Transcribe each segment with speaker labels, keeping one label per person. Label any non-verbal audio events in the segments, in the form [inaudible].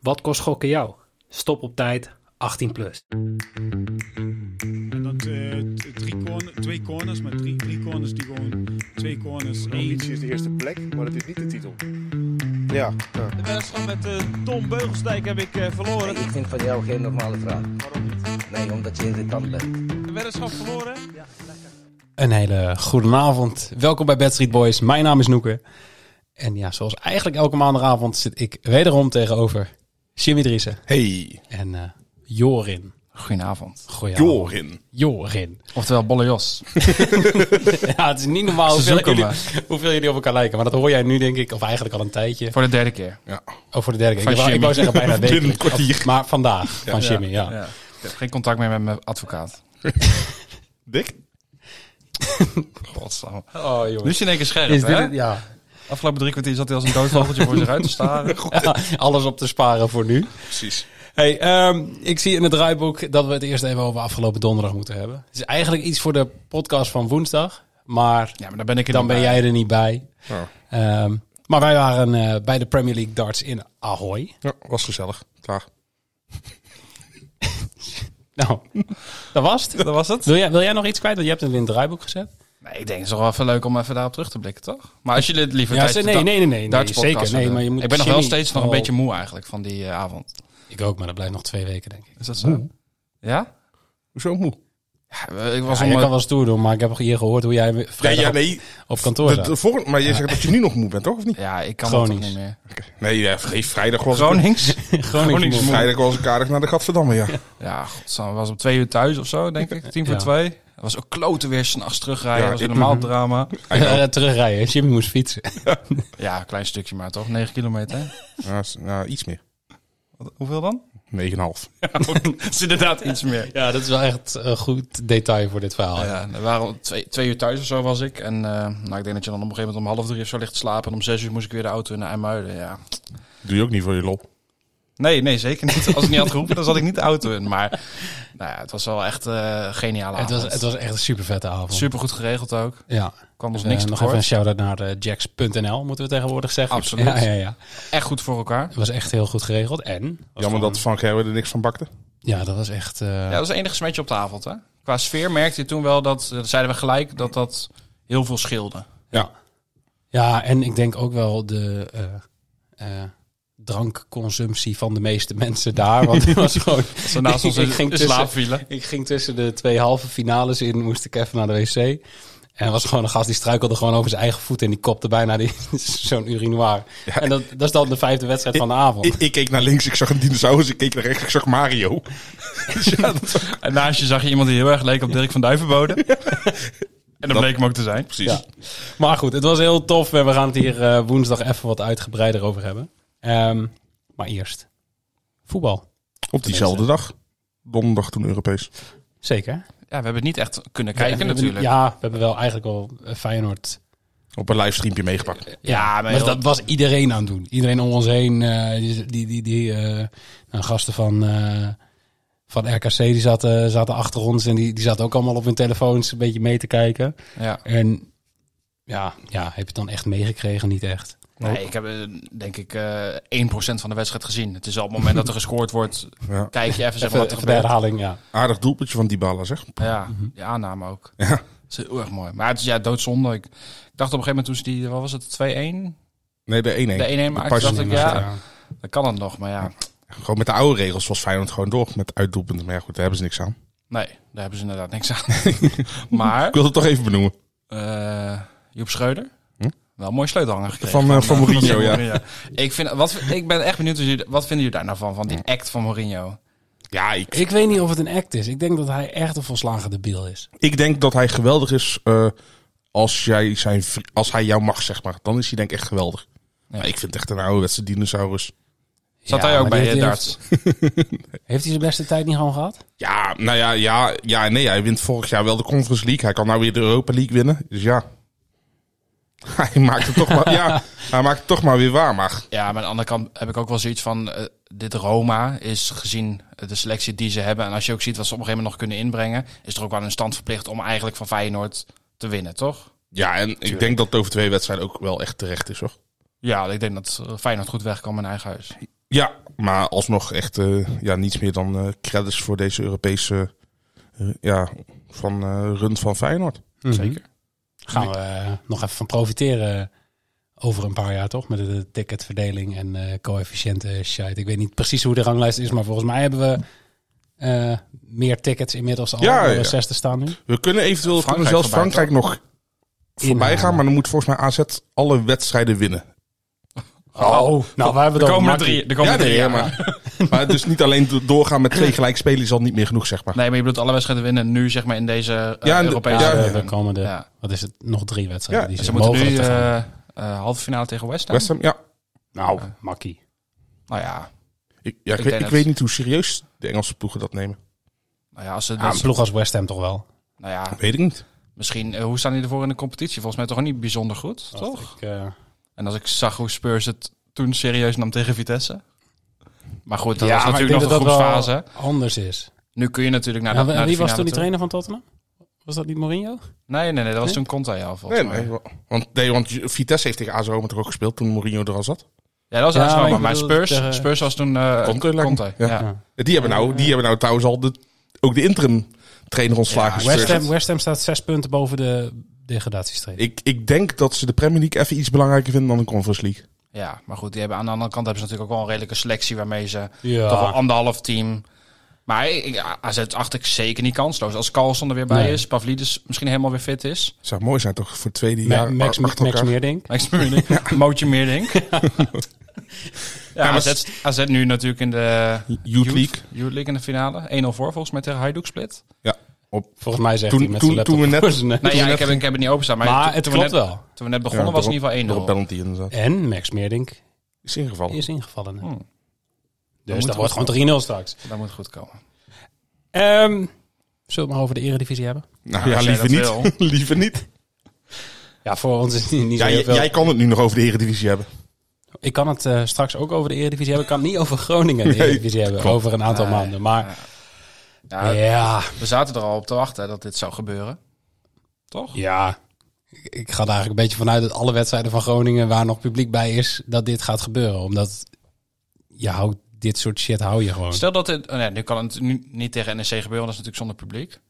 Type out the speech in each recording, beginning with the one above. Speaker 1: Wat kost gokken jou? Stop op tijd, 18 plus.
Speaker 2: En dat eh, t- drie corner, twee corners, maar drie, drie corners die gewoon twee corners. één.
Speaker 3: Ambitie is de eerste plek, maar dat is niet de titel. Ja, ja.
Speaker 4: De wedstrijd met eh, Tom Beugelsdijk heb ik eh, verloren.
Speaker 5: Ik vind van jou geen normale vraag. Nee, omdat je irritant bent.
Speaker 4: De wedstrijd verloren.
Speaker 6: Een hele goede avond. Welkom bij Bad Street Boys. Mijn naam is Noeke. En ja, zoals eigenlijk elke maandagavond zit ik wederom tegenover Jimmy Driessen
Speaker 7: Hey,
Speaker 6: en eh, Jorin.
Speaker 8: Goedenavond.
Speaker 6: Goeie avond.
Speaker 7: Jorin.
Speaker 6: Jorin. [laughs]
Speaker 8: Oftewel Bolle Jos.
Speaker 6: Ja, het is niet normaal
Speaker 8: Ze
Speaker 6: hoeveel
Speaker 8: zoeken
Speaker 6: jullie,
Speaker 8: me.
Speaker 6: [laughs] hoeveel jullie op elkaar lijken. Maar dat hoor jij nu denk ik, of eigenlijk al een tijdje.
Speaker 8: Voor de derde keer.
Speaker 6: Oh, voor de derde keer.
Speaker 8: Van
Speaker 6: Ik wou, ik
Speaker 8: Jimmy.
Speaker 6: wou zeggen bijna
Speaker 7: Binnen
Speaker 6: wekelijks.
Speaker 7: een kwartier.
Speaker 6: Of- Maar vandaag, van Jimmy, ja.
Speaker 8: Ik heb geen contact meer met mijn advocaat.
Speaker 7: Dik?
Speaker 8: Godsam.
Speaker 6: Oh,
Speaker 8: Nu
Speaker 6: jongens.
Speaker 8: is hij in één keer scherp,
Speaker 6: Is dit
Speaker 8: hè?
Speaker 6: het? Ja.
Speaker 8: Afgelopen drie kwartier zat hij als een doodvogeltje voor zich uit te staren.
Speaker 6: Ja, [laughs] Alles op te sparen voor nu.
Speaker 7: Precies.
Speaker 6: Hey, ehm, ik zie in het draaiboek dat we het eerst even over afgelopen donderdag moeten hebben. Het is eigenlijk iets voor de podcast van woensdag, maar
Speaker 8: [laughs] Ja, maar daar ben ik er
Speaker 6: dan
Speaker 8: niet
Speaker 6: ben
Speaker 8: bij.
Speaker 6: jij er niet bij.
Speaker 7: Ja.
Speaker 6: Ehm, maar wij waren eh, bij de Premier League darts in Ahoy.
Speaker 7: Ja, was gezellig. Klaar.
Speaker 6: [laughs] Nou, dat was het.
Speaker 8: Dat was het?
Speaker 6: Wil jij, wil jij nog iets kwijt? Want je hebt het in het draaiboek gezet.
Speaker 8: Nee, ik denk het is wel even leuk om even daarop terug te blikken, toch? Maar als jullie het liever
Speaker 6: Ja,
Speaker 8: tijdens
Speaker 6: ze-
Speaker 8: de
Speaker 6: nee,
Speaker 8: da-
Speaker 6: nee, nee, nee, nee,
Speaker 8: Duitse
Speaker 6: zeker.
Speaker 8: podcast
Speaker 6: Nee,
Speaker 8: hebben.
Speaker 6: maar je moet Oh.
Speaker 8: ik ben nog wel
Speaker 6: Jimmy
Speaker 8: steeds nog een
Speaker 6: wel-
Speaker 8: beetje moe eigenlijk van die eh, avond.
Speaker 6: Ik ook, maar dat blijft nog twee weken, denk ik.
Speaker 8: Is dat zo? Ja?
Speaker 7: Hoezo moe?
Speaker 8: Ja, ik was
Speaker 6: Ja,
Speaker 8: om...
Speaker 6: je
Speaker 8: eh,
Speaker 6: kan wel stoer doen, maar ik heb hier gehoord hoe jij
Speaker 7: Nee,
Speaker 6: vrijdag
Speaker 7: ja,
Speaker 6: op-
Speaker 7: nee.
Speaker 6: op, kantoor
Speaker 7: de- de
Speaker 6: zat.
Speaker 7: volgende- maar je zegt dat je nu nog moe bent, toch? Of niet?
Speaker 8: Ja, ik kan dat toch
Speaker 6: Gronings.
Speaker 8: niet meer.
Speaker 7: Oké. Nee, ja, vergeet. Vrijdag was
Speaker 6: [laughs]
Speaker 7: ik-
Speaker 8: Gronings?
Speaker 6: Groningen.
Speaker 7: Vrijdag was ik aardig naar de Gadverdamme, ja.
Speaker 8: Ja, godsam, we was om twee uur thuis of zo, denk ik. Tien voor
Speaker 6: Ja.
Speaker 8: twee. Het was ook kloten weer, s'nachts terugrijden.
Speaker 7: Ja,
Speaker 8: was een
Speaker 7: ik-
Speaker 6: [laughs]
Speaker 8: normaal drama.
Speaker 6: Ja, terugrijden. Jimmy moest fietsen.
Speaker 8: Ja, een klein stukje maar toch? 9 kilometer.
Speaker 7: Ja, is- nou, iets meer.
Speaker 8: Wat- Hoeveel dan?
Speaker 7: 9,5.
Speaker 8: Dat is inderdaad iets meer.
Speaker 6: Ja, dat is wel echt een goed detail voor dit verhaal.
Speaker 8: Nou ja, er waren al twee, twee uur thuis of zo was ik. En eh, nou, ik denk dat je dan op een gegeven moment om half drie of zo ligt te slapen. En om zes uur moest ik weer de auto in naar IJmuiden, ja.
Speaker 7: Doe je ook niet voor je lol.
Speaker 8: Nee, nee, zeker niet. Als ik niet had geroepen, dan zat ik niet de auto in. Maar nou ja, het was wel echt eh geniaal.
Speaker 6: Het was, het was echt een super vette avond.
Speaker 8: Super goed geregeld ook.
Speaker 6: Ja.
Speaker 8: Kwam ons
Speaker 6: Eh,
Speaker 8: niks
Speaker 6: nog
Speaker 8: tekort.
Speaker 6: even een shout-out naar eh, jacks.nl, moeten we tegenwoordig zeggen.
Speaker 8: Absoluut.
Speaker 6: Ja, ja, ja.
Speaker 8: Echt goed voor elkaar.
Speaker 6: Het was echt heel goed geregeld. En? was
Speaker 7: Jammer
Speaker 6: gewoon-
Speaker 7: dat Frank Herwe er niks van bakte.
Speaker 6: Ja, dat was echt... eh,
Speaker 8: Ja, dat was het enige smetje op de avond. Hè? Qua sfeer merkte je toen wel dat, eh, zeiden we gelijk, dat dat heel veel scheelde.
Speaker 6: Ja. Ja, en ik denk ook wel de eh, eh, drankconsumptie van de meeste mensen daar. Want het
Speaker 8: [laughs]
Speaker 6: was gewoon...
Speaker 8: Ze naast
Speaker 6: [laughs]
Speaker 8: ons
Speaker 6: Ik
Speaker 8: in,
Speaker 6: ging
Speaker 8: in
Speaker 6: tussen-
Speaker 8: slaap vielen.
Speaker 6: Ik ging tussen de twee halve finales in, moest ik even naar de wc. En er was gewoon een gast die struikelde gewoon over zijn eigen voet en die kopte bijna die- [laughs] zo'n urinoir. En dat, dat is dan de vijfde wedstrijd van de avond.
Speaker 7: Ik, ik keek naar links, ik zag een dinosaurus. Ik keek naar rechts, ik zag Mario.
Speaker 8: En naast je zag je iemand die heel erg leek op Dirk van Duivenbode. En dat bleek hem ook te zijn.
Speaker 7: Precies.
Speaker 6: Ja. Maar goed, het was heel tof en we gaan het hier eh, woensdag even wat uitgebreider over hebben. Ehm, maar eerst, voetbal.
Speaker 7: Op diezelfde dag. Donderdag toen Europees.
Speaker 6: Zeker.
Speaker 8: Ja, we hebben het niet echt kunnen
Speaker 6: We
Speaker 8: kijken
Speaker 6: hebben-
Speaker 8: natuurlijk.
Speaker 6: Ja, we hebben wel eigenlijk wel eh, Feyenoord.
Speaker 7: Op een livestreampje meegepakt.
Speaker 6: Ja, maar
Speaker 8: heel-
Speaker 6: dat was iedereen aan het doen. Iedereen om ons heen. eh, die die, die, die eh, nou, gasten van, eh, van RKC die zaten, zaten achter ons. En die, die zaten ook allemaal op hun telefoons een beetje mee te kijken.
Speaker 8: Ja.
Speaker 6: En ja, ja heb je het dan echt meegekregen? Niet echt.
Speaker 8: Nee, ik heb eh, denk ik eh 1% van de wedstrijd gezien. Het is al het moment dat er gescoord wordt,
Speaker 7: Ja.
Speaker 8: kijk je even, zeg maar wat er
Speaker 6: Even de
Speaker 8: gebeurt.
Speaker 6: herhaling, ja.
Speaker 7: Aardig doelpuntje van Dybala, zeg.
Speaker 8: Ja, die aanname ook. Ja. Dat is heel erg mooi. Maar het is ja, doodzonde. Ik, ik dacht op een gegeven moment toen ze die, wat was het, 2-1?
Speaker 7: Nee, de 1-1.
Speaker 8: De 1-1
Speaker 7: De
Speaker 8: maakte,
Speaker 7: pas-
Speaker 8: dacht ik, ja,
Speaker 6: Ja.
Speaker 8: dan kan het nog. Maar ja,
Speaker 7: Gewoon met de oude regels was Feyenoord gewoon door met uitdoelpunten. Maar ja, goed, daar hebben ze niks aan.
Speaker 8: Nee, daar hebben ze inderdaad niks aan.
Speaker 7: [laughs]
Speaker 8: maar
Speaker 7: Ik wil het toch even benoemen.
Speaker 8: eh, Joep Schreuder,
Speaker 7: Hm?
Speaker 8: wel een mooi sleutelhanger gekregen.
Speaker 7: Van, eh, van Mourinho, ja.
Speaker 8: Ik, vind, wat, ik ben echt benieuwd, hoe jullie- wat vinden jullie daar nou van, van
Speaker 7: Hm.
Speaker 8: die act van Mourinho?
Speaker 7: Ja, ik,
Speaker 6: Ik weet niet of het een act is. Ik denk dat hij echt een volslagen debiel is.
Speaker 7: ik denk dat hij geweldig is eh, als, jij zijn, vri- als hij jou mag, zeg maar. Dan is hij denk ik echt geweldig.
Speaker 8: Ja.
Speaker 7: Maar ik vind het echt een ouderwetse dinosaurus.
Speaker 8: Zat
Speaker 6: Ja,
Speaker 8: hij ook
Speaker 6: maar
Speaker 8: bij
Speaker 6: die
Speaker 8: de
Speaker 6: heeft-
Speaker 8: darts?
Speaker 6: Heeft hij zijn beste tijd niet gewoon gehad?
Speaker 7: Ja, nou ja, ja, ja, nee, hij wint vorig jaar wel de Conference League. Hij kan nou weer de Europa League winnen. Dus ja, [laughs] hij maakt het toch maar, ja, hij maakt het toch maar weer waar. Maar
Speaker 8: Ja, maar aan de andere kant heb ik ook wel zoiets van, eh, dit Roma is gezien de selectie die ze hebben. En als je ook ziet wat ze op een gegeven moment nog kunnen inbrengen, is er ook wel een stand verplicht om eigenlijk van Feyenoord te winnen, toch?
Speaker 7: ja, en ik denk dat het over twee wedstrijden ook wel echt terecht is, hoor.
Speaker 8: Ja, ik denk dat eh, Feyenoord goed weg kan in eigen huis.
Speaker 7: Ja, maar alsnog echt eh, ja, niets meer dan eh, credits voor deze Europese eh, ja, van, eh, run van Feyenoord.
Speaker 6: Zeker. Gaan we eh, nog even van profiteren over een paar jaar, toch? Met de, de ticketverdeling en eh coëfficiënten shit. Ik weet niet precies hoe de ranglijst is, maar volgens mij hebben we eh, meer tickets inmiddels al.
Speaker 7: Ja,
Speaker 6: Ja,
Speaker 7: ja.
Speaker 6: zesde staan nu.
Speaker 7: We kunnen eventueel
Speaker 8: Frankrijk
Speaker 7: kunnen zelfs
Speaker 8: voorbij,
Speaker 7: Frankrijk nog voorbij
Speaker 6: Inhalen.
Speaker 7: gaan, maar dan moet volgens mij AZ alle wedstrijden winnen.
Speaker 6: Oh, nou, waar hebben
Speaker 8: Er
Speaker 6: we dan
Speaker 8: komen er drie. Er komen
Speaker 7: ja,
Speaker 8: er drie,
Speaker 7: nee,
Speaker 8: ja.
Speaker 7: maar,
Speaker 6: [laughs]
Speaker 7: maar dus niet alleen do- doorgaan met twee gelijk spelen is al niet meer genoeg, zeg maar.
Speaker 8: Nee, maar je bedoelt alle wedstrijden winnen nu, zeg maar, in deze eh,
Speaker 7: Ja, en de-
Speaker 8: Europese...
Speaker 7: ja,
Speaker 6: Ja,
Speaker 7: ja.
Speaker 6: de komende,
Speaker 8: Ja. Dus
Speaker 6: wat is het, nog drie wedstrijden.
Speaker 7: Ja,
Speaker 6: die
Speaker 8: Ze moeten nu
Speaker 6: mogelijk te gaan.
Speaker 8: eh eh, halve finale tegen West Ham.
Speaker 7: West Ham, ja.
Speaker 6: nou, makkie.
Speaker 8: Nou ja,
Speaker 7: Ik, ja, ik, weet,
Speaker 8: Ik denk
Speaker 7: ik
Speaker 8: het.
Speaker 7: weet niet hoe serieus de Engelse ploegen dat nemen.
Speaker 8: nou ja, als ze...
Speaker 6: Ah, een ploeg als West Ham toch wel.
Speaker 8: nou ja,
Speaker 7: Weet ik niet.
Speaker 8: misschien... eh, hoe staan die ervoor in de competitie? Volgens mij toch ook niet bijzonder goed, toch?
Speaker 6: Ik, eh,
Speaker 8: En als ik zag hoe Spurs het toen serieus nam tegen Vitesse. Maar goed, dat
Speaker 6: ja,
Speaker 8: was
Speaker 6: maar ik
Speaker 8: natuurlijk nog
Speaker 6: denk
Speaker 8: de
Speaker 6: dat dat wel
Speaker 8: groepsfase.
Speaker 6: anders is.
Speaker 8: Nu kun je natuurlijk naar de,
Speaker 6: Nou, en
Speaker 8: naar de
Speaker 6: wie was
Speaker 8: finale
Speaker 6: toen die
Speaker 8: toe.
Speaker 6: trainer van Tottenham? Was dat niet Mourinho?
Speaker 8: Nee, nee, nee, dat was
Speaker 6: Nee?
Speaker 8: toen Conte al volgens
Speaker 7: Nee,
Speaker 8: mij.
Speaker 7: nee, want, nee, want Vitesse heeft tegen AS Roma toch ook gespeeld toen Mourinho er al zat.
Speaker 8: Ja, dat was
Speaker 6: Ja,
Speaker 8: AS Roma,
Speaker 6: maar
Speaker 8: maar,
Speaker 6: ik bedoel,
Speaker 8: Spurs,
Speaker 6: tegen-
Speaker 8: Spurs was toen eh
Speaker 7: Conte,
Speaker 8: Conte.
Speaker 7: lijkt me.
Speaker 8: ja.
Speaker 7: Ja. Die hebben nou, die hebben nou trouwens al de, ook de interim trainer ontslagen.
Speaker 6: Ja,
Speaker 7: Spurs.
Speaker 6: West, Ham, West Ham staat zes punten boven de degradatiestreep.
Speaker 7: Ik, ik denk dat ze de Premier League even iets belangrijker vinden dan de Conference League.
Speaker 8: Ja, maar goed, die hebben, aan de andere kant hebben ze natuurlijk ook wel een redelijke selectie waarmee ze
Speaker 6: Ja.
Speaker 8: toch wel anderhalf team. Maar ik, AZ acht ik zeker niet kansloos. Als Carlson er weer bij
Speaker 6: Nee.
Speaker 8: is, Pavlidis misschien helemaal weer
Speaker 7: [laughs]
Speaker 8: fit is.
Speaker 7: Zou mooi zijn toch voor het tweede
Speaker 6: Ma-
Speaker 7: jaar
Speaker 6: Max,
Speaker 7: achter
Speaker 6: Max
Speaker 7: elkaar.
Speaker 6: Meerdink.
Speaker 8: Max Meerdink, Mootje Meerdink. [laughs] ja,
Speaker 7: maar
Speaker 8: AZ, AZ nu natuurlijk in de
Speaker 7: Youth League.
Speaker 8: Youth League in de finale. 1-0 voor volgens mij tegen Hajduk Split.
Speaker 6: Volgens mij zegt
Speaker 7: Toen-
Speaker 6: hij met
Speaker 7: toen-
Speaker 6: zijn laptop
Speaker 7: toen we net-
Speaker 6: voor zijn [laughs] neus.
Speaker 8: Nee, Nou ja, ik, heb, ik heb het niet openstaan. Maar,
Speaker 6: Maar
Speaker 8: toen-
Speaker 6: het
Speaker 8: toen we
Speaker 6: klopt
Speaker 8: net,
Speaker 6: wel.
Speaker 8: Toen we net
Speaker 7: Ja,
Speaker 8: begonnen was
Speaker 7: door-
Speaker 8: het in ieder
Speaker 7: Door een
Speaker 8: geval 1-0.
Speaker 7: penalty inderdaad.
Speaker 6: En Max Meerdink
Speaker 7: Is ingevallen.
Speaker 6: is ingevallen.
Speaker 8: Hmm.
Speaker 6: Dus dat
Speaker 8: moeten
Speaker 6: wordt
Speaker 8: we-
Speaker 6: gewoon 3-0 straks.
Speaker 8: Dat moet goed komen.
Speaker 6: Ehm, zullen we het maar over de eredivisie hebben?
Speaker 7: Nou ja,
Speaker 8: als jij
Speaker 7: liever
Speaker 8: dat
Speaker 7: niet. [laughs] liever niet.
Speaker 6: Ja, voor ons is het niet, niet
Speaker 7: Ja,
Speaker 6: zo heel
Speaker 7: j-
Speaker 6: veel.
Speaker 7: jij kan het nu nog over de Eredivisie hebben.
Speaker 6: Ik kan het eh, straks ook over de eredivisie hebben. Ik kan het niet over Groningen de
Speaker 7: Nee,
Speaker 6: eredivisie hebben.
Speaker 7: klopt.
Speaker 6: Over een aantal
Speaker 8: Nee,
Speaker 6: maanden. Maar
Speaker 8: Ja,
Speaker 6: ja,
Speaker 8: We zaten er al op te wachten dat dit zou gebeuren. Toch?
Speaker 6: Ja, ik, ik ga er eigenlijk een beetje vanuit dat alle wedstrijden van Groningen waar nog publiek bij is, dat dit gaat gebeuren. Omdat je houdt dit soort shit hou je gewoon.
Speaker 8: Stel dat het... oh nee, nu kan het nu niet tegen NEC gebeuren, want dat is natuurlijk zonder publiek.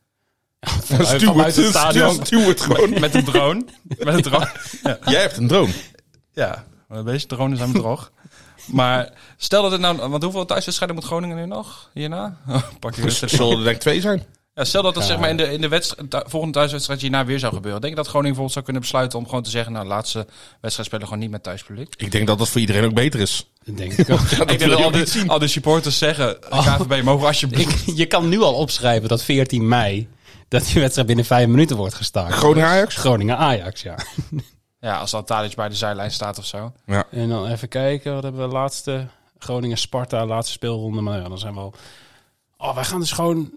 Speaker 6: Vanuit- vanuit
Speaker 7: [laughs] Stuart,
Speaker 6: het stadion.
Speaker 7: Stuart
Speaker 8: [laughs]
Speaker 7: gewoon.
Speaker 8: Met een drone. Met een drone.
Speaker 7: Jij hebt een droom.
Speaker 8: Ja, maar deze drones zijn me droog. Maar stel dat het nou... Want hoeveel thuiswedstrijden moet Groningen nu nog? Hierna? [laughs] Oh, Pak je weer
Speaker 7: Dus er
Speaker 8: het
Speaker 7: zullen er denk ik twee zijn.
Speaker 8: Ja, stel dat dat zeg maar in de, in de wedstrijd, thu- volgende thuiswedstrijd hierna weer zou gebeuren. Denk je dat Groningen bijvoorbeeld zou kunnen besluiten om gewoon te zeggen... nou, laatste wedstrijd spelen gewoon niet met thuispubliek?
Speaker 7: Ik denk dat dat voor iedereen ook beter is.
Speaker 6: Dat Denk ik ook.
Speaker 7: [laughs]
Speaker 8: ik denk dat al de, al de supporters zeggen... KVB, mogen alsjeblieft...
Speaker 6: Ik- je kan nu al opschrijven dat 14 mei dat die wedstrijd binnen vijf minuten wordt gestaakt.
Speaker 7: Groningen Ajax?
Speaker 6: Groningen Ajax, ja.
Speaker 8: Ja, als dan Tadic bij de zijlijn staat of zo.
Speaker 6: En dan even kijken, wat hebben we laatste? Groningen Sparta, laatste speelronde. Maar ja, dan zijn we al. Oh, wij gaan dus gewoon.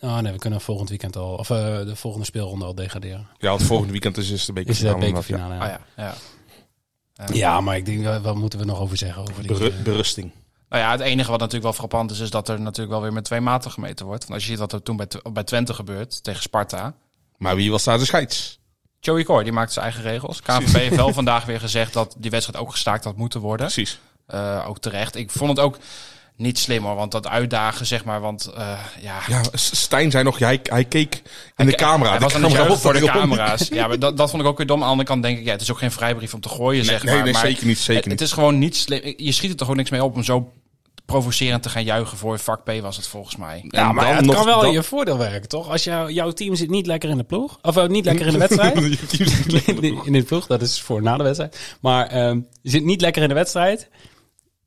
Speaker 6: Oh nee, we kunnen volgend weekend al. Of eh, de volgende speelronde al degraderen.
Speaker 7: Ja, want volgend weekend is, is
Speaker 6: Is
Speaker 7: de bekerfinale.
Speaker 6: de
Speaker 7: inderdaad, ja.
Speaker 6: bekerfinale. ja.
Speaker 8: Ah ja, ja.
Speaker 6: Ja, maar ik denk, eh, wat moeten we nog over zeggen? Over die, eh,
Speaker 7: Beru- berusting.
Speaker 8: Nou ja, het enige wat natuurlijk wel frappant is, is dat er natuurlijk wel weer met twee maten gemeten wordt. Want als je ziet wat er toen bij, Tw- bij Twente gebeurt, tegen Sparta.
Speaker 7: Maar wie was daar de scheids?
Speaker 8: Joey Coy, die maakt zijn eigen regels. KNVB heeft wel vandaag weer gezegd dat die wedstrijd ook gestaakt had moeten worden.
Speaker 7: Precies.
Speaker 8: Eh, ook terecht. Ik vond het ook niet slim hoor, want dat uitdagen zeg maar, want eh, ja...
Speaker 7: Ja, S- Stijn zei nog, ja, hij, hij keek in de camera.
Speaker 8: Hij was
Speaker 7: De
Speaker 8: dan niet
Speaker 7: camera
Speaker 8: zo voor de
Speaker 7: erop.
Speaker 8: camera's. Ja, maar dat, dat vond ik ook weer dom. Aan de andere kant denk ik, ja, het is ook geen vrijbrief om te gooien, zeg
Speaker 7: nee,
Speaker 8: maar.
Speaker 7: nee,
Speaker 8: maar
Speaker 7: zeker niet, zeker
Speaker 8: het,
Speaker 7: niet.
Speaker 8: het is gewoon niet slim. Je schiet er toch ook niks mee op om zo provocerend te gaan juichen voor vak P was het volgens mij.
Speaker 6: ja, maar
Speaker 7: dan
Speaker 6: het kan
Speaker 7: nog
Speaker 6: wel
Speaker 7: dat-
Speaker 6: in je voordeel werken, toch? Als jou, jouw team zit niet lekker in de ploeg. Of eh, niet
Speaker 7: [laughs]
Speaker 6: lekker in de wedstrijd.
Speaker 7: Je team zit lekker in de
Speaker 6: [laughs]
Speaker 7: ploeg.
Speaker 6: in de ploeg, dat is voor na de wedstrijd. Maar ehm, je zit niet lekker in de wedstrijd.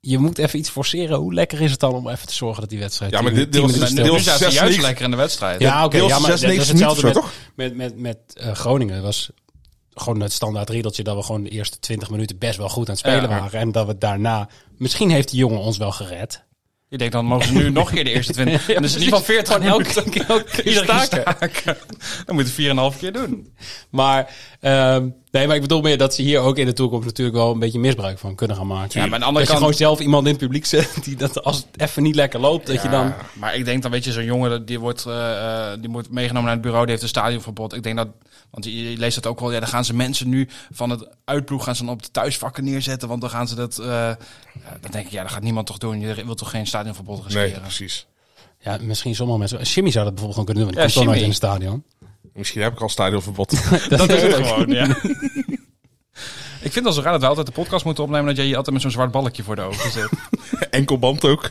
Speaker 6: Je moet even iets forceren. Hoe lekker is het dan om even te zorgen dat die wedstrijd...
Speaker 7: Ja, maar
Speaker 6: tien-
Speaker 7: dit-
Speaker 6: tien
Speaker 7: dit was-
Speaker 6: minuten
Speaker 7: dit
Speaker 8: Nu
Speaker 6: stil
Speaker 7: was-
Speaker 6: is?
Speaker 8: zaten ze
Speaker 7: zes
Speaker 8: juist
Speaker 7: niks.
Speaker 8: lekker in de wedstrijd.
Speaker 6: Ja, oké.
Speaker 7: Deels
Speaker 6: ja, maar
Speaker 7: zes,
Speaker 6: dat is
Speaker 7: negen
Speaker 6: hetzelfde met, met,
Speaker 7: minuten,
Speaker 6: met, met eh, Groningen. Dat was gewoon het standaard riedeltje dat we gewoon de eerste 20 minuten best wel goed aan het spelen
Speaker 8: Ja.
Speaker 6: waren. En dat we daarna... Misschien heeft die jongen ons wel gered.
Speaker 8: Je denkt dan mogen ze nu nog een keer de
Speaker 6: [laughs]
Speaker 8: eerste 20. En dus in ieder geval 40
Speaker 6: Gewoon [laughs]
Speaker 8: minuten.
Speaker 6: elke, elke keer
Speaker 8: Iedere keer [laughs]
Speaker 6: staken.
Speaker 8: staken. Dan moet je het 4,5 keer doen.
Speaker 6: Maar ehm, Nee, maar ik bedoel meer dat ze hier ook in de toekomst natuurlijk wel een beetje misbruik van kunnen gaan maken.
Speaker 8: Ja, maar aan de
Speaker 6: dat
Speaker 8: andere
Speaker 6: je
Speaker 8: kant-
Speaker 6: gewoon zelf iemand in het publiek zet [laughs] die dat als het even niet lekker loopt, dat je dan...
Speaker 8: Ja, Maar ik denk dan, weet je, zo'n jongen dat- die wordt, eh, eh, die wordt meegenomen naar het bureau, die heeft een stadionverbod. Ik denk dat, want je, je leest dat ook wel, ja, dan gaan ze mensen nu van het uitploeg gaan ze dan op de thuisvakken neerzetten, want dan gaan ze dat, eh, ja, dan denk ik, ja, dat gaat niemand toch doen. Je wilt toch geen stadionverbod riskeren?
Speaker 7: [laughs] Nee, precies.
Speaker 6: Ja, misschien sommige mensen... Jimmy zou dat bijvoorbeeld gewoon kunnen doen, want die
Speaker 8: Ja,
Speaker 6: komt toch nooit in het
Speaker 8: Jimmy.
Speaker 6: stadion.
Speaker 7: Misschien heb ik al stadionverbod.
Speaker 6: [laughs] Dat, is het ook.
Speaker 8: [laughs] Ik vind het al zo raar dat we altijd de podcast moeten opnemen dat jij je altijd met zo'n zwart balkje voor de ogen zit.
Speaker 7: Enkelband ook.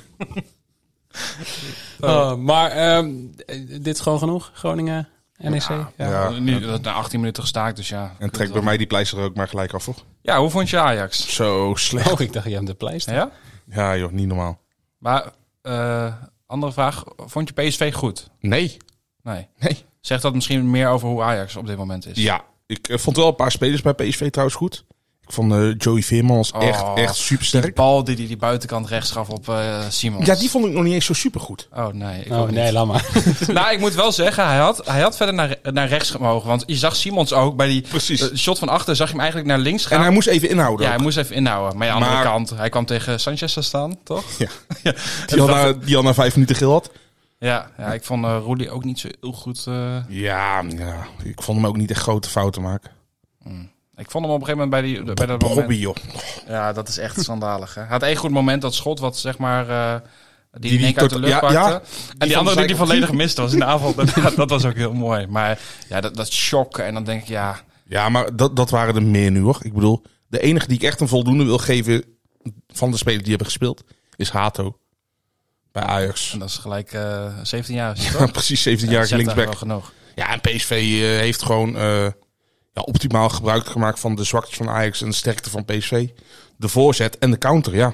Speaker 6: Eh, maar ehm, eh, dit is gewoon genoeg, Groningen, NEC. Ja,
Speaker 7: Ja.
Speaker 8: Nu, dat na 18 minuten gestaakt, dus ja.
Speaker 7: En trek bij mij die pleister er ook maar gelijk af, hoor.
Speaker 8: Ja, hoe vond je Ajax?
Speaker 7: Zo slecht.
Speaker 6: Oh, ik dacht, je hebt de pleister.
Speaker 8: Ja?
Speaker 7: Ja, joh, niet normaal.
Speaker 8: Maar, eh, andere vraag, vond je PSV goed?
Speaker 7: Nee.
Speaker 8: Nee.
Speaker 7: Nee.
Speaker 8: Zegt dat misschien meer over hoe Ajax op dit moment is?
Speaker 7: Ja, ik eh, vond wel een paar spelers bij PSV trouwens goed. Ik vond eh, Joey Veerman als
Speaker 8: Oh,
Speaker 7: echt, echt
Speaker 8: Die
Speaker 7: supersterk.
Speaker 8: bal die die, die buitenkant rechts gaf op eh Simons.
Speaker 7: Ja, die vond ik nog niet eens zo supergoed.
Speaker 8: Oh nee, ik
Speaker 6: Oh,
Speaker 8: ook
Speaker 6: nee,
Speaker 8: niet.
Speaker 6: laat maar. [laughs]
Speaker 8: [laughs] Nou, ik moet wel zeggen, hij had, hij had verder naar, naar rechts gemogen. Want je zag Simons ook bij die
Speaker 7: Precies.
Speaker 8: eh, shot van achter, zag je hem eigenlijk naar links gaan.
Speaker 7: En hij moest even inhouden.
Speaker 8: ja, hij
Speaker 7: ook.
Speaker 8: moest even inhouden. Maar aan de andere
Speaker 7: Maar-
Speaker 8: kant, hij kwam tegen Sanchez te staan, toch? [laughs]
Speaker 7: Ja. die, al na, die al na vijf minuten geel had.
Speaker 8: Ja, ja ik vond eh Roelie ook niet zo heel goed. eh,
Speaker 7: Ja, ja, ik vond hem ook niet echt grote fouten maken.
Speaker 8: ik vond hem op een gegeven moment bij, die, bij dat moment...
Speaker 7: Bobby, joh.
Speaker 8: Ja, dat is echt schandalig. Hè? Hij had één goed moment, dat schot wat zeg maar... eh, die
Speaker 7: die
Speaker 8: die
Speaker 7: tot-
Speaker 8: uit de lucht
Speaker 7: ja,
Speaker 8: pakte.
Speaker 7: ja.
Speaker 8: en die
Speaker 7: van
Speaker 8: andere die die
Speaker 7: Zijkant.
Speaker 8: volledig mist was in de
Speaker 7: [laughs]
Speaker 8: aanval. dat, dat was ook heel mooi. Maar ja, dat, dat shock. En dan denk ik, ja...
Speaker 7: Ja, maar dat, dat waren er meer nu, hoor. Ik bedoel, de enige die ik echt een voldoende wil geven van de spelers die hebben gespeeld, is Hato. Bij Ajax.
Speaker 8: En dat is gelijk eh 17 jaar. is
Speaker 7: [laughs]
Speaker 8: het,
Speaker 7: Ja,
Speaker 8: toch?
Speaker 7: precies 17
Speaker 8: Ja,
Speaker 7: jaar
Speaker 8: dat zegt eigenlijk
Speaker 7: linksback.
Speaker 8: wel genoeg.
Speaker 7: Ja, en PSV eh, heeft gewoon eh, ja, optimaal gebruik gemaakt van de zwaktes van Ajax en de sterkte van PSV. De voorzet en de counter, ja.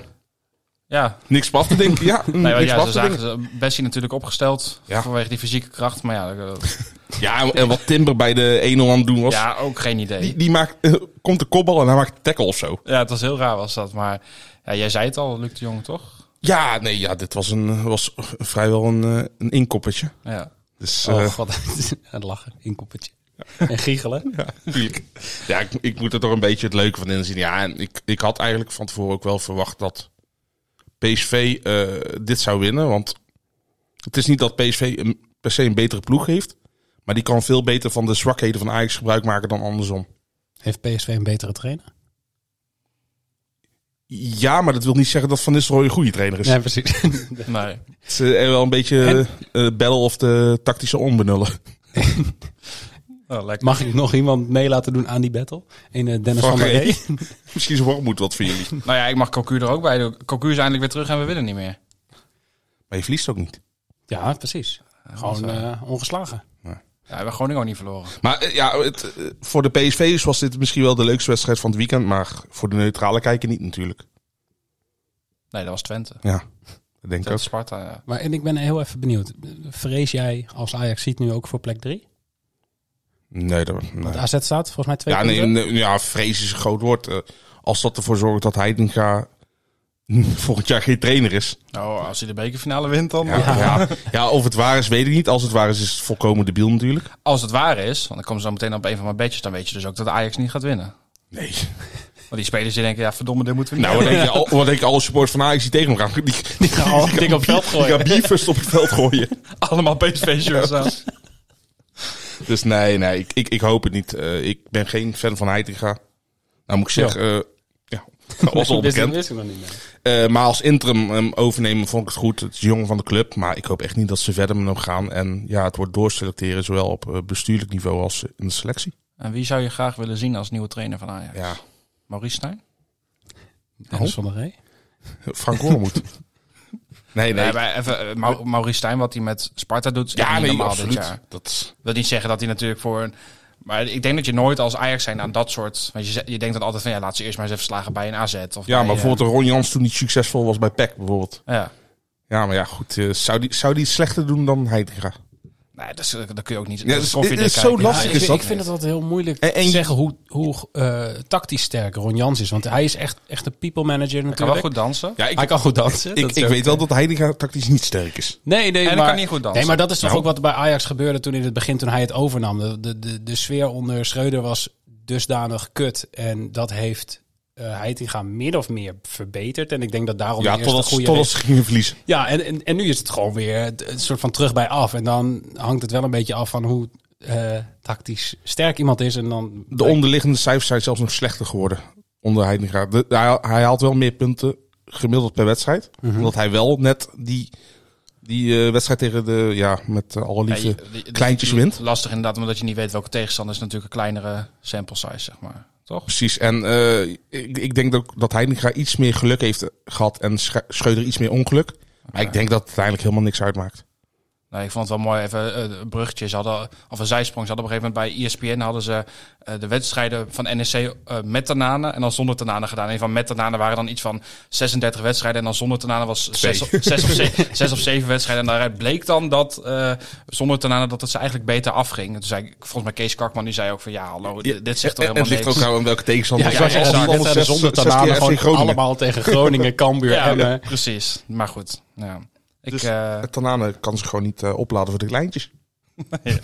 Speaker 8: Ja,
Speaker 7: Niks op af te denken, ja.
Speaker 8: [laughs] nee, maar
Speaker 7: niks op
Speaker 8: ja
Speaker 7: af
Speaker 8: ze
Speaker 7: te
Speaker 8: zagen
Speaker 7: denken.
Speaker 8: ze- Bessie natuurlijk opgesteld.
Speaker 7: Ja.
Speaker 8: Vanwege die fysieke kracht. Maar ja, eh, dat-
Speaker 7: Ja, en- en wat Timber bij de 1-0 aan het doen was.
Speaker 8: ja ook geen idee.
Speaker 7: Die, die maakt, eh, komt de kopbal en hij maakt de tackle of zo.
Speaker 8: Ja, het was heel raar was dat. Maar ja, jij zei het al, Luc de Jong, toch?
Speaker 7: Ja, nee, ja, dit was, een, was vrijwel een, eh, een inkoppertje. [laughs]
Speaker 8: Ja.
Speaker 7: Dus
Speaker 6: Oh,
Speaker 7: eh,
Speaker 6: god. [laughs] Het lachen, inkoppertje. En giechelen.
Speaker 7: Tuurlijk. Ja, [laughs] ik, ik moet er toch een beetje het leuke van inzien. Ja, en ik, ik had eigenlijk van tevoren ook wel verwacht dat PSV eh, dit zou winnen. Want het is niet dat PSV een, per se een betere ploeg heeft. Maar die kan veel beter van de zwakheden van Ajax gebruik maken dan andersom.
Speaker 6: Heeft PSV een betere trainer?
Speaker 7: Ja, maar dat wil niet zeggen dat Van Nistelrooy een goede trainer is.
Speaker 6: Ja, precies.
Speaker 8: Nee.
Speaker 7: Het is eh, wel een beetje eh bellen of de tactische onbenullen. [laughs]
Speaker 8: Oh, lekker.
Speaker 6: Mag ik nog iemand mee laten doen aan die battle? Een eh, Dennis
Speaker 7: Van
Speaker 6: van der
Speaker 7: Rey.
Speaker 6: Rey.
Speaker 7: Misschien is Wormoed wat voor jullie. Maar
Speaker 8: Nou ja, ik mag Cocu er ook bij doen. Cocu is eindelijk weer terug en we winnen niet meer.
Speaker 7: je verliest ook niet.
Speaker 6: Ja, precies. Gewoon eh, ongeslagen.
Speaker 8: Ja, we hebben Groningen ook niet verloren.
Speaker 7: Maar eh, ja, het, eh, voor de PSV'ers was dit misschien wel de leukste wedstrijd van het weekend. Maar voor de neutrale kijker niet natuurlijk.
Speaker 8: Nee, dat was Twente.
Speaker 7: Ja, dat denk ik
Speaker 8: Twente
Speaker 7: ook.
Speaker 8: Sparta, ja.
Speaker 6: Maar en ik ben heel even benieuwd. Vrees jij als Ajax ziet nu ook voor plek 3?
Speaker 7: Nee, dat, nee.
Speaker 6: Want AZ staat volgens mij twee
Speaker 7: Ja, nee,
Speaker 6: punten.
Speaker 7: nee, ja, vrees is een groot woord. Eh, als dat ervoor zorgt dat Heitinga [laughs] volgend jaar geen trainer is.
Speaker 8: Nou, als hij de bekerfinale wint dan.
Speaker 7: Ja, ja. Ja, of het waar is, weet ik niet. Als het waar is, is het volkomen debiel natuurlijk.
Speaker 8: Als het waar is, want dan komen ze dan meteen op een van mijn bedjes, dan weet je dus ook dat Ajax niet gaat winnen.
Speaker 7: Nee.
Speaker 8: Want die spelers die denken, ja verdomme, dit moeten we niet
Speaker 7: Nou, wat denk je, al, wat denk je alle supporters van Ajax die tegen hem gaan? Die, die gaan al
Speaker 6: dik op veld gooien.
Speaker 7: Die gaan bierfust op het veld gooien.
Speaker 8: doen. [laughs] Allemaal
Speaker 7: [laughs]
Speaker 8: PSV-shirts aan.
Speaker 7: Dus nee, nee, ik, ik, ik hoop het niet. Eh, ik ben geen fan van Heitinga. Nou moet ik zeggen, eh, ja, [laughs] dat was al
Speaker 6: Wist ik-
Speaker 7: bekend.
Speaker 6: wist ik nog niet. meer.
Speaker 7: Eh, maar als interim hem overnemen vond ik het goed. Het is jong van de club, maar ik hoop echt niet dat ze verder met hem gaan. En ja, het wordt doorselecteren, zowel op eh, bestuurlijk niveau als eh, in de selectie.
Speaker 8: En wie zou je graag willen zien als nieuwe trainer van Ajax?
Speaker 7: Ja,
Speaker 8: Maurice Stijn?
Speaker 6: Dennis van der Rey.
Speaker 7: Frank Wormoed. nee,
Speaker 8: Nee,
Speaker 7: nee.
Speaker 8: maar even, eh, Mau- Maurice Stijn, wat hij met Sparta doet, is echt
Speaker 7: Ja,
Speaker 8: niet
Speaker 7: nee,
Speaker 8: normaal dit
Speaker 7: absoluut.
Speaker 8: jaar.
Speaker 7: Dat is,
Speaker 8: wil niet zeggen dat hij natuurlijk voor een... Maar ik denk dat je nooit als Ajax zijn aan dat soort... Want je, ze- je denkt dan altijd van, ja, laat ze eerst maar eens even slagen bij een AZ. Of
Speaker 7: ja,
Speaker 8: bij,
Speaker 7: maar bijvoorbeeld Ron Jans toen niet succesvol was bij PEC bijvoorbeeld.
Speaker 8: eh, ja.
Speaker 7: Ja, maar ja, goed. eh, zou, die, zou die het slechter doen dan Heitinga?
Speaker 8: Nee, dat, is, dat kun je ook niet...
Speaker 7: Ja,
Speaker 8: is
Speaker 7: dit- dit is zo lastig.
Speaker 6: ik,
Speaker 7: is
Speaker 6: vind-
Speaker 7: dat?
Speaker 6: ik vind het altijd heel moeilijk
Speaker 7: En- en
Speaker 6: te
Speaker 7: je-
Speaker 6: zeggen hoe, hoe eh, tactisch sterk Ron Jans is. Want hij is echt, echt een people manager
Speaker 8: Hij kan wel
Speaker 6: natuurlijk.
Speaker 8: goed dansen.
Speaker 7: Ja,
Speaker 6: Hij
Speaker 7: ik,
Speaker 6: kan goed dansen.
Speaker 7: ik,
Speaker 6: dat is
Speaker 7: ik
Speaker 6: ook-
Speaker 7: weet wel dat Heitinga tactisch niet sterk is.
Speaker 6: Nee, nee,
Speaker 8: En hij
Speaker 6: maar,
Speaker 8: kan niet goed dansen.
Speaker 6: Nee, maar dat is toch
Speaker 7: Nou.
Speaker 6: ook wat er bij Ajax gebeurde toen in het begin, toen hij het overnam. De, de, de, de sfeer onder Schreuder was dusdanig kut. En dat heeft eh Heitinga min of meer verbeterd. En ik denk dat daarom
Speaker 7: Ja,
Speaker 6: de eerste
Speaker 7: totdat,
Speaker 6: goede
Speaker 7: totdat
Speaker 6: re-
Speaker 7: ze gingen verliezen.
Speaker 6: Ja, en, en, en nu is het gewoon weer het- een soort van terug bij af. En dan hangt het wel een beetje af van hoe eh, tactisch sterk iemand is. En dan
Speaker 7: De onderliggende cijfers zijn zelfs nog slechter geworden onder Heitinga. De, hij, hij haalt wel meer punten gemiddeld per wedstrijd.
Speaker 8: Mhm.
Speaker 7: Omdat hij wel net die, die eh, wedstrijd tegen de, ja, met eh, alle liefde.
Speaker 8: Ja, je- die- die-
Speaker 7: kleintjes
Speaker 8: die-
Speaker 7: wint.
Speaker 8: Lastig inderdaad, omdat je niet weet welke tegenstander is. Natuurlijk een kleinere sample size, zeg maar. Toch?
Speaker 7: Precies. En eh, ik, ik denk dat, dat Heitinga iets meer geluk heeft gehad en Sche- Scheuder iets meer ongeluk. Maar ik denk dat het uiteindelijk helemaal niks uitmaakt.
Speaker 8: Nou, ik vond het wel mooi, even eh, een bruggetje. Ze hadden, of een zijsprong. Ze hadden op een gegeven moment bij E ESPN hadden ze eh, de wedstrijden van NEC eh, met Tanane en dan zonder Tanane gedaan. En van met Tanane waren dan iets van 36 wedstrijden en dan zonder Tanane was zes, of- zes, of ze-
Speaker 7: [laughs]
Speaker 8: zes of zeven wedstrijden. En daaruit bleek dan dat eh, zonder Tanane dat het ze eigenlijk beter afging. En Toen zei ik, volgens mij Kees Kakman, die zei ook van ja, hallo, dit, dit zegt toch
Speaker 7: En, en het
Speaker 8: helemaal
Speaker 7: ligt ook
Speaker 8: niks.
Speaker 7: aan welke tegenstander.
Speaker 6: Ja,
Speaker 7: Het
Speaker 6: ja,
Speaker 7: was
Speaker 6: ja,
Speaker 7: al die andere
Speaker 6: wedstrijden
Speaker 7: zes-
Speaker 6: zonder
Speaker 7: zes
Speaker 6: Tanane
Speaker 7: keer FC
Speaker 6: gewoon
Speaker 7: Groningen.
Speaker 6: allemaal tegen Groningen, Cambuur, eh,
Speaker 8: Ja,
Speaker 6: Emmen.
Speaker 8: precies. Maar goed, ja. Ik,
Speaker 7: eh, Dus-
Speaker 8: eh,
Speaker 7: Tanane kan zich gewoon niet eh, opladen voor de
Speaker 8: [laughs]
Speaker 7: kleintjes.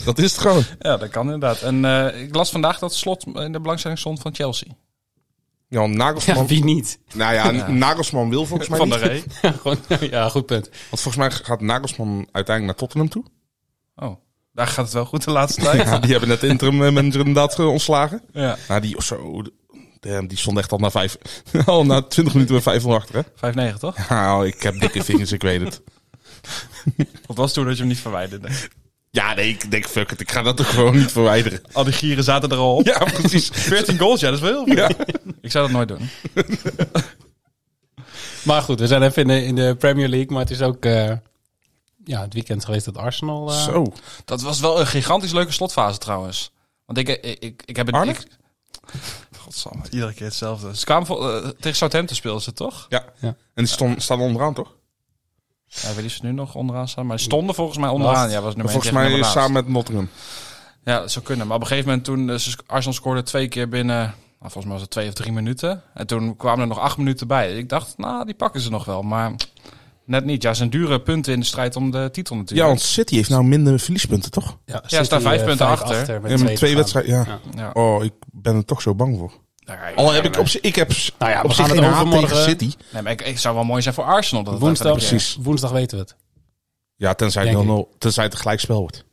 Speaker 7: Dat is het gewoon.
Speaker 8: ja, dat kan inderdaad. En eh, ik las vandaag dat slot in de belangstelling stond van Chelsea.
Speaker 7: Ja, want Nagelsman,
Speaker 6: Ja, wie niet? [laughs]
Speaker 7: nou ja, Nagelsman wil volgens mij
Speaker 8: Van
Speaker 7: niet.
Speaker 8: der Rey.
Speaker 6: Gewoon, ja, goed punt.
Speaker 7: Want volgens mij gaat Nagelsman uiteindelijk naar Tottenham toe. [laughs]
Speaker 8: Oh, daar gaat het wel goed de [laughs] laatste tijd.
Speaker 7: Ja, die hebben net de interim eh, manager inderdaad eh, ontslagen.
Speaker 8: ja.
Speaker 7: Nou, die, zo, damn, die stond echt al na, vijf, [laughs] al na 20 minuten met 5 achter. Hè?
Speaker 8: 5-9 toch?
Speaker 7: Nou, ik heb dikke vingers, ik weet het.
Speaker 8: Dat was toen dat je hem niet verwijderde.
Speaker 7: Ja, nee, ik denk, fuck it, ik ga dat toch gewoon niet verwijderen. [laughs]
Speaker 8: Al die gieren zaten er al op. [laughs]
Speaker 7: Ja, precies.
Speaker 8: 14 goals, ja, dat is wel heel veel. Ik zou dat nooit doen.
Speaker 6: Maar goed, we zijn even in de, in de Premier League. Maar het is ook eh, ja, het weekend geweest dat Arsenal... eh,
Speaker 7: Zo,
Speaker 8: Dat was wel een gigantisch leuke slotfase trouwens. Want ik, ik, ik, ik heb het...
Speaker 7: Arne?
Speaker 8: Ik, Godsamme, iedere keer hetzelfde. Ze kwamen vol- eh, tegen Southampton speelden ze toch?
Speaker 7: ja. En die stond, staan onderaan, toch?
Speaker 8: Ja, ik weet niet of ze nu nog onderaan staan. Maar ze stonden volgens mij onderaan. Ja, was nummer één
Speaker 7: Volgens
Speaker 8: tegen
Speaker 7: mij
Speaker 8: nummer laatst.
Speaker 7: samen met Nottingham.
Speaker 8: Ja, dat zou kunnen. Maar op een gegeven moment toen eh, ze- Arsenal scoorde twee keer binnen, nou, volgens mij was het twee of drie minuten. En toen kwamen er nog acht minuten bij. Ik dacht, nou, die pakken ze nog wel. Maar net niet. Ja, ze zijn dure punten in de strijd om de titel
Speaker 7: Ja,
Speaker 8: natuurlijk.
Speaker 7: want City heeft nou minder verliespunten, toch?
Speaker 6: Ja,
Speaker 8: staan
Speaker 6: City,
Speaker 8: vijf
Speaker 6: eh,
Speaker 8: punten achter.
Speaker 6: met
Speaker 7: Ja, met twee
Speaker 6: te gaan.
Speaker 7: wedstrijden, ja.
Speaker 8: Ja.
Speaker 7: Oh, ik ben er toch zo bang voor.
Speaker 8: Nou, ja,
Speaker 7: Al heb ik op zich, ik heb
Speaker 6: Nou ja, we
Speaker 7: op
Speaker 6: gaan het
Speaker 7: zich geen haat tegen
Speaker 6: overmorgen-
Speaker 7: City.
Speaker 8: Nee, maar ik, ik zou wel mooi zijn voor Arsenal. Dat het
Speaker 6: Woensdag,
Speaker 8: even een keer-
Speaker 6: precies. woensdag weten we het.
Speaker 7: Ja, tenzij,
Speaker 6: Denk
Speaker 7: het 0-0 tenzij het een gelijkspel wordt.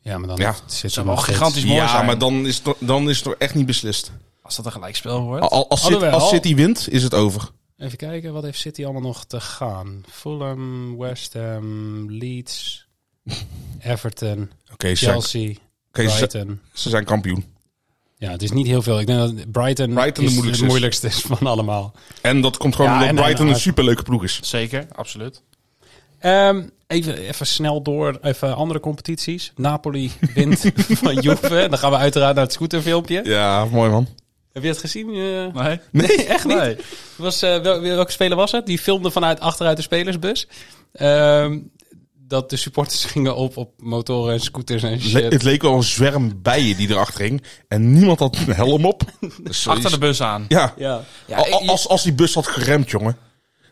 Speaker 6: Ja, maar dan
Speaker 7: Ja.
Speaker 6: zit
Speaker 8: zou
Speaker 6: er
Speaker 8: wel
Speaker 6: nog steeds-
Speaker 8: gigantisch mooi
Speaker 7: ja,
Speaker 8: zijn.
Speaker 7: maar dan is, het, toch- dan is het toch echt niet beslist.
Speaker 8: Als dat een gelijkspel wordt.
Speaker 7: Al- Als, City,
Speaker 6: Alhoewel-
Speaker 7: als City wint, is het over.
Speaker 6: Even kijken, wat heeft City allemaal nog te gaan? Fulham, West Ham,
Speaker 8: [laughs]
Speaker 6: Leeds, Everton,
Speaker 7: Oké, ze, zijn-
Speaker 6: Chelsea,
Speaker 7: oké, ze, zijn-
Speaker 6: Brighton.
Speaker 7: ze zijn kampioen.
Speaker 6: Ja, het is niet heel veel. Ik denk dat Brighton,
Speaker 7: Brighton
Speaker 6: is
Speaker 7: de moeilijkste
Speaker 6: het
Speaker 7: is.
Speaker 6: moeilijkste is van allemaal.
Speaker 7: En dat komt gewoon
Speaker 6: Ja,
Speaker 7: omdat
Speaker 6: en- en-
Speaker 7: Brighton
Speaker 6: en-
Speaker 7: een superleuke ploeg is.
Speaker 8: Zeker, absoluut.
Speaker 6: Ehm, even, even snel door, even andere competities. Napoli [laughs] wint van Juve. Dan gaan we uiteraard naar het scooterfilmpje.
Speaker 7: Ja, mooi man.
Speaker 6: Heb je het gezien? Eh,
Speaker 8: Nee.
Speaker 6: [laughs] Nee, echt niet.
Speaker 8: Nee.
Speaker 6: Was, eh, wel, welke speler was het? Die filmde vanuit achteruit de spelersbus. Ehm, dat de supporters [laughs] gingen op op motoren en scooters en
Speaker 7: Le-
Speaker 6: shit.
Speaker 7: het leek wel een zwerm bijen die erachter hing. En niemand had een helm [laughs] op. Dus
Speaker 8: Achter de
Speaker 7: zoiets-
Speaker 8: bus aan.
Speaker 7: Ja,
Speaker 6: Ja.
Speaker 8: Ja, ik-
Speaker 7: Al- als, als die bus had geremd, jongen.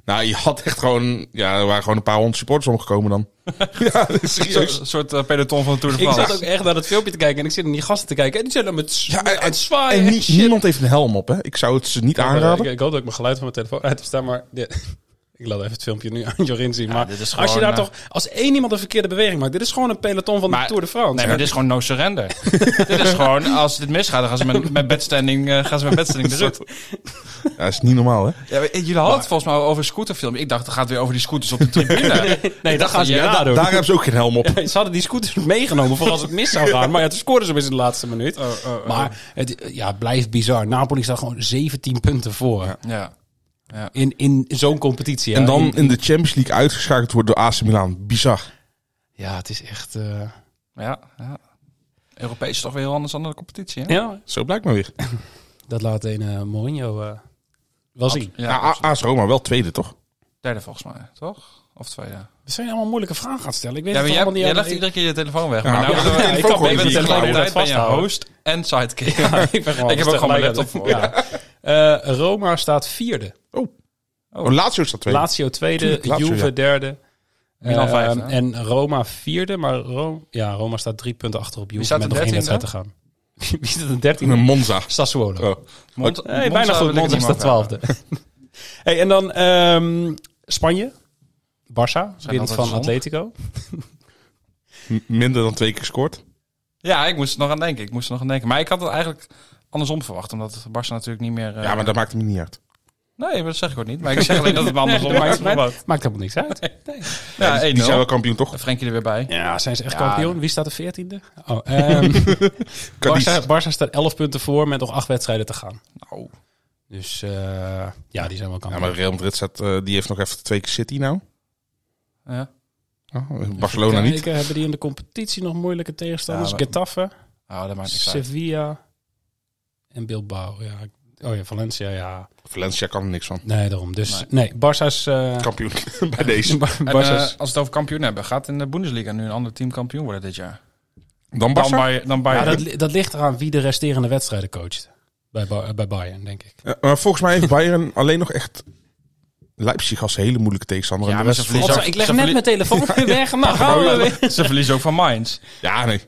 Speaker 7: Nou, je had echt gewoon... Ja, er waren gewoon een paar honderd supporters omgekomen dan. ja,
Speaker 8: Een
Speaker 7: serieus.
Speaker 8: soort- soort eh, peloton van de Tour de
Speaker 6: Ik
Speaker 8: France.
Speaker 6: zat ook echt naar dat filmpje te kijken en ik zit naar die gasten te kijken. En die zijn dan met ja,
Speaker 7: Ja, en-
Speaker 6: aan het zwaaien.
Speaker 7: En
Speaker 6: en
Speaker 7: nie-
Speaker 6: shit.
Speaker 7: niemand heeft een helm op, hè. Ik zou het ze niet aanraden.
Speaker 6: eh, Ik, ik hoop dat ik mijn geluid van mijn telefoon uit heb staan, maar dit- [laughs] ik laat even het filmpje nu aan Jorin zien. maar
Speaker 8: dit is
Speaker 6: als je
Speaker 8: gewoon,
Speaker 6: daar
Speaker 8: eh,
Speaker 6: toch, als één iemand een verkeerde beweging maakt, dit is gewoon een peloton van
Speaker 8: Maar-
Speaker 6: de Tour de France.
Speaker 8: Nee, maar dit is gewoon no [laughs] surrender. dit is gewoon, als dit misgaat, dan gaan ze met, met bedstanding, eh, gaan ze met [laughs] bedstanding de rut.
Speaker 7: Ja, dat is niet normaal, hè.
Speaker 8: Ja, maar eh, jullie hadden het volgens mij over een scooterfilm. Ik dacht, het gaat weer over die scooters op de
Speaker 6: [laughs]
Speaker 8: tribune.
Speaker 6: Nee, dat gaan ze
Speaker 8: Ja,
Speaker 6: ja,
Speaker 8: da-
Speaker 6: doen.
Speaker 7: Daar hebben ze ook geen helm op.
Speaker 6: Ze hadden die scooters [laughs] meegenomen voor als het mis zou gaan. Maar ja, toen scoorden ze hem in de laatste minuut.
Speaker 8: Oh,
Speaker 6: Maar het eh, ja, het blijft bizar. Napoli staat gewoon 17 punten voor.
Speaker 8: ja.
Speaker 6: In, in zo'n competitie. hè.
Speaker 7: En dan in de Champions League uitgeschakeld worden door AC Milan. Bizar.
Speaker 6: Ja, het is echt... eh,
Speaker 8: Ja, ja. Europees is toch weer heel anders dan de competitie, hè?
Speaker 6: Ja,
Speaker 7: Zo blijkt maar weer.
Speaker 6: dat laat een eh, Mourinho eh, wel zien.
Speaker 8: Ja,
Speaker 7: nou, A- AS Roma wel tweede, toch?
Speaker 8: derde volgens mij, toch? Of tweede?
Speaker 6: Dat zijn allemaal moeilijke vragen gaan stellen. Ik weet
Speaker 8: Ja, maar
Speaker 6: het
Speaker 8: jij,
Speaker 6: allemaal
Speaker 8: jij
Speaker 6: niet.
Speaker 8: legt
Speaker 6: uit.
Speaker 8: iedere keer je telefoon weg.
Speaker 7: Ja,
Speaker 8: maar nou,
Speaker 7: ja,
Speaker 8: ja,
Speaker 7: ja,
Speaker 8: ik
Speaker 7: ik
Speaker 8: kan
Speaker 7: kan
Speaker 8: met de
Speaker 7: niet
Speaker 8: telefoon
Speaker 6: klaar
Speaker 8: tijd ben je
Speaker 6: vasthouden. [laughs]
Speaker 8: host en sidekick.
Speaker 6: Ja, ik ben gewoon
Speaker 8: Ik heb
Speaker 6: alles
Speaker 8: ook gewoon mijn
Speaker 6: tegelijk
Speaker 8: laptop voor.
Speaker 6: aan het- Ja. [laughs] Eh, Roma staat vierde.
Speaker 7: Oh, Lazio staat tweede.
Speaker 6: Lazio tweede,
Speaker 7: Tuurlijk, Lazio,
Speaker 6: Juve
Speaker 7: ja.
Speaker 6: derde.
Speaker 8: Milan
Speaker 6: Eh,
Speaker 8: vijfde, hè?
Speaker 6: en Roma vierde, maar Ro- ja, Roma staat drie punten achter op Juve
Speaker 8: staat
Speaker 6: met
Speaker 8: er
Speaker 6: nog één wedstrijd te
Speaker 8: dertiende?
Speaker 6: gaan. [laughs] Wie is dat, een dertiende?
Speaker 7: Een Monza.
Speaker 6: Sassuolo. Eh,
Speaker 7: Oh.
Speaker 8: [laughs] Mond-
Speaker 6: Hey, bijna goed.
Speaker 8: wil ik
Speaker 6: Monza is
Speaker 8: niet
Speaker 6: de
Speaker 8: meer over
Speaker 6: twaalfde. [laughs] hey, en dan ehm, Spanje. Barça, wint
Speaker 8: altijd
Speaker 6: van
Speaker 8: zondig.
Speaker 6: Atletico.
Speaker 7: M- minder dan twee keer gescoord.
Speaker 8: Ja, ik moest er nog aan denken. Ik moest er nog aan denken. Maar ik had het eigenlijk andersom verwacht. Omdat Barca natuurlijk niet meer... eh,
Speaker 7: Ja, maar dat maakt hem niet uit.
Speaker 8: Nee, maar dat zeg ik ook niet. Maar ik zeg alleen dat het me andersom
Speaker 6: Nee,
Speaker 8: maakt.
Speaker 6: maakt-
Speaker 8: verwacht.
Speaker 6: Maakt helemaal niks uit.
Speaker 8: [laughs] Ja,
Speaker 7: Die zijn wel
Speaker 8: 1-0.
Speaker 7: kampioen, toch?
Speaker 8: Frenkie er weer bij.
Speaker 6: Ja, zijn ze echt
Speaker 8: Ja.
Speaker 6: kampioen? Wie staat de veertiende?
Speaker 8: [laughs]
Speaker 6: Oh, ehm,
Speaker 7: Cadiz.
Speaker 6: Barça, Barça staat 11 punten voor met nog acht wedstrijden te gaan.
Speaker 8: Nou,
Speaker 6: Dus eh, ja, die zijn wel
Speaker 7: Ja,
Speaker 6: kampioen.
Speaker 7: maar Real Madrid staat, eh, die heeft nog even twee keer City nou.
Speaker 8: ja.
Speaker 7: Oh, Barcelona niet.
Speaker 6: Kijken, hebben die in de competitie nog moeilijke tegenstanders?
Speaker 8: Ja, maar-
Speaker 6: Getafe,
Speaker 8: Oh, dat maakt niks uit.
Speaker 6: Sevilla en Bilbao. Ja. Oh ja, Valencia, ja.
Speaker 7: Valencia kan er niks van.
Speaker 6: Nee, daarom. Dus nee, Barça's... eh,
Speaker 7: Kampioen [laughs] bij deze.
Speaker 6: Bar-
Speaker 8: En,
Speaker 6: [laughs]
Speaker 8: eh,
Speaker 6: Barça's-
Speaker 8: als we het over kampioen hebben, gaat in de Bundesliga nu een ander team kampioen worden dit jaar?
Speaker 7: Dan
Speaker 8: Dan
Speaker 7: Barça.
Speaker 8: Bayern. Dan Bayern.
Speaker 6: ja, dat, li- dat ligt eraan wie de resterende wedstrijden coacht. Bij, Ba- eh, bij Bayern, denk ik.
Speaker 7: Ja, maar volgens mij heeft Bayern alleen nog echt... Leipzig als hele moeilijke tegenstander.
Speaker 8: Ja,
Speaker 7: En de
Speaker 8: maar
Speaker 7: rest
Speaker 8: ze verliezen
Speaker 7: valt-
Speaker 8: Godzo, ook- ik leg ze net verlie- mijn
Speaker 6: telefoon weer weg. Nou, [laughs] gaan
Speaker 8: Ze verliezen ook van Mainz.
Speaker 7: Ja, nee.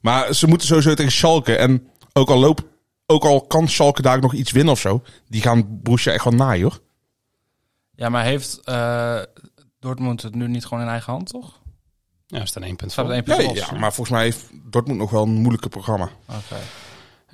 Speaker 7: Maar ze moeten sowieso tegen Schalke. En ook al, loop, ook al kan Schalke daar nog iets winnen of zo... die gaan Borussia echt wel naaien, hoor.
Speaker 8: Ja, maar heeft eh, Dortmund het nu niet gewoon in eigen hand, toch?
Speaker 6: Ja, we staan één punt
Speaker 8: Staat
Speaker 6: voor.
Speaker 8: het één punt
Speaker 7: Nee,
Speaker 8: los?
Speaker 7: ja, maar volgens mij heeft Dortmund nog wel een moeilijke programma.
Speaker 8: Oké.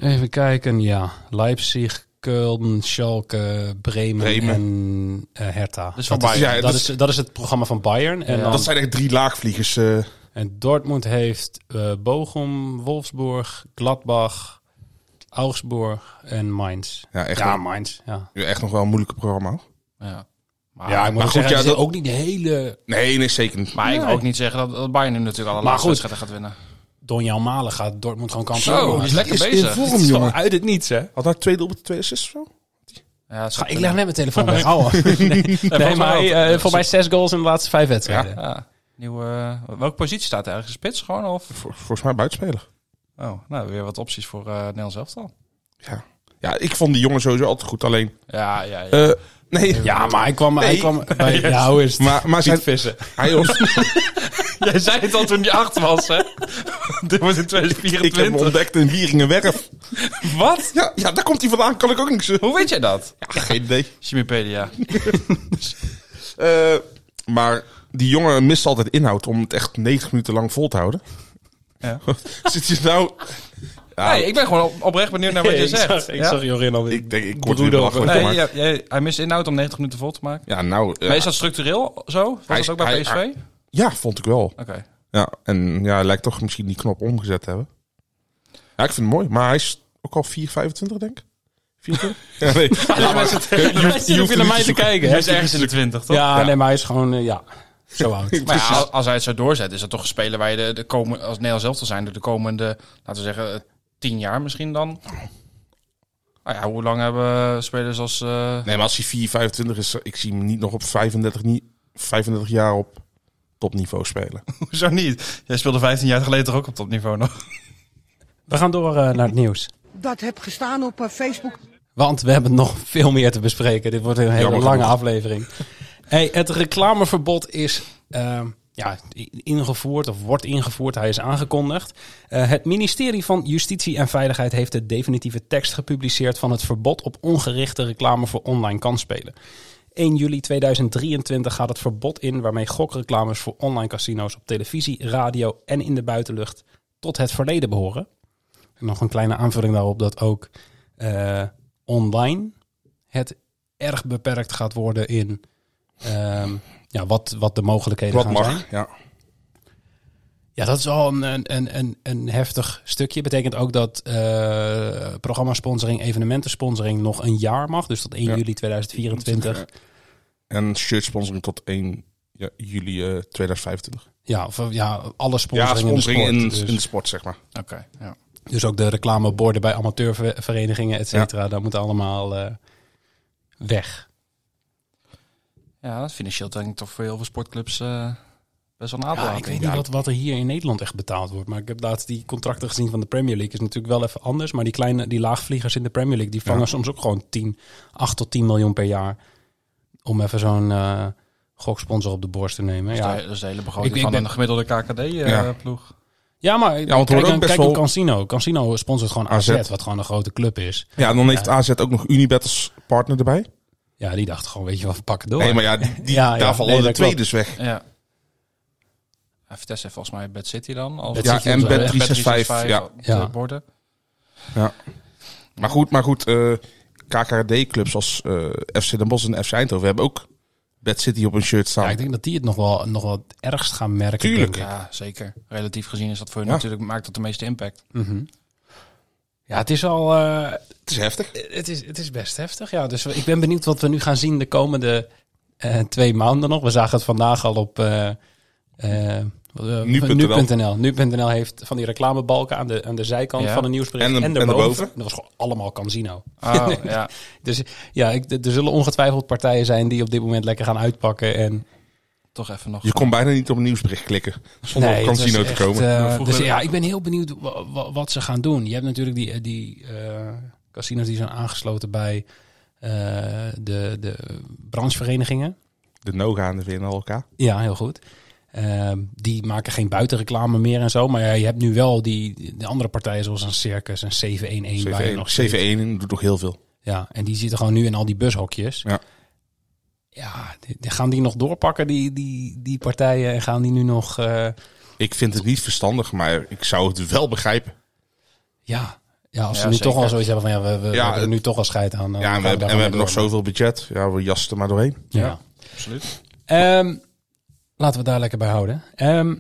Speaker 6: Even kijken, ja. Leipzig, Köln, Schalke, Bremen,
Speaker 7: Bremen.
Speaker 6: en eh, Hertha.
Speaker 8: Dus van
Speaker 6: dat, is,
Speaker 7: Bayern.
Speaker 6: dat,
Speaker 7: Ja, dat
Speaker 6: is, dat is het programma van Bayern. En,
Speaker 8: Ja.
Speaker 6: dan-
Speaker 7: Dat zijn echt drie laagvliegers. eh.
Speaker 6: en Dortmund heeft eh Bochum, Wolfsburg, Gladbach, Augsburg en Mainz.
Speaker 7: ja, echt,
Speaker 6: ja,
Speaker 7: nog,
Speaker 6: Mainz. Ja,
Speaker 7: echt nog wel een moeilijke programma. hoor.
Speaker 8: Ja. Maar,
Speaker 6: ja ik moet
Speaker 7: Ah, goed,
Speaker 6: ook zeggen,
Speaker 7: ja,
Speaker 6: het is
Speaker 7: dat-
Speaker 6: ook niet de hele...
Speaker 7: Nee, nee, zeker niet.
Speaker 8: maar ik wil
Speaker 6: Nee.
Speaker 8: ook niet zeggen dat, dat Bayern nu natuurlijk alle laatste
Speaker 6: goed.
Speaker 8: wedstrijden gaat winnen.
Speaker 6: Donjan Malen gaat Dortmund gewoon kampioen
Speaker 8: Zo, die
Speaker 6: maken.
Speaker 8: is lekker
Speaker 7: Die is in
Speaker 8: bezig.
Speaker 7: vorm, jongen.
Speaker 6: Uit het niets, hè?
Speaker 7: Had hij twee doelpunten, twee assists of zo?
Speaker 8: Ja, het is-
Speaker 6: Ga- Ik leg net mijn telefoon [laughs] weg. Oh,
Speaker 8: Ja,
Speaker 6: nee,
Speaker 8: volgens
Speaker 6: maar
Speaker 8: mij ook.
Speaker 6: eh, voor mij zes goals in de laatste vijf wedstrijden.
Speaker 8: Ja. Nieuwe, eh, welke positie staat er ergens? Spits gewoon? Of?
Speaker 7: Vol- volgens mij buitenspeler.
Speaker 8: Oh, nou, weer wat opties voor eh Nederlands elftal.
Speaker 7: Ja. ja, ik vond die jongen sowieso altijd goed. Alleen,
Speaker 8: Ja, ja, ja.
Speaker 7: eh, nee.
Speaker 6: Ja, maar hij kwam, hij
Speaker 7: Nee.
Speaker 6: [laughs] kwam bij... Ja, hoe is het?
Speaker 7: Maar, maar zijn,
Speaker 6: vissen.
Speaker 7: hij [laughs] ons,
Speaker 8: Jij zei het al toen die acht was, [laughs] hè? Dit wordt in
Speaker 7: ik heb hem
Speaker 8: 2024.
Speaker 7: ontdekt in Wieringenwerf.
Speaker 8: Wat?
Speaker 7: Ja, ja, daar komt hij vandaan. Kan ik ook niks. eh,
Speaker 8: Hoe weet jij dat?
Speaker 7: Ja, geen idee.
Speaker 8: Chimipedia.
Speaker 7: Eh, maar die jongen mist altijd inhoud om het echt 90 minuten lang vol te houden. [laughs]
Speaker 8: Ja.
Speaker 7: Zit je nou... Ja,
Speaker 8: Nee, ik ben gewoon op- oprecht benieuwd naar wat je
Speaker 6: [laughs]
Speaker 8: zegt.
Speaker 6: Ik
Speaker 8: Ja?
Speaker 6: zag Jorin al
Speaker 7: ik denk, ik word weer
Speaker 6: Broeder.
Speaker 7: belachelijk.
Speaker 8: Nee,
Speaker 7: maar-
Speaker 8: ja, jij- hij mist inhoud om 90 minuten vol te maken.
Speaker 7: Ja, nou... eh,
Speaker 8: Maar is dat structureel zo? Was
Speaker 7: Hij
Speaker 8: dat
Speaker 7: is-
Speaker 8: ook bij
Speaker 7: hij-
Speaker 8: PSV?
Speaker 7: hij-
Speaker 8: Oké.
Speaker 7: ja, vond ik wel. Ja, en ja, hij lijkt toch misschien die knop omgezet te hebben. Ja, ik vind het mooi. Maar hij is ook al 4,25, denk ik. 24?
Speaker 8: [laughs]
Speaker 7: ja, nee. Ja, maar-
Speaker 6: Je hoeft naar mij te kijken,
Speaker 8: Hij is ergens in de 20, toch?
Speaker 6: Ja, nee, maar hij is gewoon... eh, ja, zo [laughs] oud.
Speaker 8: Maar ja, als hij het zo doorzet, is dat toch een speler waar je de, de komende, als Nederlands zelf zijn, de komende, laten we zeggen, eh, 10 jaar misschien dan. Nou ja, hoe lang hebben spelers als... eh,
Speaker 7: Nee, maar als hij 4,25 is, ik zie hem niet nog op 35, niet, 35 jaar op topniveau spelen.
Speaker 8: [laughs] Hoezo niet? Jij speelde 15 jaar geleden toch ook op topniveau nog?
Speaker 6: We gaan door eh, naar het nieuws.
Speaker 9: dat heb gestaan op eh, Facebook.
Speaker 6: Want we hebben nog veel meer te bespreken. Dit wordt een hele
Speaker 7: Jammer
Speaker 6: lange
Speaker 7: genoeg.
Speaker 6: aflevering. Hey, het reclameverbod is ehm, ja, ingevoerd of wordt ingevoerd. Hij is aangekondigd. Eh, het ministerie van Justitie en Veiligheid heeft de definitieve tekst gepubliceerd van het verbod op ongerichte reclame voor online kansspelen. 1 juli 2023 gaat het verbod in waarmee gokreclames voor online casino's op televisie, radio en in de buitenlucht tot het verleden behoren. En nog een kleine aanvulling daarop dat ook eh, online het erg beperkt gaat worden in ehm, ja, wat, wat de mogelijkheden
Speaker 7: Wat
Speaker 6: gaan zijn.
Speaker 7: mag, ja.
Speaker 6: Ja, dat is al een, een, een, een, een heftig stukje. Betekent ook dat eh programma-sponsoring, evenementen-sponsoring nog een jaar mag. Dus tot 1
Speaker 7: Ja.
Speaker 6: juli 2024.
Speaker 7: En shirt sponsoring tot 1 ja, juli eh, 2025.
Speaker 6: Ja, of, eh, ja alle
Speaker 7: Ja,
Speaker 6: sponsoring,
Speaker 7: sponsoring
Speaker 6: in de
Speaker 7: in,
Speaker 6: sport. dus,
Speaker 7: in de sport, zeg maar.
Speaker 8: Oké, ja.
Speaker 6: dus ook de reclameborden bij amateurverenigingen, et cetera. Dat moet allemaal eh, weg.
Speaker 8: Ja, dat is financieel denk ik toch voor heel veel sportclubs eh, best wel een
Speaker 6: Ja, ik
Speaker 8: aanpaling.
Speaker 6: weet niet wat, wat er hier in Nederland echt betaald wordt. Maar ik heb laatst die contracten gezien van de Premier League. Is natuurlijk wel even anders. Maar die kleine, die laagvliegers in de Premier League, die vangen soms ook gewoon 10, 8 tot 10 miljoen per jaar. Om even zo'n eh, goksponsor op de borst te nemen.
Speaker 8: Dat is
Speaker 7: Dus
Speaker 6: Ja,
Speaker 8: de- dat is de hele begroting
Speaker 6: Ik- ik
Speaker 8: van
Speaker 6: ben-
Speaker 8: eh, een gemiddelde KKD-ploeg.
Speaker 7: Ja.
Speaker 6: Ja, maar
Speaker 7: het hoort
Speaker 6: kijk,
Speaker 7: ook
Speaker 6: dan-
Speaker 7: best
Speaker 6: kijk een
Speaker 7: wel-
Speaker 6: Cansino. Cansino sponsort gewoon AZ,
Speaker 7: AZ.
Speaker 6: wat gewoon een grote club is.
Speaker 7: Ja, en dan heeft AZ ook nog Unibet als partner erbij.
Speaker 6: Ja, die dacht gewoon, weet je wat, pak het door.
Speaker 7: Nee, maar ja, die, die-
Speaker 6: Oh. Ja, ja.
Speaker 7: daar vallen
Speaker 6: Nee,
Speaker 7: de
Speaker 6: dat
Speaker 7: twee
Speaker 6: klopt.
Speaker 7: dus weg.
Speaker 8: Ja. Ja, Vitesse heeft volgens mij Bad City dan. Als
Speaker 6: Bad
Speaker 7: Ja,
Speaker 6: City
Speaker 7: en
Speaker 6: op de-
Speaker 7: Bad 365, ja.
Speaker 8: op de
Speaker 6: Ja.
Speaker 8: borden.
Speaker 7: Maar goed, maar goed eh, KKD-clubs als eh, FC Den Bosch en FC Eindhoven hebben ook Bad City op hun shirt staan.
Speaker 6: Ja, ik denk dat die het nog wel, nog wel het ergst gaan merken.
Speaker 7: Nou. Tuurlijk.
Speaker 6: denk ik.
Speaker 8: Ja, zeker. Relatief gezien is dat voor je
Speaker 7: Ja.
Speaker 8: natuurlijk maakt dat de meeste
Speaker 6: [laughs]
Speaker 8: impact.
Speaker 6: Mhm. Ja, het is al. eh,
Speaker 7: Het is heftig.
Speaker 6: het, is, het is best heftig. Ja, dus ik ben benieuwd wat we nu gaan zien de komende eh, twee maanden nog. We zagen het vandaag al op. eh, eh, eh,
Speaker 7: Nu.nl.
Speaker 6: Nu.nl. Nu.nl heeft van die reclamebalken aan de, aan de zijkant
Speaker 8: Ja.
Speaker 6: van de nieuwsbrief
Speaker 7: En de- en
Speaker 6: daarboven.
Speaker 7: daarboven.
Speaker 6: En Dat was gewoon allemaal Cansino.
Speaker 8: Oh, ja.
Speaker 6: Dus ja, ik, er zullen ongetwijfeld partijen zijn die op dit moment lekker gaan uitpakken. En
Speaker 8: Toch even nog.
Speaker 7: Je kon bijna niet op een nieuwsbericht klikken zonder op
Speaker 6: het
Speaker 7: Cancino
Speaker 6: was
Speaker 7: te
Speaker 6: echt,
Speaker 7: komen. Nou,
Speaker 6: eh,
Speaker 8: Maar vroeger-
Speaker 6: dus ja, ik ben heel benieuwd wa- wa- wat ze gaan doen. Je hebt natuurlijk die, eh, die eh, casinos die zijn aangesloten bij eh, de, de brancheverenigingen.
Speaker 7: De Noga en de VNLK.
Speaker 6: Ja, heel goed. Ehm, die maken geen buitenreclame meer en zo. Maar ja, je hebt nu wel die de andere partijen zoals een Circus en 711. waar je
Speaker 7: CV1,
Speaker 6: nog zit.
Speaker 7: CV1 doet toch heel veel.
Speaker 6: Ja, en die zitten gewoon nu in al die bushokjes.
Speaker 7: Ja.
Speaker 6: Ja, die- die- gaan die nog doorpakken, die, die, die partijen? En gaan die nu nog... eh,
Speaker 7: Ik vind het niet verstandig, maar ik zou het wel begrijpen.
Speaker 6: Ja, ja als ze
Speaker 8: Ja,
Speaker 6: nu
Speaker 8: zeker.
Speaker 6: toch al zoiets hebben van ja, we, we, we
Speaker 7: Ja,
Speaker 6: hebben er
Speaker 7: het-
Speaker 6: nu toch al scheid aan. dan
Speaker 7: Ja, en
Speaker 6: Oh, gaan
Speaker 7: we hebben,
Speaker 6: daar
Speaker 7: en we
Speaker 6: gewoon
Speaker 7: hebben nog
Speaker 6: mee
Speaker 7: zoveel budget. Ja, we jassen er maar doorheen.
Speaker 6: door. Ja,
Speaker 8: Ja, absoluut.
Speaker 6: Ehm, laten we het daar lekker bij houden. Ehm,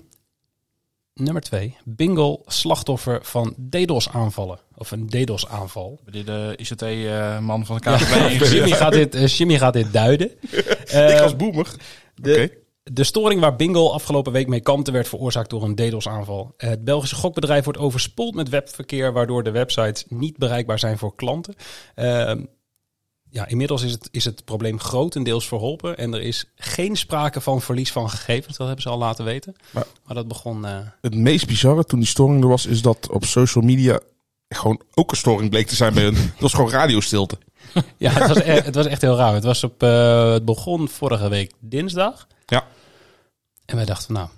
Speaker 6: nummer twee. Bingo slachtoffer van DDoS aanvallen. Of een DDoS aanval.
Speaker 8: Hebben die de ICT-man eh, van de
Speaker 6: [laughs]
Speaker 8: KVB.
Speaker 6: Jimmy, gaat dit, eh, Jimmy gaat dit duiden.
Speaker 7: [laughs] ik
Speaker 6: Ehm,
Speaker 7: als boemer. Oké.
Speaker 6: De storing waar Bingo afgelopen week mee kampte werd veroorzaakt door een DDoS-aanval. Het Belgische gokbedrijf wordt overspoeld met webverkeer, waardoor de websites niet bereikbaar zijn voor klanten. Ehm, ja, inmiddels is het, is het probleem grotendeels verholpen en er is geen sprake van verlies van gegevens. Dat hebben ze al laten weten. Maar,
Speaker 7: Maar-
Speaker 6: dat begon. eh,
Speaker 7: Het meest bizarre toen die storing er was, is dat op social media gewoon ook een storing bleek te zijn bij hun. Het was gewoon radiostilte.
Speaker 6: ja, het was, e-
Speaker 7: [laughs]
Speaker 6: het was echt heel raar. Het, was op, eh, het begon vorige week dinsdag.
Speaker 7: Ja.
Speaker 6: En wij dachten, nou,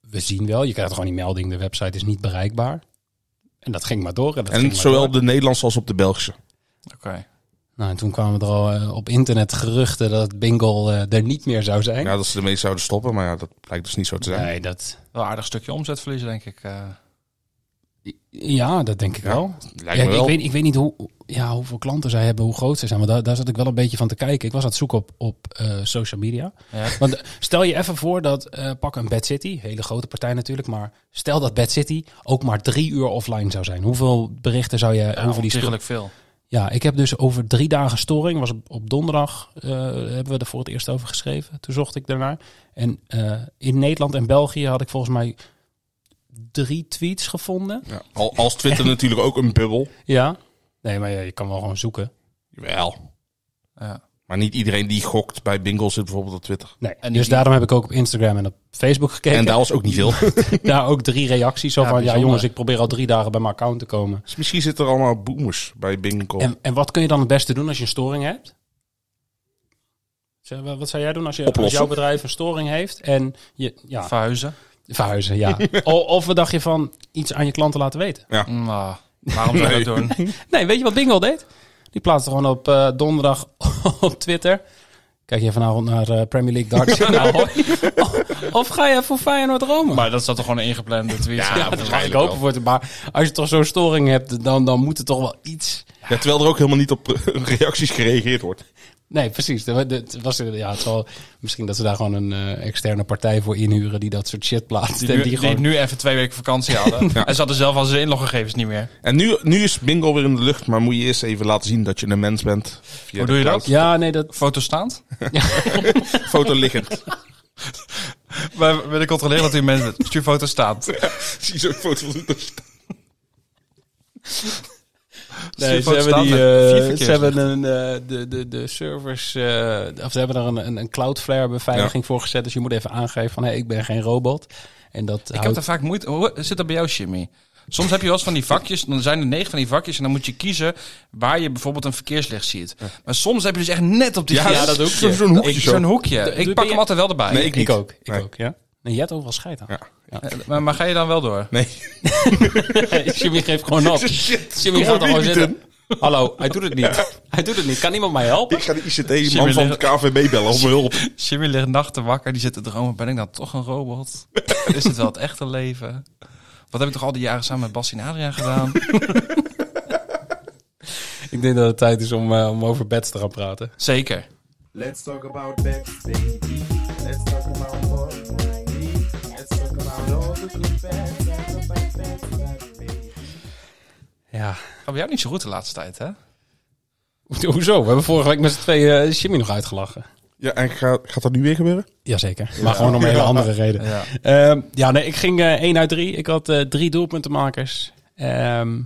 Speaker 6: we zien wel. Je krijgt gewoon die melding, de website is niet bereikbaar. En dat ging maar door. En, dat ging
Speaker 7: En
Speaker 6: maar
Speaker 7: zowel
Speaker 6: door.
Speaker 7: op de Nederlandse als op de Belgische.
Speaker 8: Oké.
Speaker 6: Nou, en toen kwamen er al eh, op internet geruchten dat Bingo eh, er niet meer zou zijn.
Speaker 7: Ja, dat ze ermee zouden stoppen, maar ja, dat blijkt dus niet zo te zijn.
Speaker 6: nee, dat,
Speaker 8: Wel een aardig stukje omzetverlies, denk ik. eh.
Speaker 6: ja, dat denk ik
Speaker 7: Ja,
Speaker 6: wel.
Speaker 7: Lijkt
Speaker 6: Ja,
Speaker 7: me
Speaker 6: ik,
Speaker 7: wel.
Speaker 6: weet, ik weet niet hoe, ja, hoeveel klanten zij hebben, hoe groot ze zijn. Maar daar, daar zat ik wel een beetje van te kijken. Ik was aan het zoeken op, op eh, social media. [laughs]
Speaker 8: Ja.
Speaker 6: Want eh, stel je even voor dat, eh, pak een Bad City, hele grote partij natuurlijk. Maar stel dat Bad City ook maar drie uur offline zou zijn. Hoeveel berichten zou je,
Speaker 8: Ja,
Speaker 6: hoeveel die sto-
Speaker 8: ontiegelijk veel.
Speaker 6: Ja, ik heb dus over drie dagen storing. Was op, op donderdag eh, hebben we er voor het eerst over geschreven. Toen zocht ik daarnaar. En eh, in Nederland en België had ik volgens mij drie tweets gevonden.
Speaker 7: Ja, al- Als Twitter
Speaker 6: [laughs]
Speaker 7: natuurlijk ook een bubbel.
Speaker 6: Ja. Nee, maar ja, je kan wel gewoon zoeken.
Speaker 7: Wel.
Speaker 8: Ja.
Speaker 7: Maar niet iedereen die gokt bij bingo zit bijvoorbeeld op Twitter.
Speaker 6: Nee.
Speaker 8: En die-
Speaker 6: dus daarom heb ik ook op Instagram en op Facebook gekeken.
Speaker 7: En daar was ook niet veel.
Speaker 6: [laughs]
Speaker 7: [laughs]
Speaker 6: daar ook drie reacties zo
Speaker 8: Ja,
Speaker 6: van... Ja
Speaker 8: bijzonder.
Speaker 6: jongens, ik probeer al drie dagen bij mijn account te komen.
Speaker 7: Dus misschien zitten er allemaal boomers bij bingo.
Speaker 6: En, en wat kun je dan het beste doen als je een storing hebt? Zeg, Wat zou jij doen als, je, als
Speaker 7: Oplossen.
Speaker 6: jouw bedrijf een storing heeft en je, ja,
Speaker 8: Verhuizen.
Speaker 6: Verhuizen, [laughs] ja. O- of we dacht je van iets aan je klanten laten weten?
Speaker 8: Nou, waarom zou je dat doen?
Speaker 6: [laughs] Nee, weet je wat Bingo deed? Die plaatste gewoon op eh, donderdag [laughs] op Twitter. Kijk je vanavond naar eh, Premier League [laughs] darts? Nou, hoi. of, [laughs] of ga je voor Feyenoord Rome?
Speaker 8: Maar dat zat toch gewoon een ingeplande tweet.
Speaker 7: Ja,
Speaker 8: Ja,
Speaker 6: dat mag ik
Speaker 7: waarschijnlijk
Speaker 6: hopen
Speaker 7: wel.
Speaker 6: voor het. Maar als je toch zo'n storing hebt, dan, dan moet er toch wel iets...
Speaker 7: Ja, terwijl er ook helemaal niet op [laughs] eh, reacties gereageerd wordt.
Speaker 6: Nee, precies. Dat- dat was, ja, het zal, misschien dat ze daar gewoon een eh, externe partij voor inhuren die dat soort shit plaatst.
Speaker 8: Die,
Speaker 6: en
Speaker 8: nu,
Speaker 6: die
Speaker 8: die
Speaker 6: gewoon...
Speaker 8: nu even twee weken vakantie [laughs] hadden. En ze hadden zelf al zijn inloggegevens niet meer.
Speaker 7: En nu, nu is bingo weer in de lucht, maar moet je eerst even laten zien dat je een mens bent. Via
Speaker 8: Hoe
Speaker 7: de
Speaker 8: doe je dat?
Speaker 7: cloud.
Speaker 6: Ja, nee, dat...
Speaker 8: Foto staand?
Speaker 7: [laughs] Foto liggend.
Speaker 8: We willen controleren dat die mensen [laughs] stuur foto staand.
Speaker 7: [laughs] Zie zo'n foto van de
Speaker 6: Nee, ze
Speaker 8: Stuurfoto's
Speaker 6: hebben, die,
Speaker 8: staan
Speaker 6: eh,
Speaker 8: met vier verkeers.
Speaker 6: ze hebben een, eh, de, de, de servers, eh, of ze hebben daar een, een, een Cloudflare beveiliging voor gezet. Dus je moet even aangeven van, hé, ik ben geen robot. En dat
Speaker 8: Ik heb
Speaker 6: houdt-
Speaker 8: daar vaak moeite... Hoe zit dat bij jou, Jimmy? Soms heb je wel eens van die vakjes, dan zijn er negen van die vakjes... en dan moet je kiezen waar je bijvoorbeeld een verkeerslicht ziet. Maar soms heb je dus echt net op die...
Speaker 7: Ja,
Speaker 8: grens
Speaker 7: dat
Speaker 8: zo'n
Speaker 7: hoekje. Zo'n hoekje
Speaker 8: hoekje.
Speaker 7: zo.
Speaker 8: Zo'n hoekje. Ik pak
Speaker 6: je-
Speaker 8: hem altijd wel erbij.
Speaker 7: Nee, ik niet.
Speaker 6: ook. Ik
Speaker 7: Nee.
Speaker 6: ook, ja. Nee, jij hebt ook wel scheid aan.
Speaker 8: Eh, Maar, maar ga je dan wel door?
Speaker 7: Nee.
Speaker 6: [laughs] Jimmy geeft gewoon
Speaker 8: [laughs]
Speaker 6: op.
Speaker 7: Shit.
Speaker 6: Jimmy
Speaker 7: Kom
Speaker 6: gaat er
Speaker 7: maar
Speaker 6: gewoon
Speaker 7: niet
Speaker 6: zitten. Hallo, hij doet het
Speaker 8: [laughs]
Speaker 6: niet. Hij doet het niet. Kan iemand mij helpen?
Speaker 7: Ik ga de ICT-man van
Speaker 8: liggen.
Speaker 7: het KVB bellen om hulp.
Speaker 8: Jimmy ligt nachten wakker, die zit te dromen. Ben ik dan toch een [laughs] robot? Is het wel het echte leven? Wat heb ik toch al die jaren samen met Bas en Adriaan gedaan?
Speaker 6: Ik denk dat het tijd is om, eh, om over beds te gaan praten.
Speaker 8: Zeker.
Speaker 10: Let's talk about that, baby. Let's talk about all baby. Let's talk about all the good bad, bad, bad, bad, bad, baby.
Speaker 6: Ja.
Speaker 8: Gaat bij jou niet zo goed de laatste tijd, hè?
Speaker 6: Hoezo? We hebben vorige week met z'n tweeën eh, Jimmy nog uitgelachen.
Speaker 7: Ja, en gaat, gaat dat nu weer gebeuren?
Speaker 6: Jazeker. Maar gewoon om een hele andere reden.
Speaker 8: Ja.
Speaker 6: Ehm, ja, nee, ik ging eh 1 uit 3. Ik had eh, drie doelpuntenmakers. Ehm,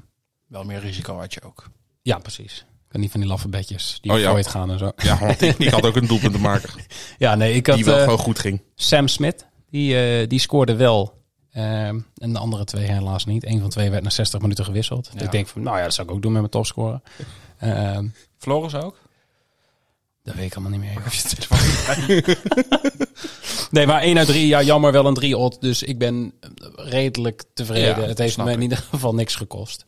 Speaker 8: Wel meer risico had je ook.
Speaker 6: ja, precies. Ik kan niet van die laffe bedjes die
Speaker 7: Oh,
Speaker 6: ooit
Speaker 7: ja.
Speaker 6: gaan en zo.
Speaker 7: Ja,
Speaker 8: [laughs]
Speaker 7: want ik, ik had ook een doelpunt te maken.
Speaker 6: Ja, nee, ik had
Speaker 7: Die wel
Speaker 6: eh,
Speaker 7: gewoon goed ging.
Speaker 6: Sam Smith. Die, eh, die scoorde wel. Ehm, en de andere twee helaas niet. Eén van de twee werd na 60 minuten gewisseld. Dus
Speaker 8: Ja.
Speaker 6: ik denk van, nou ja, dat zou ik ook doen met mijn topscorer. Ehm
Speaker 8: Floris ook?
Speaker 6: dat weet ik allemaal niet meer. [laughs] Nee, maar 1 uit 3, ja, jammer wel een 3 odd Dus ik ben redelijk tevreden.
Speaker 8: Ja,
Speaker 6: het heeft
Speaker 8: snap
Speaker 6: me
Speaker 8: ik.
Speaker 6: in ieder geval niks gekost.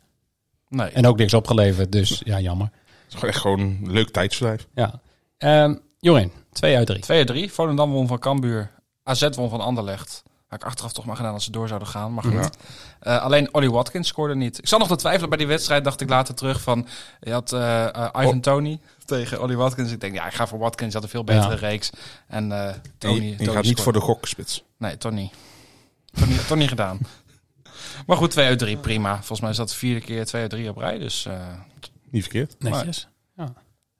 Speaker 8: Nee.
Speaker 6: En ook niks opgeleverd, dus ja, jammer.
Speaker 7: Het is gewoon echt gewoon een leuk tijdsverdrijf.
Speaker 6: Ja. Ehm Jorin, 2 uit 3.
Speaker 8: 2-3. Volendam won van Cambuur. AZ won van Anderlecht. Had ik achteraf toch maar gedaan als ze door zouden gaan. Maar goed. Eh, alleen Ollie Watkins scoorde niet. Ik zat nog te twijfelen bij die wedstrijd. Dacht ik later terug van... Je had eh, eh, Ivan Tony tegen Ollie Watkins. Ik denk, ja, ik ga voor Watkins. Die had een veel betere
Speaker 6: Ja.
Speaker 8: reeks. En eh, Tony...
Speaker 7: En je-
Speaker 8: Tony
Speaker 7: en je gaat
Speaker 8: scoorde.
Speaker 7: niet voor de gokspits.
Speaker 8: Nee, Tony. Tony, Tony gedaan. [laughs] Maar goed, 2 uit 3, prima. Volgens mij is dat de vierde keer 2 uit 3 op rij. Dus eh,
Speaker 7: Niet verkeerd.
Speaker 6: Netjes. Ja.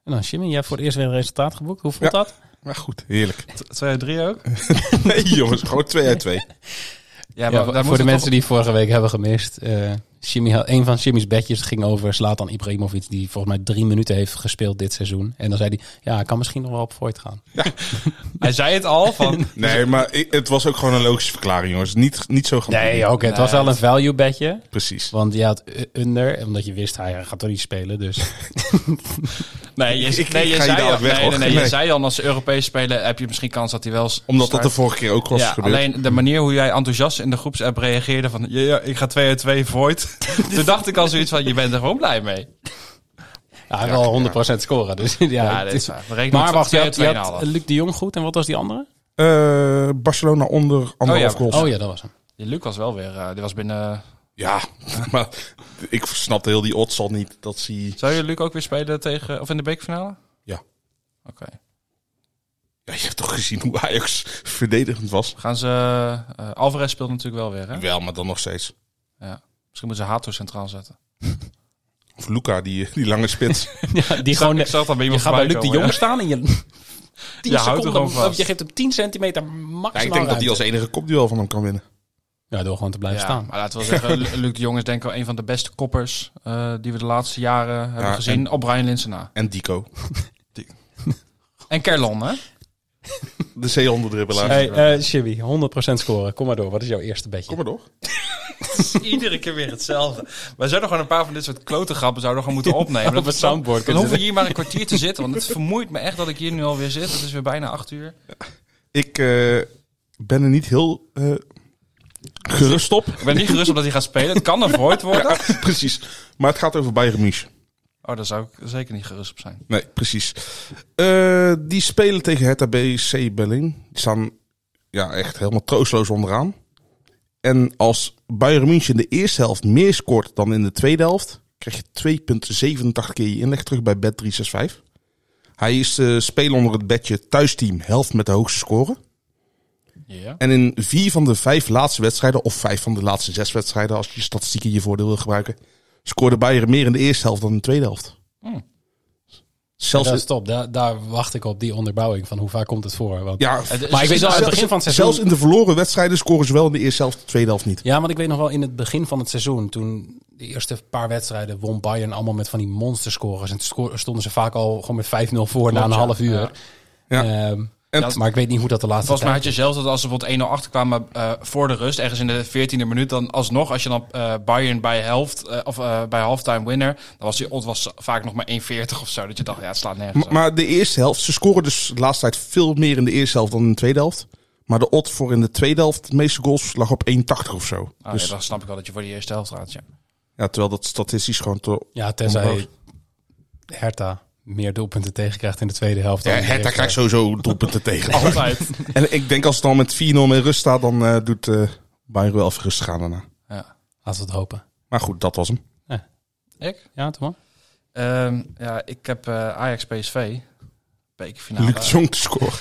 Speaker 6: En dan Jimmy, jij hebt voor het eerst weer een resultaat geboekt. Hoe voelt
Speaker 7: Ja.
Speaker 6: dat?
Speaker 7: Maar goed, [laughs] heerlijk.
Speaker 8: 2 uit 3 ook.
Speaker 7: Nee jongens, gewoon 2 uit 2.
Speaker 8: Ja,
Speaker 6: Ja,
Speaker 8: maar daar
Speaker 6: voor de
Speaker 8: moeten
Speaker 6: mensen die vorige week hebben gemist. eh Jimmy, had- een van Jimmy's bedjes ging over Slatan Ibrahimovic. Die volgens mij drie minuten heeft gespeeld dit seizoen. En dan zei hij, ja, ik kan misschien nog wel op Voigt gaan.
Speaker 8: Hij zei het
Speaker 6: [laughs]
Speaker 8: al van...
Speaker 7: Nee, maar ik- het was ook gewoon een logische verklaring jongens. Niet, niet zo gaan
Speaker 6: Nee, oké, het was wel een value bedje.
Speaker 7: Precies.
Speaker 6: Want je had u- under, omdat je wist, hij gaat toch niet spelen.
Speaker 8: [laughs]
Speaker 6: Dus
Speaker 8: Nee, je,
Speaker 7: Ik- ik-
Speaker 8: nee,
Speaker 7: ik
Speaker 8: je
Speaker 7: ga je
Speaker 8: zei al,
Speaker 7: dadelijk weg,
Speaker 8: nee, nee,
Speaker 7: hoor.
Speaker 8: nee, je
Speaker 7: Nee.
Speaker 8: zei al, als ze Europees spelen heb je misschien kans dat hij wel... s-
Speaker 7: Omdat dat
Speaker 8: start.
Speaker 7: de vorige keer ook was
Speaker 8: ja,
Speaker 7: gebeurd.
Speaker 8: alleen de manier hoe jij enthousiast in de groepsapp reageerde van... Ja, ja, ik ga 2 uit
Speaker 6: [laughs]
Speaker 8: 2 voort. Toen dacht ik al zoiets van, je bent er gewoon blij mee.
Speaker 6: ja, hij wil 100% scoren. Dus, [laughs] ja,
Speaker 8: Ja,
Speaker 6: het
Speaker 8: dit
Speaker 6: is-
Speaker 8: is waar. We rekenen
Speaker 6: Maar
Speaker 8: op
Speaker 6: wacht, je had,
Speaker 8: 2 uit
Speaker 6: je
Speaker 8: 2
Speaker 6: had Luc de Jong goed. En wat was die andere?
Speaker 7: Eh, Barcelona onder anderhalf
Speaker 8: ja.
Speaker 7: goals.
Speaker 6: Oh ja, dat
Speaker 8: [laughs]
Speaker 6: was hem.
Speaker 8: Luc was wel weer... eh, die was binnen...
Speaker 7: Ja, [laughs] maar ik snapte heel die odds al niet. Dat zie
Speaker 8: Zou je Luc ook weer spelen tegen... Of in de bekerfinale?
Speaker 7: Ja.
Speaker 8: Oké.
Speaker 7: ja, je hebt toch gezien hoe Ajax verdedigend was?
Speaker 8: Gaan ze... eh, Alvarez speelt natuurlijk wel weer, hè?
Speaker 7: Wel, maar dan nog steeds.
Speaker 8: Misschien moeten ze Hato centraal zetten.
Speaker 7: Of Luca, die, die lange
Speaker 6: [laughs]
Speaker 7: spits.
Speaker 6: Ja, die gewoon,
Speaker 8: ik zag dat bij
Speaker 6: je
Speaker 8: iemand
Speaker 6: gaat bij Luc
Speaker 8: voorbij
Speaker 6: de
Speaker 8: komen,
Speaker 6: Jong staan
Speaker 8: [laughs]
Speaker 6: en je... 10
Speaker 8: Ja, houdt er
Speaker 6: seconden,
Speaker 8: gewoon vast.
Speaker 6: of je geeft hem 10 centimeter
Speaker 7: Ja,
Speaker 6: maximaal
Speaker 7: ik denk dat
Speaker 6: ruimte.
Speaker 7: hij als enige kopduel van hem kan winnen.
Speaker 6: Ja, door gewoon te
Speaker 8: ja,
Speaker 6: blijven staan.
Speaker 8: maar laten we wel zeggen, [laughs] Lu- Luc de Jong is denk ik wel een van de beste koppers eh, die we de laatste jaren hebben
Speaker 7: Ja,
Speaker 8: gezien. Op Brian Linsen na.
Speaker 7: En Dico.
Speaker 8: En Kerlon, hè?
Speaker 7: De zeehondendribbelaar.
Speaker 6: Hey, eh Jimmy, 100% scoren. Kom maar door. Wat is jouw eerste
Speaker 7: Kom
Speaker 6: bedje?
Speaker 7: maar door.
Speaker 8: [laughs] Iedere keer weer hetzelfde. Wij zouden gewoon een paar van dit soort klote grappen zouden we gewoon moeten opnemen.
Speaker 6: Op het soundboard
Speaker 8: Dan
Speaker 6: kunnen
Speaker 8: hoeven we hier maar een kwartier te zitten, want het vermoeit me echt dat ik hier nu alweer zit. Het is weer bijna acht uur.
Speaker 7: Ik eh, ben er niet heel eh, gerust op. [laughs]
Speaker 8: Ik ben niet gerust op dat hij gaat spelen. Het kan een voort [laughs] worden.
Speaker 7: precies. Maar het gaat over Bayern München.
Speaker 8: Oh, daar zou ik zeker niet gerust op zijn.
Speaker 7: Nee, precies. Eh, die spelen tegen Hertha BSC Berlin. Die staan ja, echt helemaal troosteloos onderaan. En als Bayern München in de eerste helft meer scoort dan in de tweede helft... krijg je 2,87 keer je inleg terug bij Bet365. Hij is eh speler onder het bedje thuisteam helft met de hoogste score.
Speaker 8: Ja.
Speaker 7: En in vier van de vijf laatste wedstrijden, of vijf van de laatste zes wedstrijden, als je statistieken in je voordeel wil gebruiken, scoorde Bayern meer in de eerste helft dan in de tweede helft.
Speaker 8: Hmm.
Speaker 7: Zelfs
Speaker 6: Dat is top. Daar, daar wacht ik op die onderbouwing van hoe vaak komt het voor. Want...
Speaker 7: ja,
Speaker 8: Het is-
Speaker 6: Maar ik weet wel, aan het
Speaker 7: zelfs-
Speaker 6: begin van het seizoen...
Speaker 7: zelfs in de verloren wedstrijden scoren ze wel in de eerste helft, de tweede helft niet.
Speaker 6: Ja, want ik weet nog wel in het begin van het seizoen, toen de eerste paar wedstrijden won Bayern allemaal met van die monsterscorers. En toen sco- stonden ze vaak al gewoon met 5-0 voor na een
Speaker 8: ja.
Speaker 6: half uur.
Speaker 7: Ja.
Speaker 6: Ehm,
Speaker 7: En-
Speaker 6: maar ik weet niet hoe dat de laatste
Speaker 8: Volgens mij
Speaker 6: tijd...
Speaker 8: had je zelfs dat als ze bijvoorbeeld 1-0 achterkwamen eh, voor de rust, ergens in de 14e minuut, dan alsnog, als je dan eh, Bayern bij, helft, eh, of, eh, bij halftime winner, dan was die odd was vaak nog maar 1,40 of zo. Dat je dacht, ja, het slaat nergens
Speaker 7: Maar,
Speaker 8: op.
Speaker 7: maar de eerste helft, ze scoren dus de laatste tijd veel meer in de eerste helft dan in de tweede helft. Maar de odd voor in de tweede helft, de meeste goals, lag op 1,80 of zo.
Speaker 8: Ah,
Speaker 7: dus,
Speaker 8: ja,
Speaker 7: ja,
Speaker 8: dan snap ik wel dat je voor de eerste helft gaat. Ja.
Speaker 7: terwijl dat statistisch gewoon... Te...
Speaker 6: Ja,
Speaker 7: Ongelooflijk.
Speaker 6: tenzij Hertha meer doelpunten tegenkrijgt in de tweede helft.
Speaker 7: Ja,
Speaker 6: dan
Speaker 7: Hertha
Speaker 6: heeft,
Speaker 7: krijgt
Speaker 6: eh,
Speaker 7: sowieso [laughs] doelpunten tegen.
Speaker 8: Altijd.
Speaker 7: En ik denk als het dan met 4-0 met rust staat, dan eh, doet eh Bayern wel even rustig aan daarna.
Speaker 8: ja.
Speaker 6: Laten we het hopen.
Speaker 7: Maar goed, dat was hem.
Speaker 8: [laughs] Ik?
Speaker 6: Ja, Thomas?
Speaker 8: Ehm, ja, ik heb eh, Ajax PSV. Bekerfinale.
Speaker 7: Luc de Jong te scoren.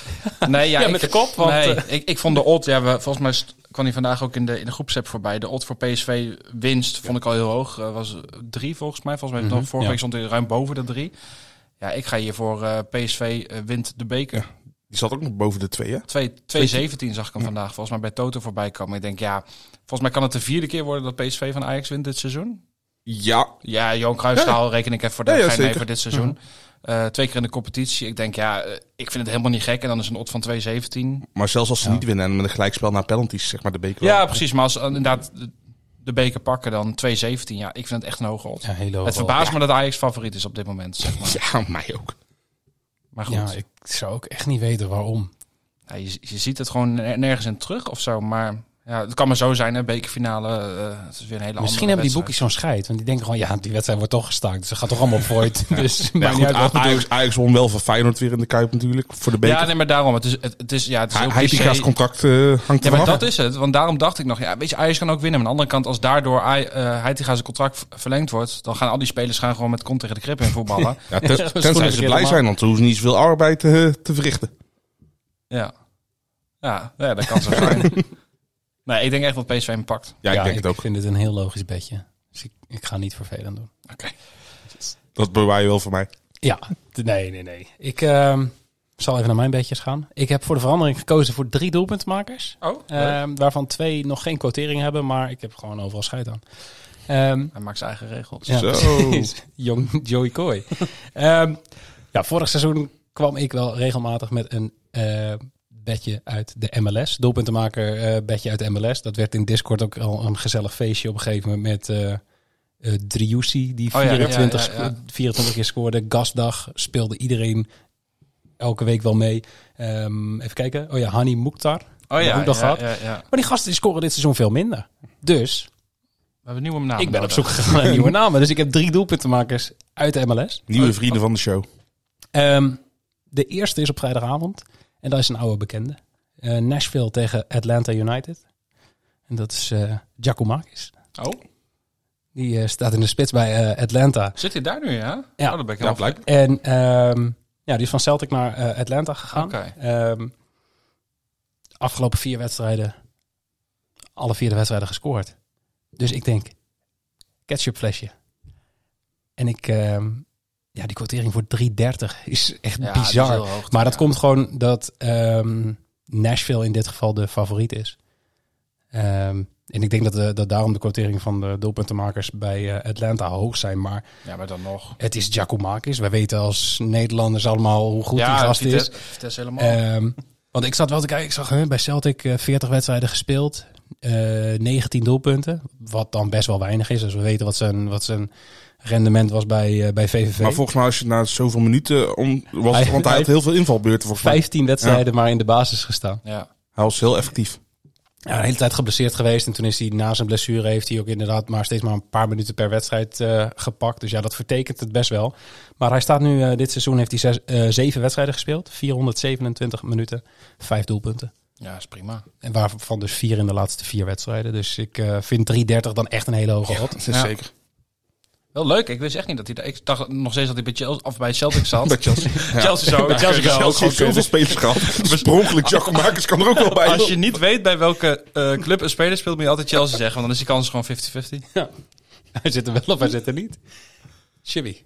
Speaker 8: Nee, ja,
Speaker 6: Ja,
Speaker 8: ik-
Speaker 6: met de kop, want,
Speaker 8: nee,
Speaker 6: eh,
Speaker 8: ik, ik vond de odd, ja, we, volgens mij st- kwam die vandaag ook in de, in de groepsapp voorbij. De odd voor PSV winst vond ik al heel hoog. Eh, was drie volgens mij. Volgens mij
Speaker 6: Mhm,
Speaker 8: vorige
Speaker 6: ja.
Speaker 8: week stond hij ruim boven de drie. Ja, ik ga hier voor eh, PSV eh, wint de beker.
Speaker 7: Die zat ook nog boven de twee, hè?
Speaker 8: 2 2-17 zag ik hem vandaag volgens mij bij Toto voorbij komen. Ik denk, ja, volgens mij kan het de vierde keer worden dat PSV van Ajax wint dit seizoen.
Speaker 7: Ja.
Speaker 8: Ja, Johan Cruijffschaal reken ik even voor de
Speaker 7: Ja, ja,
Speaker 8: gein mee
Speaker 7: zeker.
Speaker 8: voor dit seizoen. Eh, twee keer in de competitie. Ik denk, ja, eh, ik vind het helemaal niet gek. En dan is een odd van 2-17.
Speaker 7: Maar zelfs als ze niet winnen en met een gelijkspel na penalties, zeg maar, de beker wel.
Speaker 8: Ja, precies. Maar als eh, inderdaad de- de beker pakken, dan 2-17. Ja, ik vind het echt een hoge odd.
Speaker 6: Ja, hele
Speaker 8: het verbaast me dat Ajax favoriet is op dit moment, zeg maar.
Speaker 7: [laughs] Ja, mij ook.
Speaker 8: Maar goed,
Speaker 6: Ja, ik zou ook echt niet weten waarom.
Speaker 8: ja, je, je ziet het gewoon ner- nergens in terug of zo. Maar ja, het kan maar zo zijn, hè. Bekerfinale, eh, het is weer een
Speaker 6: Misschien
Speaker 8: hele andere
Speaker 6: hebben die boekjes
Speaker 8: wedstrijd.
Speaker 6: zo'n scheid. Want die denken gewoon, ja, die wedstrijd wordt toch gestaakt. Dus ze gaat toch allemaal op
Speaker 7: [laughs]
Speaker 6: voort. Dus
Speaker 7: Ja,
Speaker 6: maakt
Speaker 7: goed,
Speaker 6: niet uit wat we doen.
Speaker 7: Ajax, Ajax won wel van Feyenoord weer in de Kuip natuurlijk, voor de beker.
Speaker 8: Ja, nee, maar daarom. Het is, het, het is, ja, het is
Speaker 7: hij
Speaker 8: heel
Speaker 7: hij die
Speaker 8: cliché.
Speaker 7: gaat contract eh, hangt er
Speaker 8: Ja, maar
Speaker 7: vanaf.
Speaker 8: dat is het. Want daarom dacht ik nog, ja, weet je, Ajax kan ook winnen. Maar aan de andere kant, als daardoor Aj- eh, Heitinga zijn contract v- verlengd wordt, dan gaan al die spelers gaan gewoon met kont tegen de krip in
Speaker 6: [laughs]
Speaker 8: voetballen.
Speaker 7: Ja, ten- tenzij
Speaker 6: schoenen
Speaker 7: ze blij
Speaker 6: helemaal.
Speaker 7: zijn, want ze hoeven niet zoveel arbeid eh, te verrichten.
Speaker 8: ja. Ja, nou ja, dat kan zo
Speaker 6: [laughs]
Speaker 8: zijn. nee, ik denk echt dat PSV hem pakt.
Speaker 7: Ja, ik denk het ook.
Speaker 6: vind het een heel logisch bedje. Dus ik, ik ga niet vervelend doen.
Speaker 7: Dat bewaar je wel voor mij.
Speaker 6: Ja, d- nee, nee, nee. Ik ehm, zal even naar mijn bedjes gaan. Ik heb voor de verandering gekozen voor drie doelpuntmakers.
Speaker 8: Oh,
Speaker 6: Ehm, waarvan twee nog geen quotering hebben, maar ik heb gewoon overal scheid aan. Ehm,
Speaker 8: Hij maakt zijn eigen regels.
Speaker 6: ja, [laughs]
Speaker 7: Zo.
Speaker 6: precies. Jong Joey Kooi. Ehm, ja, vorig seizoen kwam ik wel regelmatig met een eh, bedje uit de MLS. Doelpuntenmaker eh, bedje uit de MLS. Dat werd in Discord ook al een gezellig feestje op een gegeven moment met... eh eh Driussi, die
Speaker 8: Oh ja, ja,
Speaker 6: 24,
Speaker 8: ja, ja.
Speaker 6: sco- 24 keer scoorde. Gasdag speelde iedereen elke week wel mee. Ehm, even kijken. Oh ja, Hani Mukhtar.
Speaker 8: Oh
Speaker 6: ja,
Speaker 8: ja,
Speaker 6: ook nog
Speaker 8: ja,
Speaker 6: gehad.
Speaker 8: ja, ja.
Speaker 6: Maar die gasten die scoren dit seizoen veel minder. Dus
Speaker 8: We hebben een nieuwe naam
Speaker 6: ik ben op
Speaker 8: nodig.
Speaker 6: zoek gegaan naar nieuwe namen. Dus ik heb drie doelpuntenmakers uit de MLS.
Speaker 7: Nieuwe vrienden van de show.
Speaker 6: Ehm, de eerste is op vrijdagavond. En dat is een oude bekende. Eh, Nashville tegen Atlanta United. En dat is eh Giacomakis.
Speaker 8: Oh,
Speaker 6: Die eh, staat in de spits bij eh, Atlanta.
Speaker 8: zit hij daar nu, ja?
Speaker 6: Ja.
Speaker 8: Oh, dat ben ik
Speaker 7: Ja,
Speaker 8: wel
Speaker 7: blijkt.
Speaker 6: En ehm, ja, die is van Celtic naar eh, Atlanta gegaan.
Speaker 8: Oké.
Speaker 6: Ehm, afgelopen vier wedstrijden, alle vier de wedstrijden gescoord. Dus ik denk, ketchup flesje. En ik, ehm, ja, die quotering voor 3,30 is echt
Speaker 8: Ja, dat is
Speaker 6: bizar.
Speaker 8: heel hoog,
Speaker 6: maar dat
Speaker 8: ja.
Speaker 6: komt gewoon dat ehm, Nashville in dit geval de favoriet is. Ehm, en ik denk dat, de, dat daarom de quotering van de doelpuntenmakers bij eh, Atlanta hoog zijn. Maar
Speaker 8: Ja, maar dan nog.
Speaker 6: het is Giacomakis. Wij weten als Nederlanders allemaal hoe goed die gast
Speaker 8: Vitesse,
Speaker 6: is.
Speaker 8: Vitesse helemaal.
Speaker 6: Ehm, want ik zat wel te kijken. Ik zag hè, bij Celtic eh, 40 wedstrijden gespeeld. eh, 19 doelpunten. Wat dan best wel weinig is. Dus we weten wat zijn, wat zijn rendement was bij, eh, bij VVV.
Speaker 7: Maar volgens mij als je na zoveel minuten... Om, was het,
Speaker 6: Hij-
Speaker 7: want hij had
Speaker 6: hij-
Speaker 7: heel veel invalbeurten volgens mij.
Speaker 6: 15 wedstrijden maar in de basis gestaan.
Speaker 8: ja.
Speaker 7: Hij was heel effectief.
Speaker 6: Ja, de hele tijd geblesseerd geweest. En toen is hij na zijn blessure heeft hij ook inderdaad maar steeds maar een paar minuten per wedstrijd eh, gepakt. Dus ja, dat vertekent het best wel. Maar hij staat nu, eh, dit seizoen heeft hij zes, eh, zeven wedstrijden gespeeld. 427 minuten, vijf doelpunten.
Speaker 8: ja, is prima.
Speaker 6: En waarvan dus vier in de laatste vier wedstrijden. Dus ik eh, vind 330 dan echt een hele hoge hot. [laughs]
Speaker 7: Dat is
Speaker 8: Ja.
Speaker 7: zeker.
Speaker 8: Wel leuk, ik wist echt niet dat hij daar... Ik dacht nog steeds dat hij bij Chelsea, of bij
Speaker 6: [laughs]
Speaker 8: Celtic zat.
Speaker 7: Bij Chelsea. Ja.
Speaker 8: [laughs] Chelsea zou-
Speaker 7: Bij
Speaker 8: Chelsea zou ook
Speaker 7: Chelsea heeft
Speaker 8: gewoon
Speaker 7: zoveel spelers [laughs] gehad. Bespronkelijk, Giacomakis kan er ook wel bij.
Speaker 8: Als je niet weet bij welke eh, club een speler speelt, moet je altijd Chelsea zeggen. Want dan is die kans gewoon 50-50.
Speaker 6: Hij zit er wel of hij zit er niet. Shibby.
Speaker 8: [laughs]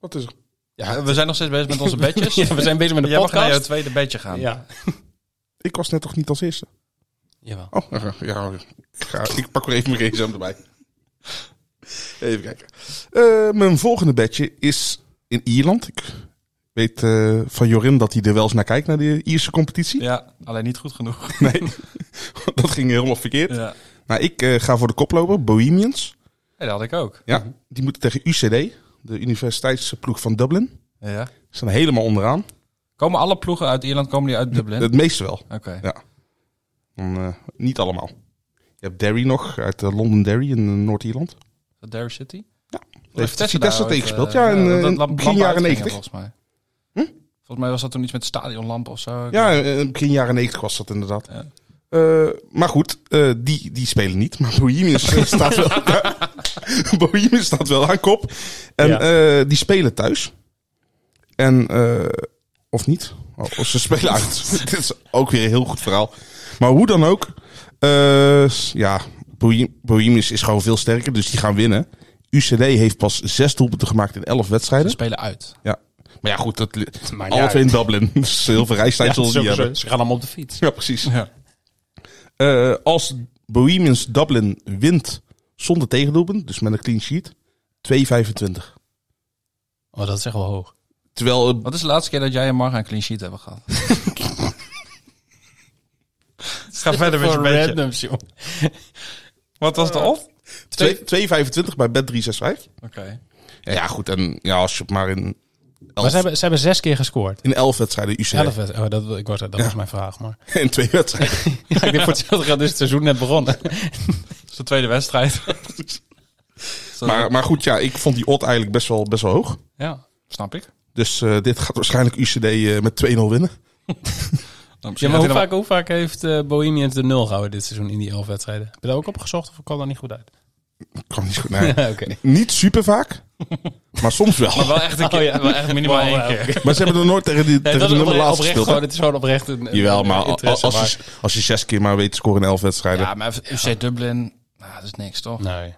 Speaker 7: Wat is er?
Speaker 8: Ja, we zijn nog steeds bezig met onze bedjes.
Speaker 6: [laughs] Ja, we zijn bezig met de
Speaker 8: Jij mag naar jouw
Speaker 6: podcast.
Speaker 8: tweede bedje gaan.
Speaker 6: Ja.
Speaker 7: Ik was net toch niet als eerste?
Speaker 6: Jawel.
Speaker 7: Oh, [laughs] ja. Ik, ga, ik pak weer even mijn gsm erbij. Even kijken. Eh, mijn volgende bedje is in Ierland. Ik weet eh, van Jorin dat hij er wel eens naar kijkt, naar de Ierse competitie.
Speaker 8: Ja, alleen niet goed genoeg.
Speaker 7: Nee, [laughs] dat ging helemaal verkeerd.
Speaker 8: [laughs] Ja.
Speaker 7: Nou, ik eh, ga voor de koploper, Bohemians.
Speaker 8: Hey, dat had ik ook.
Speaker 7: Ja, die moeten tegen UCD, de universiteitsploeg van Dublin.
Speaker 8: Ja.
Speaker 7: Ze staan helemaal onderaan.
Speaker 8: Komen alle ploegen uit Ierland, komen die uit Dublin?
Speaker 7: Het meeste wel.
Speaker 8: Oké.
Speaker 7: Dan, eh, niet allemaal. Je hebt Derry nog, uit eh, Londonderry in eh, Noord-Ierland.
Speaker 8: Derry City?
Speaker 7: Daar
Speaker 8: Heeft
Speaker 7: heeft Tesla
Speaker 8: daar
Speaker 7: tegen
Speaker 8: ooit,
Speaker 7: gespeeld,
Speaker 8: eh,
Speaker 7: ja, in, eh,
Speaker 8: dat
Speaker 7: in
Speaker 8: lamp-
Speaker 7: begin
Speaker 8: lampen
Speaker 7: jaren 90.
Speaker 8: uitgingen, Volgens mij.
Speaker 7: Hm?
Speaker 8: volgens mij was dat toen iets met stadionlampen of zo. Ik
Speaker 7: Ja, eh, begin jaren 90 was dat inderdaad.
Speaker 8: Ja.
Speaker 7: Eh, maar goed, eh, die, die spelen niet. Maar Bohemians eh, staat wel [laughs] Bohemians staat wel aan kop. En
Speaker 1: Ja.
Speaker 7: eh, die spelen thuis. En, eh, of niet. Oh, of ze spelen uit. Dit is ook weer een heel goed verhaal. Maar hoe dan ook. eh, s- ja, Bohem- Bohemians is gewoon veel sterker. Dus die gaan winnen. UCD heeft pas zes doelpunten gemaakt in elf
Speaker 8: Ze
Speaker 7: wedstrijden.
Speaker 8: spelen uit.
Speaker 7: Maar ja, goed. Dat, li-
Speaker 6: Maar
Speaker 7: alle
Speaker 6: [laughs]
Speaker 7: twee in Dublin. Dus heel veel reistijd
Speaker 6: ja,
Speaker 7: zullen die
Speaker 6: sowieso.
Speaker 7: hebben.
Speaker 6: Ze gaan allemaal op de fiets.
Speaker 7: Ja, precies.
Speaker 8: Ja.
Speaker 7: Eh, als Bohemians Dublin wint zonder tegendoelpunt, dus met een clean sheet, 2,25.
Speaker 6: Oh, dat is echt wel hoog.
Speaker 7: Terwijl, eh,
Speaker 8: Wat is de laatste keer dat jij en Marga een clean sheet hebben gehad? Ga verder met je
Speaker 6: Voor
Speaker 8: beetje.
Speaker 6: randoms, joh.
Speaker 8: Wat was de off?
Speaker 7: twee- 2,25 bij bet 365.
Speaker 8: Oké.
Speaker 7: Ja, ja, goed. En ja, als je het maar in
Speaker 6: Maar
Speaker 7: elf,
Speaker 6: ze hebben, ze hebben zes keer gescoord.
Speaker 7: in elf wedstrijden UC [laughs]
Speaker 6: Elf wedst- oh, dat, wil- ik was, dat was mijn vraag, maar...
Speaker 7: en twee wedstrijden.
Speaker 6: Ja, ik denk voor hetzelfde geld is het seizoen net begonnen.
Speaker 8: Dat is de tweede wedstrijd.
Speaker 7: Maar, maar goed, ja, ik vond die odd eigenlijk best wel, best wel hoog.
Speaker 6: Ja.
Speaker 8: Snap ik.
Speaker 7: Dus eh, dit gaat waarschijnlijk UCD eh, met 2-0 winnen.
Speaker 8: Dan
Speaker 6: Ja, maar hoe vaak, hoe vaak heeft eh, Bohemians de nul gehouden dit seizoen in die elf wedstrijden? Heb je daar ook op gezocht of kwam dat niet goed uit?
Speaker 7: Kan niet goed. Nee.
Speaker 6: [laughs] Oké.
Speaker 7: Niet super vaak, maar soms wel.
Speaker 8: Maar wel echt een keer.
Speaker 6: Oh ja.
Speaker 8: [laughs] wel echt minimaal
Speaker 6: Wow,
Speaker 8: één
Speaker 6: wow.
Speaker 8: keer.
Speaker 7: Maar ze hebben er nooit tegen, die,
Speaker 6: Nee,
Speaker 7: tegen
Speaker 6: dat
Speaker 7: de
Speaker 6: is
Speaker 7: nummer
Speaker 6: oprecht,
Speaker 7: laatst
Speaker 6: oprecht
Speaker 7: gespeeld. hè?
Speaker 6: gewoon, het is gewoon oprecht een, een
Speaker 7: Jawel, maar al-
Speaker 6: interesse
Speaker 7: als
Speaker 6: waard.
Speaker 7: je, als je zes keer maar weet te scoren in elf wedstrijden.
Speaker 8: Ja, maar UC Dublin, nou, dat is niks toch?
Speaker 6: Nee.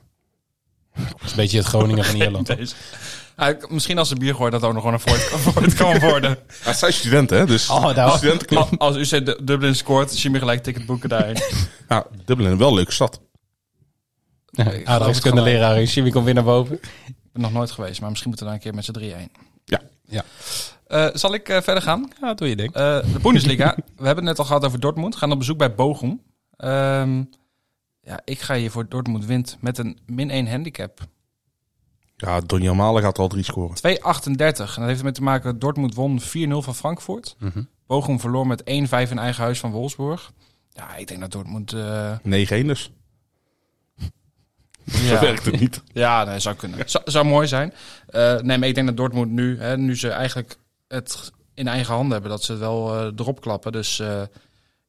Speaker 6: Het is een beetje het Groningen van Ierland.
Speaker 8: [laughs] Deze. Ah, ik- misschien als ze bier gooit dat ook nog gewoon een voort, [laughs] voort kan worden.
Speaker 7: Ja, het zijn studenten, hè? Dus
Speaker 6: [laughs] Oh, daar was- [laughs]
Speaker 7: studentenclub.
Speaker 8: Als UC Du- Dublin scoort, zie je me gelijk ticket boeken daarin.
Speaker 7: Ja, Dublin, wel een leuke
Speaker 6: [laughs]
Speaker 7: stad.
Speaker 8: Ik geloof het
Speaker 6: Aardrijkskunde leraar in Jimmy komt weer naar boven.
Speaker 8: Ik ben nog nooit geweest, maar misschien moeten we daar een keer met z'n drieën heen.
Speaker 7: Ja.
Speaker 6: Ja.
Speaker 8: Eh, zal ik eh, verder gaan?
Speaker 6: Ja, dat doe je ding.
Speaker 8: Eh, de [laughs] Bundesliga. we hebben het net al gehad over Dortmund. Gaan op bezoek bij Bochum. Ehm, ja, ik ga hier voor Dortmund wint met een min 1 handicap. 2,38.
Speaker 7: Ja, Donny Malen gaat al drie scoren.
Speaker 8: En dat heeft ermee te maken dat Dortmund won 4-0 van Frankfurt.
Speaker 6: Mhm.
Speaker 8: Bochum verloor met 1-5 in eigen huis van Wolfsburg. Ja, ik denk dat Dortmund... eh
Speaker 7: 9-1 dus. Zo
Speaker 8: ja,
Speaker 7: werkt het niet.
Speaker 8: ja nee, zou kunnen. Zou, zou mooi zijn. Eh, nee, maar ik denk dat Dortmund nu, hè, nu ze eigenlijk het in eigen handen hebben, dat ze het wel eh, erop klappen. Dus eh,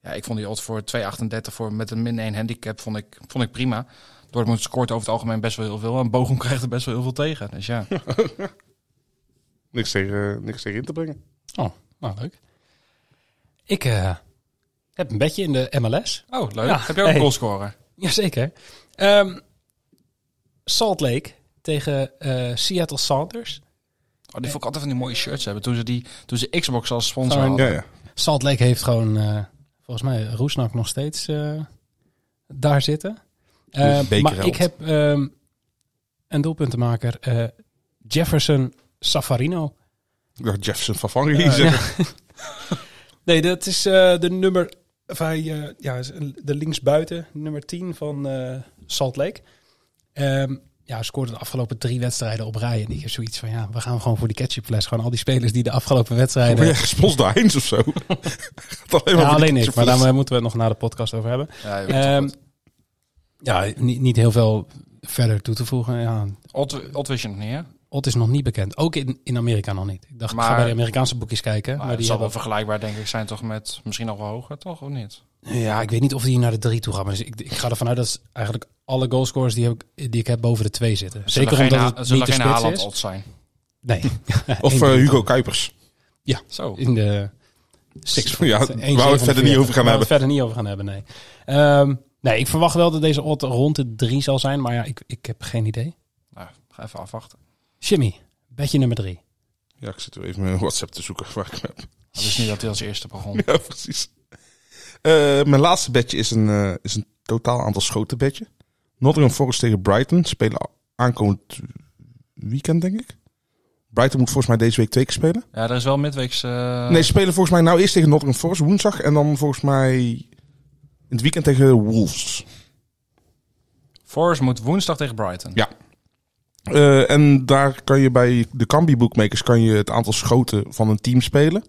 Speaker 8: ja, ik vond die odds voor 2,38 voor met een min 1 handicap vond ik, vond ik prima. Dortmund scoort over het algemeen best wel heel veel en Bochum [laughs] krijgt er best wel heel veel tegen. Dus ja.
Speaker 7: Niks tegen, eh, niks tegen in te brengen.
Speaker 6: Oh, nou leuk. Ik eh, heb een bedje in de MLS.
Speaker 8: Oh, leuk.
Speaker 6: Ja,
Speaker 8: Heb jij ook
Speaker 6: hey.
Speaker 8: een goalscorer?
Speaker 6: Jazeker. Ehm Salt Lake tegen eh, Seattle Sounders.
Speaker 8: Oh, die vond ik altijd van die mooie shirts hebben toen ze, die, toen ze Xbox als sponsor
Speaker 6: Oh.
Speaker 8: hadden.
Speaker 7: Ja, ja.
Speaker 6: Salt Lake heeft gewoon, eh, volgens mij, Roesnak nog steeds eh, daar zitten. Eh,
Speaker 7: bekerheld.
Speaker 6: maar ik heb ehm, een doelpuntenmaker, eh, Jefferson Safarino.
Speaker 7: Ik dacht Jefferson van Vangen hier zeggen.
Speaker 6: [laughs] Nee, dat is eh, de nummer. Of hij, eh, ja, is een- de linksbuiten, nummer 10 van eh, Salt Lake. Ehm, ja, hij scoorde de afgelopen drie wedstrijden op rij. En ik heb zoiets van, ja, we gaan gewoon voor die ketchupfles. Gewoon al die spelers die de afgelopen wedstrijden...
Speaker 7: Maar [laughs] jij gespons daarheen of
Speaker 6: [laughs]
Speaker 7: zo.
Speaker 6: Ja,
Speaker 7: [laughs] Gaat alleen Oh, voor die
Speaker 6: alleen ik, maar
Speaker 7: ketchupfles.
Speaker 6: daar moeten we het nog na de podcast over hebben.
Speaker 8: Ja, joh.
Speaker 6: Ehm, ja, niet, niet heel veel verder toe te voegen. Ja,
Speaker 8: Odd- Odd wist je nog niet, hè?
Speaker 6: Ot is nog niet bekend. Ook in, in Amerika nog niet. Ik dacht, ik ga
Speaker 8: Maar-
Speaker 6: bij de Amerikaanse boekjes kijken.
Speaker 8: Maar
Speaker 6: Maar,
Speaker 8: het
Speaker 6: die
Speaker 8: zal wel
Speaker 6: hebben...
Speaker 8: vergelijkbaar, denk ik, zijn toch met misschien nog wel hoger, toch? Of niet?
Speaker 6: Ja, ik weet niet of die naar de drie toe gaan. Maar dus ik, ik ga ervan uit dat eigenlijk alle goalscorers die, heb ik, die ik heb boven de twee zitten.
Speaker 8: Zullen
Speaker 6: Zeker
Speaker 8: geen
Speaker 6: omdat
Speaker 8: Ha-
Speaker 6: het
Speaker 8: zullen
Speaker 6: niet de
Speaker 8: geen
Speaker 6: spits
Speaker 8: Haaland
Speaker 6: is.
Speaker 8: odds zijn.
Speaker 6: Nee.
Speaker 7: [laughs] Of eh, Hugo Kuipers.
Speaker 8: Zo.
Speaker 6: In de six.
Speaker 7: Ja,
Speaker 6: Ja,
Speaker 7: waar we het verder niet
Speaker 6: Waar we
Speaker 7: over gaan hebben.
Speaker 6: het verder niet over gaan hebben, nee. Ehm, nee, ik verwacht wel dat deze odd rond de drie zal zijn. Maar ja, ik, ik heb geen idee.
Speaker 8: Nou, ga even afwachten.
Speaker 6: Jimmy, bedje nummer drie.
Speaker 7: Ja, ik zit er even mijn WhatsApp te zoeken waar ik hem heb.
Speaker 8: Het is niet dat hij als eerste begon.
Speaker 7: [laughs] Ja, precies. Eh, mijn laatste bedje is een, eh, is een totaal aantal schoten bedje. Nottingham Forest tegen Brighton spelen aankomend weekend, denk ik. Brighton moet volgens mij deze week twee keer spelen.
Speaker 8: Ja, er is wel midweeks... eh,
Speaker 7: nee, ze spelen volgens mij nou eerst tegen Nottingham Forest woensdag. En dan volgens mij in het weekend tegen Wolves.
Speaker 8: Forrest moet woensdag tegen Brighton.
Speaker 7: Ja. Eh, en daar kan je bij de Kambi Bookmakers kan je het aantal schoten van een team spelen.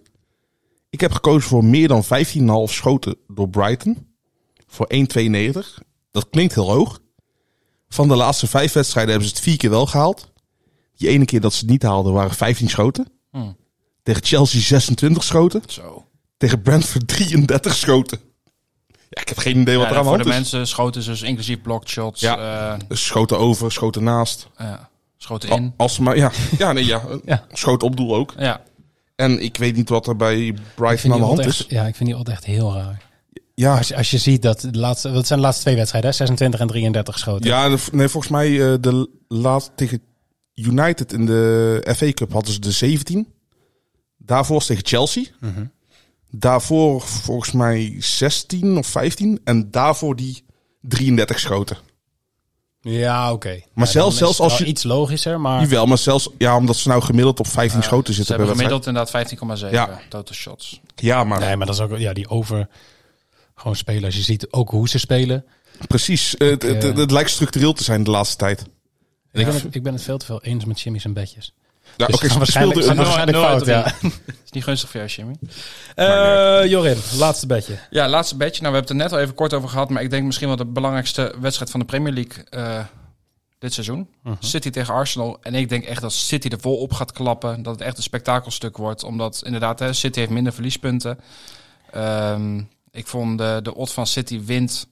Speaker 7: Ik heb gekozen voor meer dan 15,5 schoten door Brighton. Voor 1,92. Dat klinkt heel hoog. Van de laatste vijf wedstrijden hebben ze het vier keer wel gehaald. Die ene keer dat ze het niet haalden waren 15 schoten.
Speaker 8: Hmm.
Speaker 7: Tegen Chelsea 26 schoten.
Speaker 8: Zo.
Speaker 7: Tegen Brentford 33 schoten. Ja, ik heb geen idee wat
Speaker 8: Ja,
Speaker 7: er aan de
Speaker 8: voor
Speaker 7: hand
Speaker 8: de
Speaker 7: is.
Speaker 8: mensen schoten ze dus inclusief blocked shots.
Speaker 7: Ja.
Speaker 8: Ja.
Speaker 7: Schoten over, schoten naast.
Speaker 8: ja. Schoten in.
Speaker 7: Als ze maar,
Speaker 8: [laughs]
Speaker 7: ja. Ja, nee, ja.
Speaker 6: Ja.
Speaker 7: Schoot op doel ook.
Speaker 8: Ja.
Speaker 7: En ik weet niet wat er bij
Speaker 6: Ik
Speaker 7: Brighton
Speaker 6: vind
Speaker 7: aan de
Speaker 6: die
Speaker 7: hand
Speaker 6: odd
Speaker 7: is.
Speaker 6: echt, ja, ik vind die odd echt heel raar.
Speaker 7: Ja,
Speaker 6: Als, je- als je ziet dat de laatste, wat zijn de laatste twee wedstrijden, hè? 26 en 33 geschoten.
Speaker 7: ja de- nee, volgens mij eh, de laatste tegen United in de FA Cup hadden ze de 17. Daarvoor was tegen Chelsea.
Speaker 6: Mhm.
Speaker 7: Daarvoor volgens mij 16 of 15. En daarvoor die 33 schoten.
Speaker 6: Ja, oké.
Speaker 7: Maar
Speaker 6: Ja, dan
Speaker 7: zelfs- zelfs
Speaker 6: is het
Speaker 7: als
Speaker 6: wel
Speaker 7: je-
Speaker 6: iets logischer, maar
Speaker 7: Jawel, maar zelfs ja, omdat ze nou gemiddeld op
Speaker 6: Ah,
Speaker 7: 15 schoten
Speaker 8: Ze
Speaker 7: zitten.
Speaker 8: hebben
Speaker 7: per wedstrijd.
Speaker 8: gemiddeld inderdaad 15,7
Speaker 7: Ja.
Speaker 8: total shots.
Speaker 7: Ja, maar
Speaker 6: nee, maar dat is ook ja die over gewoon spelen. Als je ziet ook hoe ze spelen.
Speaker 7: precies. eh, het, het,
Speaker 6: eh,
Speaker 7: het lijkt structureel te zijn de laatste tijd.
Speaker 6: Ik ben, het, ik ben het veel te veel eens met Jimmy's en bedjes.
Speaker 7: Ja,
Speaker 6: Dus
Speaker 7: oké,
Speaker 6: het gaat
Speaker 7: [laughs]
Speaker 6: waarschijnlijk,
Speaker 7: speelde-
Speaker 6: gaat waarschijnlijk
Speaker 8: nul uit
Speaker 6: fout, ja.
Speaker 8: Is niet gunstig voor jou, Jimmy.
Speaker 6: Eh, Jorin, laatste bedje.
Speaker 8: Ja, laatste bedje. Nou, we hebben het er net al even kort over gehad. Maar ik denk misschien wel de belangrijkste wedstrijd van de Premier League eh, dit seizoen. City tegen Arsenal. En ik denk echt dat City er vol op gaat klappen. Dat het echt een spektakelstuk wordt. Omdat inderdaad, hè, City heeft minder verliespunten. Ehm, ik vond de, de odd van City wint.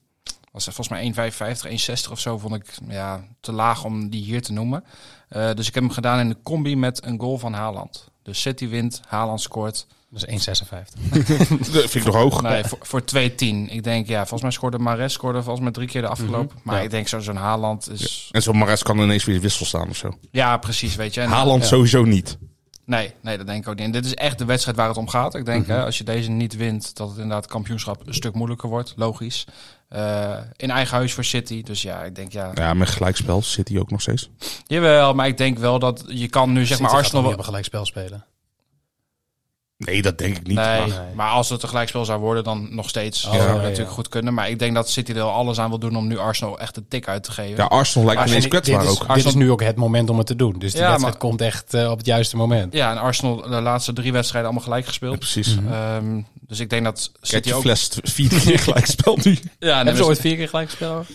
Speaker 8: Was het volgens mij 1,55, 1,60 of zo. Vond ik ja, te laag om die hier te noemen. Eh, dus ik heb hem gedaan in de combi met een goal van Haaland. Dus City wint, Haaland scoort.
Speaker 6: Dat is 1,56.
Speaker 7: Dat vind ik nog hoog.
Speaker 8: Nee, voor, voor 2-10. Ik denk, ja, volgens mij scoorde Mares scoorde volgens mij drie keer de afgelopen.
Speaker 6: Mhm,
Speaker 8: Maar ik denk zo, zo'n Haaland is... Ja.
Speaker 7: En zo'n Mares kan ineens weer wissel staan of zo.
Speaker 8: precies, weet je. En-
Speaker 7: Haaland sowieso niet.
Speaker 8: Nee, nee, dat denk ik ook niet. En dit is echt de wedstrijd waar het om gaat. Ik denk,
Speaker 6: Mhm.
Speaker 8: hè, als je deze niet wint, dat het inderdaad kampioenschap een stuk moeilijker wordt. Logisch. Eh, in eigen huis voor City. Dus ja, ik denk, ja...
Speaker 7: Ja, met gelijkspel zit hij ook nog steeds.
Speaker 8: Jawel, maar ik denk wel dat je kan nu, zeg maar, Arsenal...
Speaker 6: We
Speaker 8: wel-
Speaker 6: hebben gelijk spel spelen.
Speaker 7: Nee, dat denk ik niet.
Speaker 8: Nee,
Speaker 6: Nee.
Speaker 8: maar als het een gelijkspel zou worden, dan nog steeds.
Speaker 6: Oh,
Speaker 8: dat zou
Speaker 6: ja,
Speaker 8: natuurlijk
Speaker 6: ja.
Speaker 8: goed kunnen. Maar ik denk dat City er wel alles aan wil doen om nu Arsenal echt een tik uit te geven.
Speaker 7: Ja, Arsenal lijkt me
Speaker 8: Arsenal-
Speaker 7: ineens kwetsbaar
Speaker 6: dit, is,
Speaker 7: ook.
Speaker 6: dit is nu ook het moment om het te doen. Dus die
Speaker 8: Ja,
Speaker 6: wedstrijd
Speaker 8: maar-
Speaker 6: komt echt eh, op het juiste moment.
Speaker 8: Ja, en Arsenal de laatste drie wedstrijden allemaal gelijk
Speaker 7: Ja,
Speaker 8: gespeeld.
Speaker 7: precies.
Speaker 6: Mhm.
Speaker 8: Ehm, dus ik denk dat
Speaker 7: Kijk,
Speaker 8: City
Speaker 7: je
Speaker 8: ook...
Speaker 7: fles t- vier
Speaker 6: [laughs]
Speaker 7: keer gelijkspel nu.
Speaker 8: Ja,
Speaker 6: Hebben ze ooit
Speaker 8: vier keer gelijk gespeeld?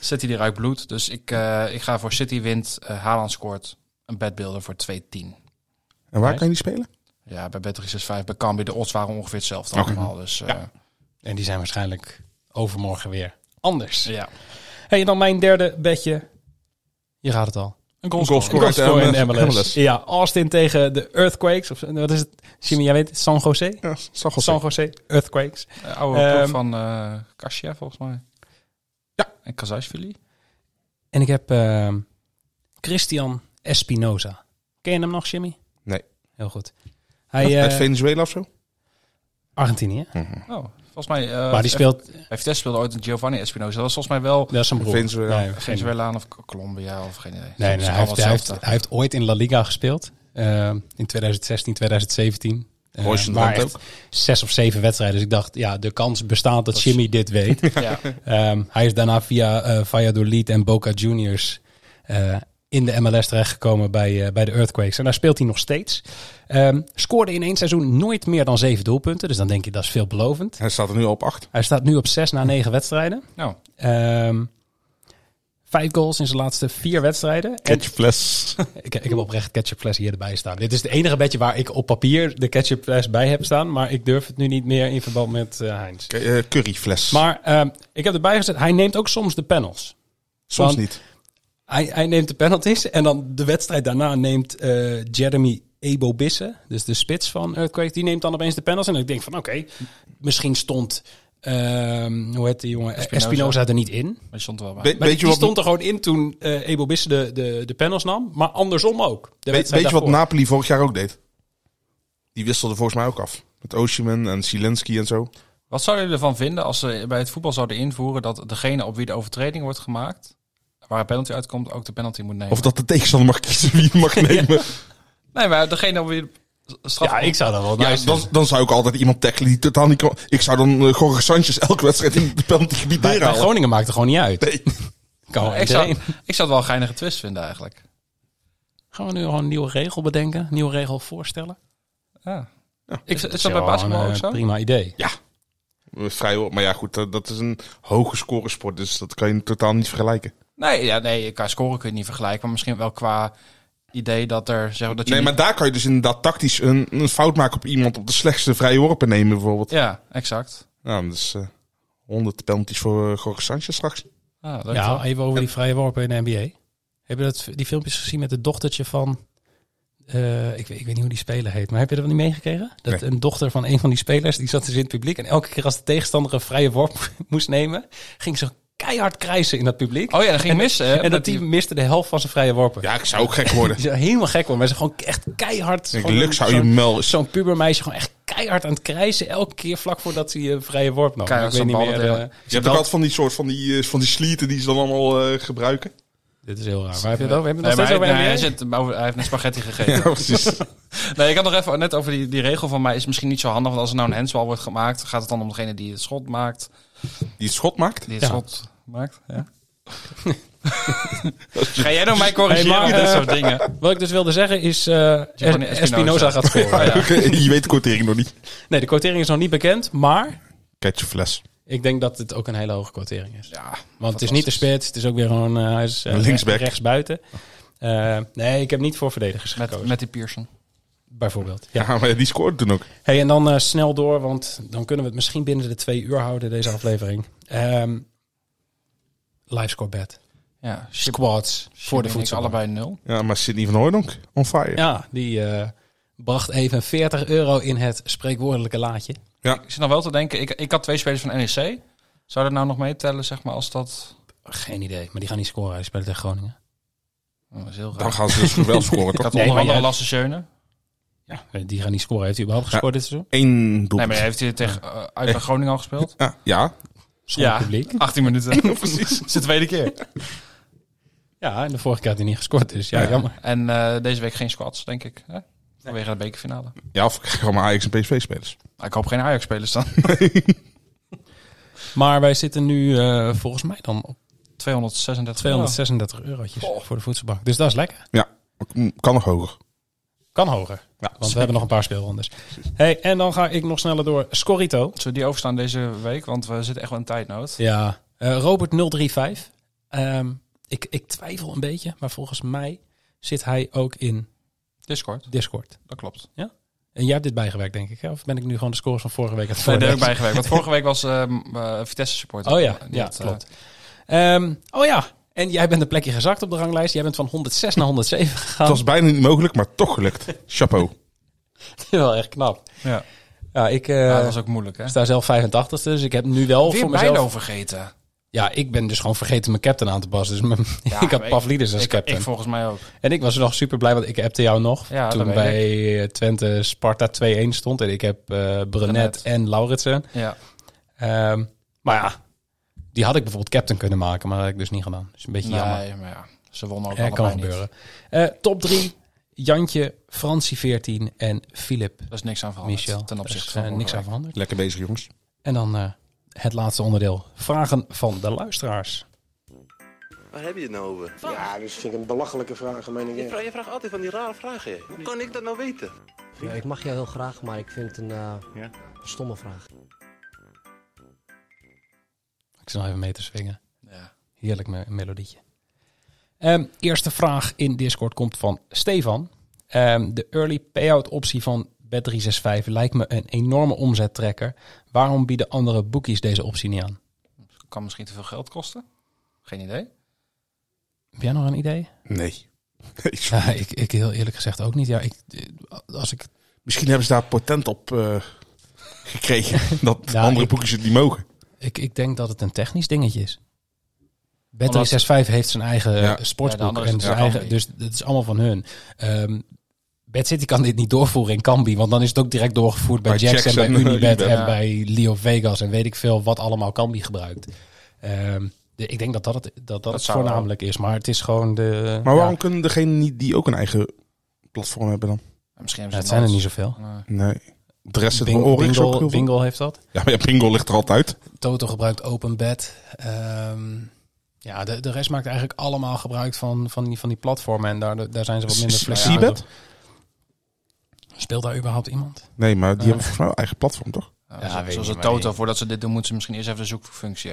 Speaker 8: City die ruikt bloed. Dus ik, eh, ik ga voor City wint. eh Haaland scoort een bedbeelder voor 2-10.
Speaker 7: En waar kan je die spelen?
Speaker 8: Ja, bij Bet365, bij Cambi, de odds waren ongeveer hetzelfde
Speaker 7: Oké.
Speaker 8: allemaal. Dus eh,
Speaker 6: En die zijn waarschijnlijk overmorgen weer anders.
Speaker 8: ja.
Speaker 6: Hey, en dan mijn derde bedje. Je raadt het al.
Speaker 8: Een
Speaker 7: goalscorer. uit
Speaker 6: Goalscorer in de
Speaker 7: MLS.
Speaker 6: MLS. Ja, Austin tegen de Earthquakes. Of, wat is het? Jimmy, jij weet het? San Jose?
Speaker 7: Ja, zag al
Speaker 6: San Jose, Earthquakes.
Speaker 8: Eh, oude ploeg
Speaker 6: Ehm,
Speaker 8: van eh Kasia, volgens mij. Ja. En Kazajsvili.
Speaker 6: En ik heb ehm, Christian Espinoza. Ken je hem nog, Jimmy?
Speaker 7: Nee.
Speaker 6: Heel goed.
Speaker 7: Uit
Speaker 6: Hij, eh
Speaker 7: Venezuela of zo?
Speaker 6: Argentinië.
Speaker 8: Oh, volgens mij... eh,
Speaker 6: maar Hm. die speelt...
Speaker 8: Bij Vitesse speelde ooit een Giovanni Espinosa. Dat was volgens mij wel...
Speaker 6: Dat is zijn broer.
Speaker 7: Venezuela.
Speaker 6: Nee, geen-
Speaker 8: Venezuelaan of Colombia of geen idee.
Speaker 6: Nee,
Speaker 8: Het
Speaker 6: nee,
Speaker 8: is
Speaker 6: hij,
Speaker 8: allemaal
Speaker 6: heeft, hij, heeft,
Speaker 8: hetzelfde.
Speaker 6: hij heeft ooit in La Liga gespeeld. eh, in 2016, 2017. Eh,
Speaker 7: Royce van der
Speaker 6: waar
Speaker 7: Hand
Speaker 6: echt Zes of zeven wedstrijden. Dus ik dacht, ja, de kans bestaat dat Jimmy dit weet.
Speaker 8: Ja.
Speaker 6: Ehm, hij is daarna via eh Valladolid en Boca Juniors eh, in de MLS terechtgekomen bij, eh, bij de Earthquakes. En daar speelt hij nog steeds. Ehm, scoorde in één seizoen nooit meer dan zeven doelpunten. Dus dan denk je, dat is veelbelovend.
Speaker 7: Hij staat er nu al op acht.
Speaker 6: Hij staat nu op zes na negen wedstrijden.
Speaker 8: Nou,
Speaker 6: Ehm, vijf goals in zijn laatste vier wedstrijden. En-
Speaker 7: Catch fles.
Speaker 6: ik, ik heb oprecht ketchup fles hier erbij staan. Dit is het enige bedje waar ik op papier de ketchup fles bij heb staan. Maar ik durf het nu niet meer in verband met eh Heinz.
Speaker 7: Curry fles.
Speaker 6: Maar ehm, ik heb erbij gezet, hij neemt ook soms de panels.
Speaker 7: Soms
Speaker 6: want-
Speaker 7: niet.
Speaker 6: Hij, hij neemt de penalties en dan de wedstrijd daarna neemt eh, Jeremy Ebo Bisse, dus de spits van Earthquake, die neemt dan opeens de penalties. En ik denk van oké, misschien stond, ehm, hoe heet die jongen,
Speaker 8: Espinoza.
Speaker 6: Espinoza, er niet in.
Speaker 8: maar je stond er wel bij.
Speaker 7: Weet-
Speaker 6: Maar
Speaker 7: Weet
Speaker 6: die,
Speaker 7: je
Speaker 6: die
Speaker 7: wat
Speaker 6: stond er gewoon in toen eh, Ebo Bisse de, de, de panels nam, maar andersom ook. De
Speaker 7: Weet,
Speaker 6: wedstrijd
Speaker 7: weet je wat
Speaker 6: daarvoor.
Speaker 7: Napoli vorig jaar ook deed? Die wisselde volgens mij ook af. Met Osimhen en Silenski en zo.
Speaker 8: Wat zouden jullie ervan vinden als ze bij het voetbal zouden invoeren dat degene op wie de overtreding wordt gemaakt, waar een penalty uitkomt, ook de penalty moet nemen?
Speaker 7: Of dat de tegenstander mag kiezen wie
Speaker 6: [laughs]
Speaker 7: het mag nemen.
Speaker 8: nee, maar degene op wie de straf
Speaker 6: Ja, ik zou dat wel
Speaker 7: Ja,
Speaker 6: nice
Speaker 7: dan,
Speaker 6: vinden.
Speaker 7: dan zou ik altijd iemand tackelen die totaal niet kan. Ik zou dan eh, Jorge Sanchez elke wedstrijd in het penaltygebied
Speaker 6: Bij, bij
Speaker 7: neerhalen.
Speaker 6: Groningen maakt het gewoon niet uit.
Speaker 7: Nee.
Speaker 6: Kan
Speaker 8: ik, zou,
Speaker 6: iedereen.
Speaker 8: ik zou het wel een geinige twist vinden eigenlijk.
Speaker 6: Gaan we nu gewoon een nieuwe regel bedenken? Nieuwe regel voorstellen?
Speaker 8: Ja. Ik, is dat
Speaker 6: wel
Speaker 8: bij basketbal
Speaker 6: een,
Speaker 8: ook
Speaker 6: eh,
Speaker 8: zo?
Speaker 6: Prima idee.
Speaker 7: Vrijwel, Eh, maar ja, goed, dat, dat is een hoge scoresport, dus dat kan je totaal niet vergelijken.
Speaker 8: Nee, ja, nee, qua scoren kun je niet vergelijken. Maar misschien wel qua idee dat er... Zeg, maar dat je
Speaker 7: Nee,
Speaker 8: niet-
Speaker 7: maar daar kan je dus inderdaad tactisch een, een fout maken op iemand op de slechtste vrije worpen nemen, bijvoorbeeld.
Speaker 8: Ja, exact.
Speaker 7: Nou, dat is eh 100 penalties voor eh, Jorge Sanchez straks.
Speaker 8: Ah, leuk
Speaker 6: Ja,
Speaker 8: toch?
Speaker 6: even over die vrije worpen in de NBA. Heb je dat, die filmpjes gezien met het dochtertje van... eh, ik, weet, ik weet niet hoe die speler heet, maar heb je dat niet meegekregen? Dat
Speaker 7: Nee.
Speaker 6: een dochter van een van die spelers, die zat dus in het publiek... en elke keer als de tegenstander een vrije worp [laughs] moest nemen... ging ze keihard krijsen in dat publiek.
Speaker 8: Oh ja, dat ging mis. hè?
Speaker 6: en dat team miste de helft van zijn vrije worpen.
Speaker 7: Ja, ik zou ook gek [laughs] worden.
Speaker 6: Die zijn helemaal gek worden, maar ze gewoon echt keihard...
Speaker 7: Ik
Speaker 6: gewoon
Speaker 7: luk zou je
Speaker 6: zo'n-
Speaker 7: mel eens.
Speaker 6: Zo'n pubermeisje gewoon echt keihard aan het krijsen... elke keer vlak voordat ze je vrije worp nam.
Speaker 8: Keihard
Speaker 6: ik weet
Speaker 8: zo'n
Speaker 6: niet
Speaker 8: bal
Speaker 6: meer...
Speaker 8: erin.
Speaker 6: eh,
Speaker 7: Je hebt ook altijd van die soort van die, eh, van die slieten die ze dan allemaal eh, gebruiken.
Speaker 6: dit is heel raar. Waar heb je het over?
Speaker 8: Nee,
Speaker 6: Heb je
Speaker 8: maar
Speaker 6: het nog steeds
Speaker 8: hij,
Speaker 6: over
Speaker 8: nee,
Speaker 6: NBA?
Speaker 8: hij, zit over- hij heeft net spaghetti
Speaker 6: [laughs]
Speaker 8: gegeten.
Speaker 7: Ja, [laughs] precies.
Speaker 8: Nee, ik had nog even net over die, die regel van mij. Is misschien niet zo handig, want als er nou een handsbal wordt gemaakt, gaat het dan om degene die het schot maakt.
Speaker 7: Die het schot maakt.
Speaker 8: Die het
Speaker 6: Ja.
Speaker 8: schot maakt. Ja. Ga jij nou mij corrigeren
Speaker 6: Hey, maar,
Speaker 8: op
Speaker 6: eh,
Speaker 8: dit soort dingen?
Speaker 6: Wat ik dus wilde zeggen is, eh,
Speaker 8: Giovanni
Speaker 6: Es-
Speaker 8: Espinoza.
Speaker 6: Espinoza gaat scoren.
Speaker 8: Ja.
Speaker 7: Oké, [laughs] je weet de quotering nog niet.
Speaker 6: [laughs] Nee, de quotering is nog niet bekend, maar
Speaker 7: Catch your fles.
Speaker 6: ik denk dat het ook een hele hoge quotering is.
Speaker 8: Ja,
Speaker 6: Want het is niet de spits, het is ook weer gewoon eh, hij is, eh,
Speaker 7: Een linksback.
Speaker 6: rechts buiten. Eh, nee, ik heb niet voor verdedigers
Speaker 8: met,
Speaker 6: gekozen,
Speaker 8: met die Pearson.
Speaker 6: bijvoorbeeld. Ja.
Speaker 7: Ja, maar die scoorde toen ook.
Speaker 6: Hey, en dan eh, snel door, want dan kunnen we het misschien binnen de twee uur houden, deze aflevering. Ehm live score bet.
Speaker 8: Ja, Ship-
Speaker 6: Squads voor de
Speaker 8: Ship en ik
Speaker 6: voedsel.
Speaker 8: allebei nul.
Speaker 7: Ja, maar Sidney van Hooydonk on fire.
Speaker 6: Ja, die eh, bracht even 40 euro in het spreekwoordelijke laadje.
Speaker 8: Ik zit nog wel te denken, ik, ik had twee spelers van NEC. Zou dat nou nog meetellen, zeg maar, als dat...
Speaker 6: Geen idee, maar die gaan niet scoren. Hij speelt tegen Groningen.
Speaker 8: Oh, dat is heel
Speaker 7: Dan
Speaker 8: raar.
Speaker 7: gaan ze dus
Speaker 6: [laughs]
Speaker 7: wel scoren,
Speaker 8: Ik
Speaker 7: toch?
Speaker 8: had
Speaker 6: Nee,
Speaker 8: onder
Speaker 6: maar
Speaker 8: andere
Speaker 6: jij-
Speaker 8: Lasse Schöne.
Speaker 6: Ja, die gaan niet scoren. Heeft hij überhaupt gescoord dit seizoen?
Speaker 7: Eén doel.
Speaker 8: Nee, maar heeft hij tegen, eh, uit bij Groningen al
Speaker 7: [laughs]
Speaker 8: gespeeld?
Speaker 7: ja, ja.
Speaker 6: Zonder
Speaker 8: Ja.
Speaker 6: publiek.
Speaker 8: 18 minuten. [laughs] Precies. Zijn tweede keer.
Speaker 6: Ja, en de vorige keer had hij niet gescoord, dus ja, jammer.
Speaker 8: En eh, deze week geen squats, denk ik. Hè? Vanwege de bekerfinale.
Speaker 7: Ja, of ik krijg gewoon maar Ajax en PSV-spelers.
Speaker 8: Maar ik hoop geen
Speaker 6: [laughs]
Speaker 8: Ajax-spelers dan.
Speaker 6: Maar wij zitten nu eh, volgens mij dan op
Speaker 8: 236.
Speaker 6: 236 eurotjes voor de voedselbank. Dus dat is lekker.
Speaker 7: Kan nog hoger.
Speaker 6: Kan hoger,
Speaker 7: Ja,
Speaker 6: want we hebben nog een paar speelrondes. Hey, en dan ga ik nog sneller door. Scorrito.
Speaker 8: Zullen we die overstaan deze week? Want we zitten echt wel in tijdnood.
Speaker 6: Ja. Eh, Robert 035. Ehm, ik, ik twijfel een beetje, maar volgens mij zit hij ook in
Speaker 8: Discord,
Speaker 6: Discord.
Speaker 8: dat klopt.
Speaker 6: En jij hebt dit bijgewerkt, denk ik. Hè? Of ben ik nu gewoon de scores van vorige week aan het
Speaker 8: Nee, daar heb
Speaker 6: voorlezen?
Speaker 8: ik bijgewerkt. Want vorige week was ehm, eh, Vitesse supporter.
Speaker 6: Oh ja,
Speaker 8: Die
Speaker 6: ja
Speaker 8: had, eh,
Speaker 6: klopt. Ehm, oh ja, en jij bent een plekje gezakt op de ranglijst. Jij bent van 106 naar 107 [laughs] gegaan.
Speaker 7: Het was bijna niet mogelijk, maar toch gelukt. Chapeau.
Speaker 6: wel echt knap.
Speaker 8: ja.
Speaker 6: Ja, ik eh,
Speaker 8: Ja, dat was ook moeilijk, hè?
Speaker 6: sta zelf 85 dus ik heb nu wel
Speaker 8: Weer
Speaker 6: voor mezelf...
Speaker 8: Bijlo vergeten.
Speaker 6: Ja, ik ben dus gewoon vergeten mijn captain aan te passen. Dus mijn-
Speaker 8: Ja,
Speaker 6: [laughs] ik
Speaker 8: maar
Speaker 6: had
Speaker 8: ik-
Speaker 6: Pavlidis als
Speaker 8: Ik,
Speaker 6: Dus captain.
Speaker 8: ik volgens mij ook.
Speaker 6: En ik was nog super blij, want ik appte jou nog.
Speaker 8: Ja, dat
Speaker 6: toen
Speaker 8: weet
Speaker 6: bij eh, Twente Sparta 2-1 stond. En ik heb eh Brenet,
Speaker 8: Brenet.
Speaker 6: en Lauritsen.
Speaker 8: Ja.
Speaker 6: Ehm, maar ja, die had ik bijvoorbeeld captain kunnen maken. Maar dat heb ik dus niet gedaan. Dus een beetje jammer.
Speaker 8: Nee, maar ja. Ze wonnen ook
Speaker 6: Ja,
Speaker 8: allebei
Speaker 6: kan
Speaker 8: niet.
Speaker 6: gebeuren. Eh, top 3. Jantje, Francie 14 en Filip
Speaker 8: Dat is niks aan veranderd.
Speaker 6: Michel.
Speaker 8: Ten opzichte
Speaker 6: Er is,
Speaker 8: van
Speaker 6: eh, niks
Speaker 8: vorige
Speaker 6: aan
Speaker 8: week.
Speaker 6: veranderd.
Speaker 7: Lekker bezig, jongens.
Speaker 6: En dan eh, het laatste onderdeel. Vragen van de luisteraars.
Speaker 10: Waar heb je het nou over?
Speaker 3: Ja, dus vind ik een belachelijke vraag, meen ik.
Speaker 10: je vraagt altijd van die rare vragen. hè. Hoe kan ik dat nou weten?
Speaker 9: ik mag jou heel graag, maar ik vind het een stomme vraag.
Speaker 6: Ik zal even mee te swingen.
Speaker 8: Ja.
Speaker 6: Heerlijk me- melodietje. Ehm, eerste vraag in Discord komt van Stefan. Ehm, de early payout optie van Bet365 lijkt me een enorme omzettrekker. Waarom bieden andere bookies deze optie niet aan?
Speaker 8: Kan misschien te veel geld kosten. Geen idee.
Speaker 6: Heb jij nog een idee?
Speaker 7: Nee. [laughs] Nee, sorry.
Speaker 6: Ja, [laughs] ik, ik heel eerlijk gezegd ook niet. Ja, ik, eh, als ik
Speaker 7: Misschien hebben ze daar patent op eh, gekregen. [laughs] Dat
Speaker 6: Ja,
Speaker 7: andere
Speaker 6: ik-
Speaker 7: boekjes het niet mogen.
Speaker 6: Ik, ik denk dat het een technisch dingetje is.
Speaker 8: Omdat-
Speaker 6: Bet365 heeft zijn eigen
Speaker 7: Ja.
Speaker 6: eh, sportsboek.
Speaker 8: Ja, de andere
Speaker 6: en
Speaker 8: is-
Speaker 6: zijn
Speaker 8: ja,
Speaker 6: eigen,
Speaker 8: Kambi.
Speaker 6: dus het is allemaal van hun. Ehm Bad City kan dit niet doorvoeren in Kambi. Want dan is het ook direct doorgevoerd bij,
Speaker 7: Bij
Speaker 6: Jax en
Speaker 7: Jax
Speaker 6: bij
Speaker 7: en
Speaker 6: Unibet
Speaker 7: Unibet,
Speaker 6: en
Speaker 8: ja.
Speaker 6: bij Leo Vegas. En weet ik veel wat allemaal Kambi gebruikt. Ehm, de- ik denk dat dat het, dat, dat het
Speaker 8: zou wel.
Speaker 6: voornamelijk is. Maar het is gewoon de...
Speaker 7: Maar
Speaker 6: ja,
Speaker 7: waarom kunnen degenen niet die ook een eigen platform hebben dan?
Speaker 8: En Misschien
Speaker 6: ja, het
Speaker 8: hebben ze
Speaker 6: zijn er niet
Speaker 8: nooit-
Speaker 6: zoveel.
Speaker 8: Nee.
Speaker 7: Nee. De rest zit
Speaker 6: Bing-
Speaker 7: wel Oryx ook
Speaker 6: Bingle,
Speaker 7: heel veel.
Speaker 6: Bingle heeft dat.
Speaker 7: Ja, maar ja, Bingo ligt er altijd.
Speaker 6: Toto gebruikt OpenBet. Ehm ja, de, de rest maakt eigenlijk allemaal gebruik van, van, die, van die platformen. En daar, daar zijn ze wat minder
Speaker 7: C-
Speaker 6: flexibel.
Speaker 7: Seabed?
Speaker 6: Speelt daar überhaupt iemand?
Speaker 7: Nee, maar die hebben volgens mij wel eigen platform, toch?
Speaker 8: Nou,
Speaker 6: Ja,
Speaker 8: zo-
Speaker 6: weet
Speaker 8: zoals
Speaker 6: ik
Speaker 8: een
Speaker 6: niet,
Speaker 8: Toto,
Speaker 6: maar-
Speaker 8: voordat ze dit doen, moeten ze misschien eerst even de zoekfunctie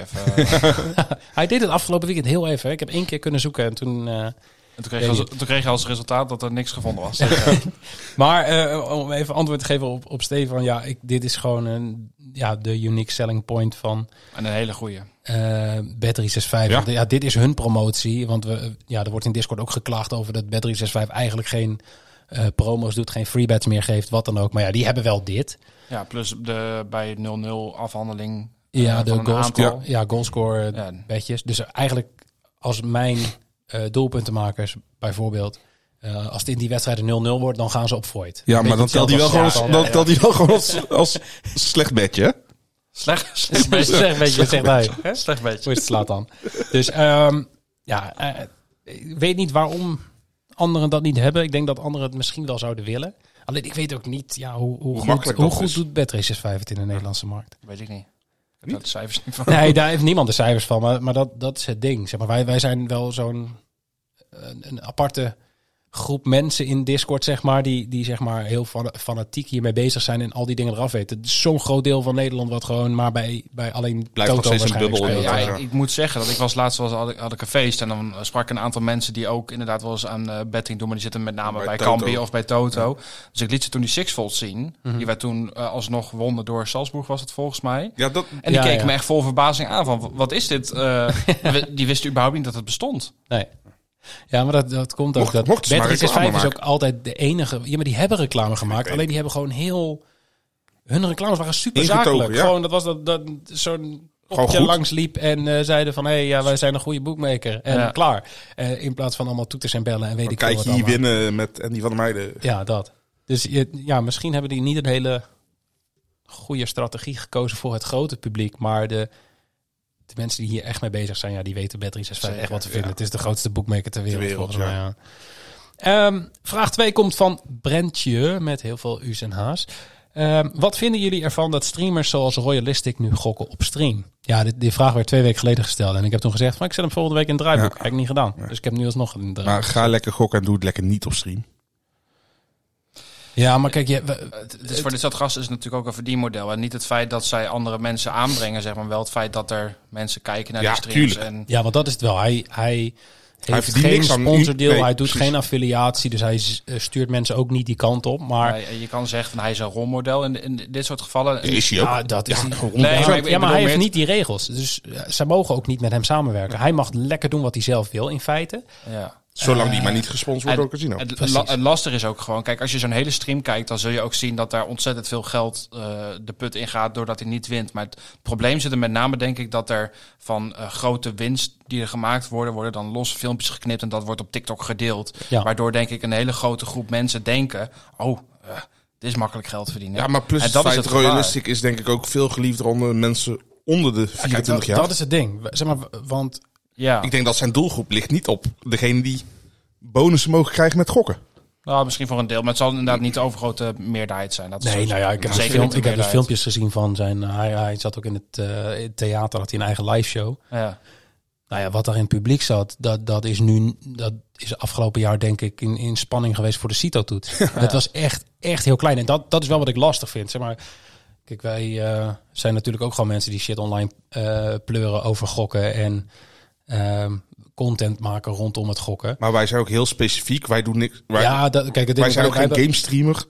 Speaker 6: [laughs]
Speaker 8: even... eh, en
Speaker 6: Hij deed het afgelopen weekend heel even. hè. Ik heb één keer kunnen zoeken en toen... eh,
Speaker 8: toen, kreeg je als, toen kreeg je als resultaat dat er niks gevonden was.
Speaker 6: Maar eh, om even antwoord te geven op, op Stefan. Ja, ik, dit is gewoon een, ja, de unique selling point van
Speaker 8: [laughs] En een hele goeie.
Speaker 6: eh Battery 65. Ja. dit is hun promotie. Want we, eh, ja, er wordt in Discord ook geklaagd over dat Battery 65 eigenlijk geen eh, promos doet. Geen free bets meer geeft, wat dan ook. Maar ja, die hebben wel dit.
Speaker 8: Ja, plus de, bij 0-0 afhandeling eh,
Speaker 6: Ja,
Speaker 8: van
Speaker 6: de
Speaker 8: een
Speaker 6: goalscore,
Speaker 8: aantal.
Speaker 6: ja, goalscore eh,
Speaker 8: Ja.
Speaker 6: bedjes. Dus eigenlijk als mijn eh, doelpuntenmakers bijvoorbeeld... eh, als het in die wedstrijden 0-0 wordt, dan gaan ze op Voigt.
Speaker 7: Ja,
Speaker 6: Een
Speaker 7: maar dan
Speaker 6: beetje
Speaker 7: telt hij wel
Speaker 6: hetzelfde
Speaker 7: gewoon
Speaker 6: als
Speaker 7: als,
Speaker 6: Satan.
Speaker 7: dan telt hij wel gewoon
Speaker 6: [laughs]
Speaker 7: als, als slecht bedje. hè?
Speaker 8: [laughs] Slecht, slecht
Speaker 6: Slecht
Speaker 8: beetje.
Speaker 6: beetje, slecht
Speaker 7: [laughs]
Speaker 6: beetje, zegt hij.
Speaker 8: Hè? Slecht beetje.
Speaker 6: Hoe is het slaat dan? Dus ehm, ja, eh, ik weet niet waarom anderen dat niet hebben. Ik denk dat anderen het misschien wel zouden willen. Alleen ik weet ook niet ja, hoe, hoe, goed,
Speaker 7: makkelijk
Speaker 6: hoe
Speaker 7: dat
Speaker 6: goed
Speaker 7: is.
Speaker 6: doet Betraces 5 het in de Nederlandse
Speaker 7: [laughs]
Speaker 6: markt.
Speaker 8: Weet ik niet. Ik heb daar de cijfers niet van.
Speaker 6: Nee, daar heeft niemand de cijfers van. Maar, maar dat, dat is het ding. Zeg maar, wij, wij zijn wel zo'n een, een aparte groep mensen in Discord, zeg maar, die, die zeg maar heel fan- fanatiek hiermee bezig zijn en al die dingen eraf weten. Het is zo'n groot deel van Nederland wat gewoon maar bij, bij alleen
Speaker 7: Blijft nog
Speaker 6: Toto
Speaker 7: steeds een
Speaker 6: waarschijnlijk
Speaker 7: bubbel in
Speaker 6: speelt.
Speaker 7: dat
Speaker 8: Ja,
Speaker 7: Ja.
Speaker 8: ik, ik moet zeggen dat ik was laatst was, had, ik, had ik een feest en dan eh, sprak ik een aantal mensen die ook inderdaad wel eens aan eh, betting doen, maar die zitten met name
Speaker 7: Bij
Speaker 8: bij,
Speaker 7: Toto.
Speaker 8: Kambi of bij Toto. Dus ik liet ze toen die Sixfold zien,
Speaker 6: Mhm.
Speaker 8: die wij toen eh, alsnog wonnen door Salzburg was het volgens mij.
Speaker 7: Ja, dat,
Speaker 8: En die
Speaker 6: Ja,
Speaker 8: keken
Speaker 6: ja.
Speaker 8: me echt vol verbazing aan van, wat is dit?
Speaker 6: [laughs]
Speaker 8: Eh, we- die wisten überhaupt niet dat het bestond.
Speaker 6: Nee. Ja, maar dat, dat komt ook.
Speaker 7: Mocht-
Speaker 6: dat
Speaker 7: mochten ze maar
Speaker 6: Battery
Speaker 7: reclame
Speaker 6: 65 is ook
Speaker 7: maken.
Speaker 6: altijd de enige. Ja, maar die hebben reclame gemaakt. Alleen die hebben gewoon heel. Hun reclames waren super zakelijk.
Speaker 7: Ingetogen, ja.
Speaker 6: Gewoon, dat was dat, dat zo'n poppetje
Speaker 7: goed.
Speaker 6: langs liep en eh, zeiden van... hé, hey, ja, wij zijn een goede boekmaker. En
Speaker 8: Ja.
Speaker 6: klaar. Eh, in plaats van allemaal toeters en bellen en weet
Speaker 7: dan
Speaker 6: ik veel
Speaker 7: kijk
Speaker 6: wat
Speaker 7: je hier
Speaker 6: allemaal.
Speaker 7: winnen met Andy van der Meijden.
Speaker 6: Ja, dat. Dus je- ja, misschien hebben die niet een hele goede strategie gekozen voor het grote publiek. Maar de, de mensen die hier echt mee bezig zijn, ja, die weten Battery 65 echt wat te vinden. Het is de grootste boekmaker ter wereld.
Speaker 7: wereld,
Speaker 6: volgens mij, ja. Ehm, vraag 2 komt van Brentje met heel veel U's en H's. Ehm, wat vinden jullie ervan dat streamers zoals Royalistic nu gokken op stream? Ja, dit- die vraag werd twee weken geleden gesteld. En ik heb toen gezegd, van, ik zet hem volgende week in het draaiboek. Heb ik niet gedaan. Dus ik heb hem nu alsnog in het draaiboek.
Speaker 7: Maar ga lekker gokken en doe het lekker niet op stream.
Speaker 6: ja, maar kijk, je, we-
Speaker 8: Het is Dus voor dit soort gasten is het natuurlijk ook een verdienmodel. En niet het feit dat zij andere mensen aanbrengen, zeg maar wel het feit dat er mensen kijken naar
Speaker 7: Ja,
Speaker 8: die streams.
Speaker 7: tuurlijk.
Speaker 8: En,
Speaker 6: Ja, want dat is het wel. Hij, hij heeft
Speaker 7: verdient
Speaker 6: geen
Speaker 7: niks aan u-
Speaker 6: sponsordeel,
Speaker 7: nee,
Speaker 6: hij doet
Speaker 7: precies.
Speaker 6: geen affiliatie, dus hij s- eh, stuurt mensen ook niet die kant op. Maar
Speaker 8: maar je kan zeggen van hij is een rolmodel in, in dit soort gevallen.
Speaker 7: Is hij ook?
Speaker 6: ja, dat is niet-
Speaker 8: Nee, maar
Speaker 6: ja,
Speaker 8: ik- ik
Speaker 6: maar,
Speaker 8: bedoel
Speaker 6: hij heeft
Speaker 8: meer-
Speaker 6: niet die regels. Dus eh, zij mogen ook niet met hem samenwerken. Hij mag lekker doen wat hij zelf wil, in feite.
Speaker 8: Ja.
Speaker 7: Zolang
Speaker 6: Eh,
Speaker 7: die maar niet gesponsord wordt
Speaker 8: En-
Speaker 7: door Casino.
Speaker 8: Het,
Speaker 6: Precies.
Speaker 8: la, het lastig is ook gewoon, kijk, als je zo'n hele stream kijkt, dan zul je ook zien dat daar ontzettend veel geld eh, de put in gaat doordat hij niet wint. Maar het probleem zit er met name, denk ik, dat er van eh, grote winst die er gemaakt worden, worden dan losse filmpjes geknipt en dat wordt op TikTok gedeeld.
Speaker 6: Ja.
Speaker 8: Waardoor, denk ik, een hele grote groep mensen denken, oh, eh, dit is makkelijk geld verdienen.
Speaker 7: ja, maar plus
Speaker 8: En
Speaker 7: het
Speaker 8: dat is
Speaker 7: feit
Speaker 8: het gevaar.
Speaker 7: Royalistic is denk ik ook veel geliefder onder mensen onder de
Speaker 6: Kijk,
Speaker 7: 24
Speaker 6: dat,
Speaker 7: jaar.
Speaker 6: dat is het ding. We- Zeg maar, w- want
Speaker 8: Ja.
Speaker 7: Ik denk dat zijn doelgroep ligt niet op degene die bonussen mogen krijgen met gokken.
Speaker 8: Nou, misschien voor een deel, maar het zal inderdaad niet de overgrote meerderheid zijn. Dat is
Speaker 6: Nee,
Speaker 8: sowieso-
Speaker 6: nou ja, ik heb,
Speaker 8: Zeker
Speaker 6: dus, film-
Speaker 8: niet de
Speaker 6: ik heb dus
Speaker 8: meerderheid.
Speaker 6: filmpjes gezien van zijn. eh, Hij, hij zat ook in het eh, in het theater, had hij een eigen live show.
Speaker 8: Ja.
Speaker 6: Nou ja, wat daar in het publiek zat, dat, dat is nu, dat is afgelopen jaar denk ik in, in spanning geweest voor de
Speaker 7: [laughs]
Speaker 6: CITO-toets. Het was echt, echt heel klein. En dat, dat is wel wat ik lastig vind. Zeg maar, kijk, wij eh, zijn natuurlijk ook gewoon mensen die shit online eh, pleuren over gokken en ehm, content maken rondom het gokken.
Speaker 7: Maar wij zijn ook heel specifiek. Wij doen niks. Wij,
Speaker 6: ja, dat, kijk, het ding
Speaker 7: wij
Speaker 6: is,
Speaker 7: zijn ook geen
Speaker 6: hebben-
Speaker 7: gamestreamer.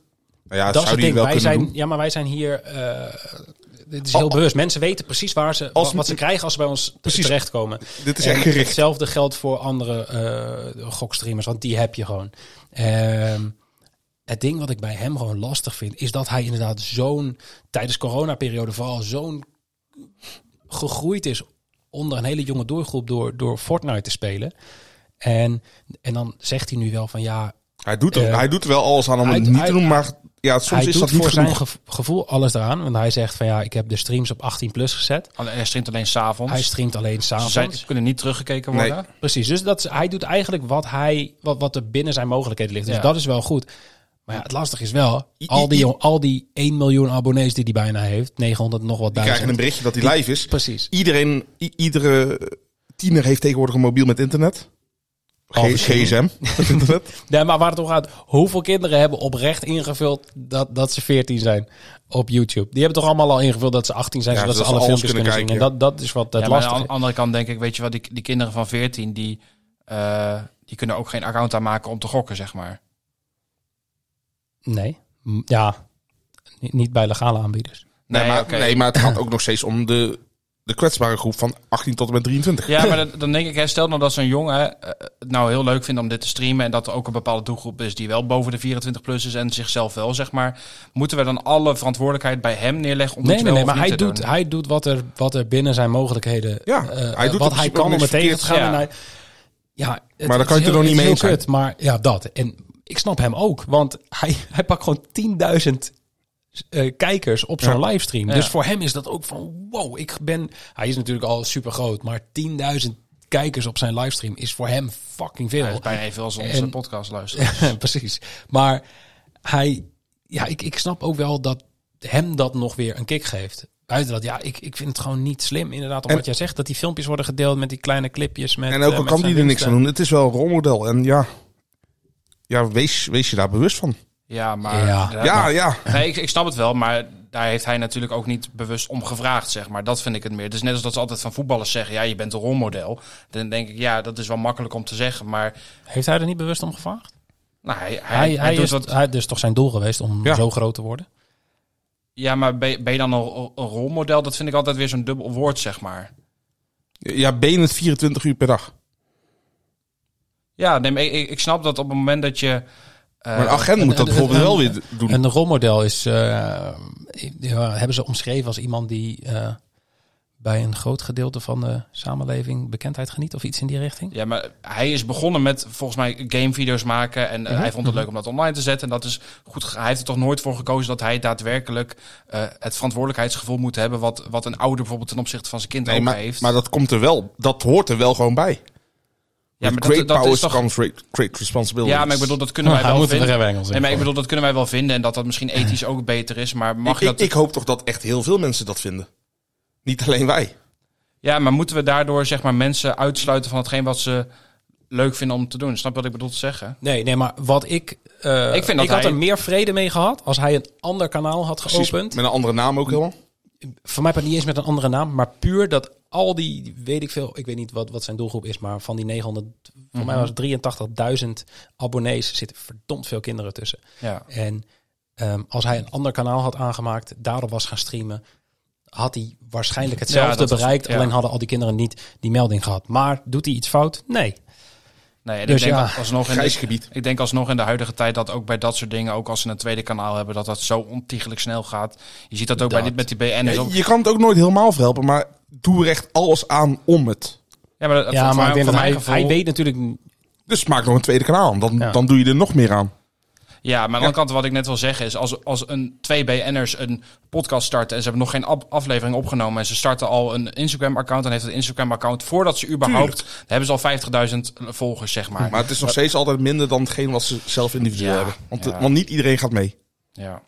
Speaker 7: Nou ja, dat
Speaker 6: dat is
Speaker 7: zou
Speaker 6: het
Speaker 7: die
Speaker 6: ding.
Speaker 7: wel
Speaker 6: Wij
Speaker 7: kunnen
Speaker 6: zijn,
Speaker 7: doen.
Speaker 6: ja, maar wij zijn hier. eh dit is
Speaker 7: Al-
Speaker 6: heel bewust. Mensen weten precies waar ze,
Speaker 7: Als-
Speaker 6: wat ze krijgen als ze bij ons
Speaker 7: Precies.
Speaker 6: terechtkomen.
Speaker 7: Dit is
Speaker 6: En
Speaker 7: echt gericht.
Speaker 6: Hetzelfde geldt voor andere eh, gokstreamers, want die heb je gewoon. Ehm, het ding wat ik bij hem gewoon lastig vind, is dat hij inderdaad zo'n, tijdens coronaperiode vooral, zo'n gegroeid is onder een hele jonge doelgroep door, door Fortnite te spelen. En, en dan zegt hij nu wel van ja,
Speaker 7: Hij doet, er,
Speaker 6: Eh,
Speaker 7: hij doet er wel alles aan om
Speaker 6: hij-
Speaker 7: het niet
Speaker 6: hij-
Speaker 7: te doen, maar ja, soms
Speaker 6: hij
Speaker 7: is
Speaker 6: doet
Speaker 7: dat niet
Speaker 6: voor zijn
Speaker 7: genoeg.
Speaker 6: gev- gevoel alles eraan. Want hij zegt van ja, ik heb de streams op 18 plus gezet.
Speaker 8: Alleen- Hij streamt alleen s'avonds.
Speaker 7: Dus
Speaker 6: Hij streamt alleen
Speaker 8: Ze zijn- ze
Speaker 6: s'avonds.
Speaker 8: kunnen niet teruggekeken
Speaker 7: Nee.
Speaker 8: worden.
Speaker 6: Precies, dus dat, is- hij doet eigenlijk wat, hij, wat, wat er binnen zijn mogelijkheden ligt. Dus
Speaker 8: Ja.
Speaker 6: dat is wel goed. Maar ja, het lastige is wel, al die, jong- al die 1 miljoen abonnees die hij bijna heeft, 900 nog wat
Speaker 7: Die krijgen
Speaker 6: duizend.
Speaker 7: een berichtje dat hij live is.
Speaker 6: Precies.
Speaker 7: Iedereen, i- iedere tiener heeft tegenwoordig een mobiel met internet. G- GSM.
Speaker 6: [laughs] Nee, maar waar het om gaat, hoeveel kinderen hebben oprecht ingevuld dat, dat ze 14 zijn op YouTube? Die hebben toch allemaal al ingevuld dat ze 18 zijn,
Speaker 7: Ja,
Speaker 6: zodat ze
Speaker 7: zodat
Speaker 6: alle
Speaker 7: ze alles
Speaker 6: filmpjes kunnen,
Speaker 7: kunnen
Speaker 6: zien. En
Speaker 7: kijken,
Speaker 6: dat, dat is wat het
Speaker 8: Ja, maar
Speaker 6: lastig
Speaker 8: aan
Speaker 6: is.
Speaker 8: de andere kant denk ik, weet je wel, die, die kinderen van 14, die, eh, die kunnen ook geen account aanmaken om te gokken, zeg maar.
Speaker 6: Nee, M- ja, Ni- niet bij legale aanbieders.
Speaker 7: Nee, maar,
Speaker 8: oké.
Speaker 7: nee, maar het gaat ook nog steeds om de, de kwetsbare groep van 18 tot en met 23.
Speaker 8: Ja, maar dat- dan denk ik, hè, stel nou dat zo'n jongen eh, het nou heel leuk vindt om dit te streamen... en dat er ook een bepaalde doelgroep is die wel boven de 24 plus is en zichzelf wel, zeg maar. Moeten we dan alle verantwoordelijkheid bij hem neerleggen om
Speaker 6: Nee,
Speaker 8: het
Speaker 6: nee,
Speaker 8: wel
Speaker 6: nee,
Speaker 8: of
Speaker 6: maar hij
Speaker 8: niet te
Speaker 6: doet,
Speaker 8: doen?
Speaker 6: hij doet wat er, wat er binnen zijn mogelijkheden...
Speaker 7: Ja,
Speaker 6: eh,
Speaker 7: hij
Speaker 6: eh,
Speaker 7: doet
Speaker 6: wat hij
Speaker 7: in principe ook
Speaker 6: kan om
Speaker 7: niks
Speaker 6: het tegen te gaan.
Speaker 8: verkeerds.
Speaker 6: En
Speaker 8: Ja.
Speaker 6: hij- ja, het-
Speaker 7: Maar daar
Speaker 6: het
Speaker 7: kan
Speaker 6: is
Speaker 7: je
Speaker 6: heel-
Speaker 7: er
Speaker 6: het
Speaker 7: nog niet
Speaker 6: is
Speaker 7: mee
Speaker 6: heel
Speaker 7: eens zijn.
Speaker 6: kut, Maar ja, dat. En ik snap hem ook, want hij, [laughs] hij pakt gewoon 10.000 eh, kijkers op zo'n livestream. Dus voor hem is dat ook van wow, ik ben... Hij is natuurlijk al super groot, maar 10.000 kijkers op zijn livestream is voor hem fucking veel.
Speaker 8: Hij is bijna evenveel als onze
Speaker 6: En-
Speaker 8: podcast
Speaker 6: [laughs]
Speaker 8: luisteren.
Speaker 6: Precies. Maar hij, ja, ik, ik snap ook wel dat hem dat nog weer een kick geeft. Buiten dat, ja, ik, ik vind het gewoon niet slim, inderdaad, om
Speaker 7: En-
Speaker 6: wat jij zegt. Dat die filmpjes worden gedeeld met die kleine clipjes. Met,
Speaker 7: en ook
Speaker 6: eh,
Speaker 7: al
Speaker 6: met
Speaker 7: kan
Speaker 6: zijn
Speaker 7: die er niks
Speaker 6: diensten.
Speaker 7: aan doen, het is wel een rolmodel. En ja, ja wees, wees je daar bewust van.
Speaker 8: Ja, maar...
Speaker 6: Ja.
Speaker 8: inderdaad,
Speaker 7: Ja,
Speaker 8: maar-
Speaker 7: ja.
Speaker 8: Nee, ik, ik snap het wel, maar daar heeft hij natuurlijk ook niet bewust om gevraagd, zeg maar. Dat vind ik het meer. Het is net als dat ze altijd van voetballers zeggen, ja, je bent een rolmodel. Dan denk ik, ja, dat is wel makkelijk om te zeggen, maar
Speaker 6: Heeft hij er niet bewust om gevraagd?
Speaker 8: nou, hij, hij,
Speaker 6: Hij, hij,
Speaker 8: hij doet
Speaker 6: is,
Speaker 8: wat...
Speaker 6: hij, dus toch zijn doel geweest om
Speaker 7: Ja.
Speaker 6: zo groot te worden?
Speaker 8: Ja, maar ben, je- ben je dan een, een rolmodel? Dat vind ik altijd weer zo'n dubbel woord, zeg maar.
Speaker 7: Ja, ben het 24 uur per dag.
Speaker 8: Ja, nee, maar ik- ik, ik snap dat op het moment dat je... eh,
Speaker 7: Maar een agent
Speaker 6: en-
Speaker 7: moet dat
Speaker 6: en-
Speaker 7: bijvoorbeeld
Speaker 6: en-
Speaker 7: wel weer doen.
Speaker 6: Een rolmodel is, eh, ja, hebben ze omschreven als iemand die eh, bij een groot gedeelte van de samenleving bekendheid geniet of iets in die richting?
Speaker 8: Ja, maar hij is begonnen met volgens mij gamevideo's maken. En eh,
Speaker 6: Mhm,
Speaker 8: hij vond het leuk om dat online te zetten. En dat is goed. ge- Hij heeft er toch nooit voor gekozen dat hij daadwerkelijk eh, het verantwoordelijkheidsgevoel moet hebben. Wat, wat een ouder bijvoorbeeld ten opzichte van zijn kind
Speaker 7: nee,
Speaker 8: ook
Speaker 7: maar,
Speaker 8: heeft.
Speaker 7: maar dat komt er wel, dat hoort er wel gewoon bij.
Speaker 8: ja,
Speaker 7: With
Speaker 8: maar
Speaker 7: great
Speaker 8: dat, dat is
Speaker 7: powers
Speaker 8: toch.
Speaker 7: comes great, great responsibility.
Speaker 8: Ja, maar ik bedoel, dat kunnen wij
Speaker 6: [laughs] Hij
Speaker 8: wel
Speaker 6: moet er
Speaker 8: vinden.
Speaker 6: even Engels in
Speaker 8: Nee, maar ik
Speaker 6: gooien.
Speaker 8: bedoel, dat kunnen wij wel vinden. En dat dat misschien ethisch ook beter is. Maar mag
Speaker 7: ik,
Speaker 8: je dat.
Speaker 7: ik, ik hoop toch dat echt heel veel mensen dat vinden. Niet alleen wij.
Speaker 8: Ja, maar moeten we daardoor zeg maar mensen uitsluiten van hetgeen wat ze leuk vinden om te doen? Snap je wat ik bedoel te zeggen?
Speaker 6: Nee, nee, maar wat ik. eh,
Speaker 8: Ik vind dat
Speaker 6: had
Speaker 8: hij-
Speaker 6: er meer vrede mee gehad als hij een ander kanaal had
Speaker 7: Precies,
Speaker 6: geopend.
Speaker 7: Met een andere naam ook helemaal.
Speaker 6: Voor mij het niet eens met een andere naam, maar puur dat al die, weet ik veel, ik weet niet wat, wat zijn doelgroep is, maar van die 900, voor
Speaker 8: Mhm.
Speaker 6: mij was het 83.000 abonnees zitten verdomd veel kinderen tussen.
Speaker 8: Ja.
Speaker 6: En ehm, als hij een ander kanaal had aangemaakt, daarop was gaan streamen, had hij waarschijnlijk hetzelfde
Speaker 8: dat was-
Speaker 6: bereikt.
Speaker 8: ja.
Speaker 6: Alleen hadden al die kinderen niet die melding gehad. Maar doet hij iets fout? Nee.
Speaker 8: Nee, en
Speaker 6: Dus
Speaker 8: ik denk
Speaker 6: ja,
Speaker 8: dat alsnog in
Speaker 7: grijs
Speaker 8: de,
Speaker 7: gebied.
Speaker 8: Ik denk alsnog in de huidige tijd dat ook bij dat soort dingen, ook als ze een tweede kanaal hebben, dat dat zo ontiegelijk snel gaat. Je ziet dat ook bij dit met die BN'ers.
Speaker 7: Ja,
Speaker 8: ook.
Speaker 7: je kan het ook nooit helemaal verhelpen, maar doe er echt alles aan om het.
Speaker 8: Ja, maar, dat,
Speaker 6: ja, maar ik denk
Speaker 8: voor
Speaker 6: dat hij,
Speaker 8: mijn gevoel,
Speaker 6: hij weet natuurlijk
Speaker 7: Dus maak nog een tweede kanaal aan. Dan,
Speaker 6: Ja.
Speaker 7: dan doe je er nog meer aan.
Speaker 8: Ja, maar aan de andere kant, wat ik net wil zeggen is, als, als een twee BN'ers een podcast starten en ze hebben nog geen ab- aflevering opgenomen en ze starten al een Instagram-account, dan heeft het Instagram-account, voordat ze überhaupt, dan hebben ze al 50.000 volgers, zeg maar.
Speaker 7: Maar het is nog steeds altijd minder dan hetgeen wat ze zelf individueel
Speaker 8: Ja,
Speaker 7: hebben. Want,
Speaker 8: ja.
Speaker 7: want niet iedereen gaat mee.
Speaker 8: Ja.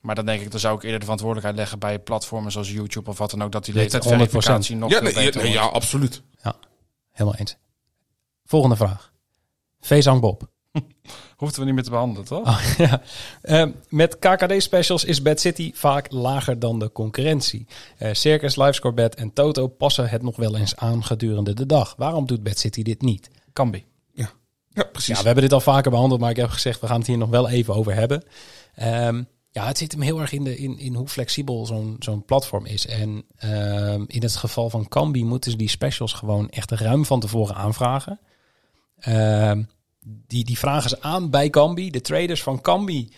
Speaker 8: Maar dan denk ik, dan zou ik eerder de verantwoordelijkheid leggen bij platformen zoals YouTube of wat dan ook, dat die
Speaker 6: Dit
Speaker 8: leeftijdsverificatie nog
Speaker 7: Ja,
Speaker 8: veel
Speaker 7: nee,
Speaker 8: beter
Speaker 7: nee,
Speaker 8: wordt.
Speaker 7: ja, absoluut.
Speaker 6: helemaal eens. Volgende vraag. Feesang Bob. [laughs]
Speaker 8: Hoefden we niet meer te behandelen, toch?
Speaker 6: Ah, ja. Ehm, met KKD-specials is Bad City vaak lager dan de concurrentie. Eh, Circus, Livescore Bad en Toto passen het nog wel eens aan gedurende de dag. Waarom doet Bad City dit niet?
Speaker 8: Kambi.
Speaker 7: Ja,
Speaker 6: Ja,
Speaker 7: precies.
Speaker 6: we hebben dit al vaker behandeld, maar ik heb gezegd, we gaan het hier nog wel even over hebben. Ehm, ja, het zit hem heel erg in, de, in, in hoe flexibel zo'n zo'n platform is. En ehm, in het geval van Kambi moeten ze die specials gewoon echt ruim van tevoren aanvragen. Ehm, die, die vragen ze aan bij Kambi. De traders van Kambi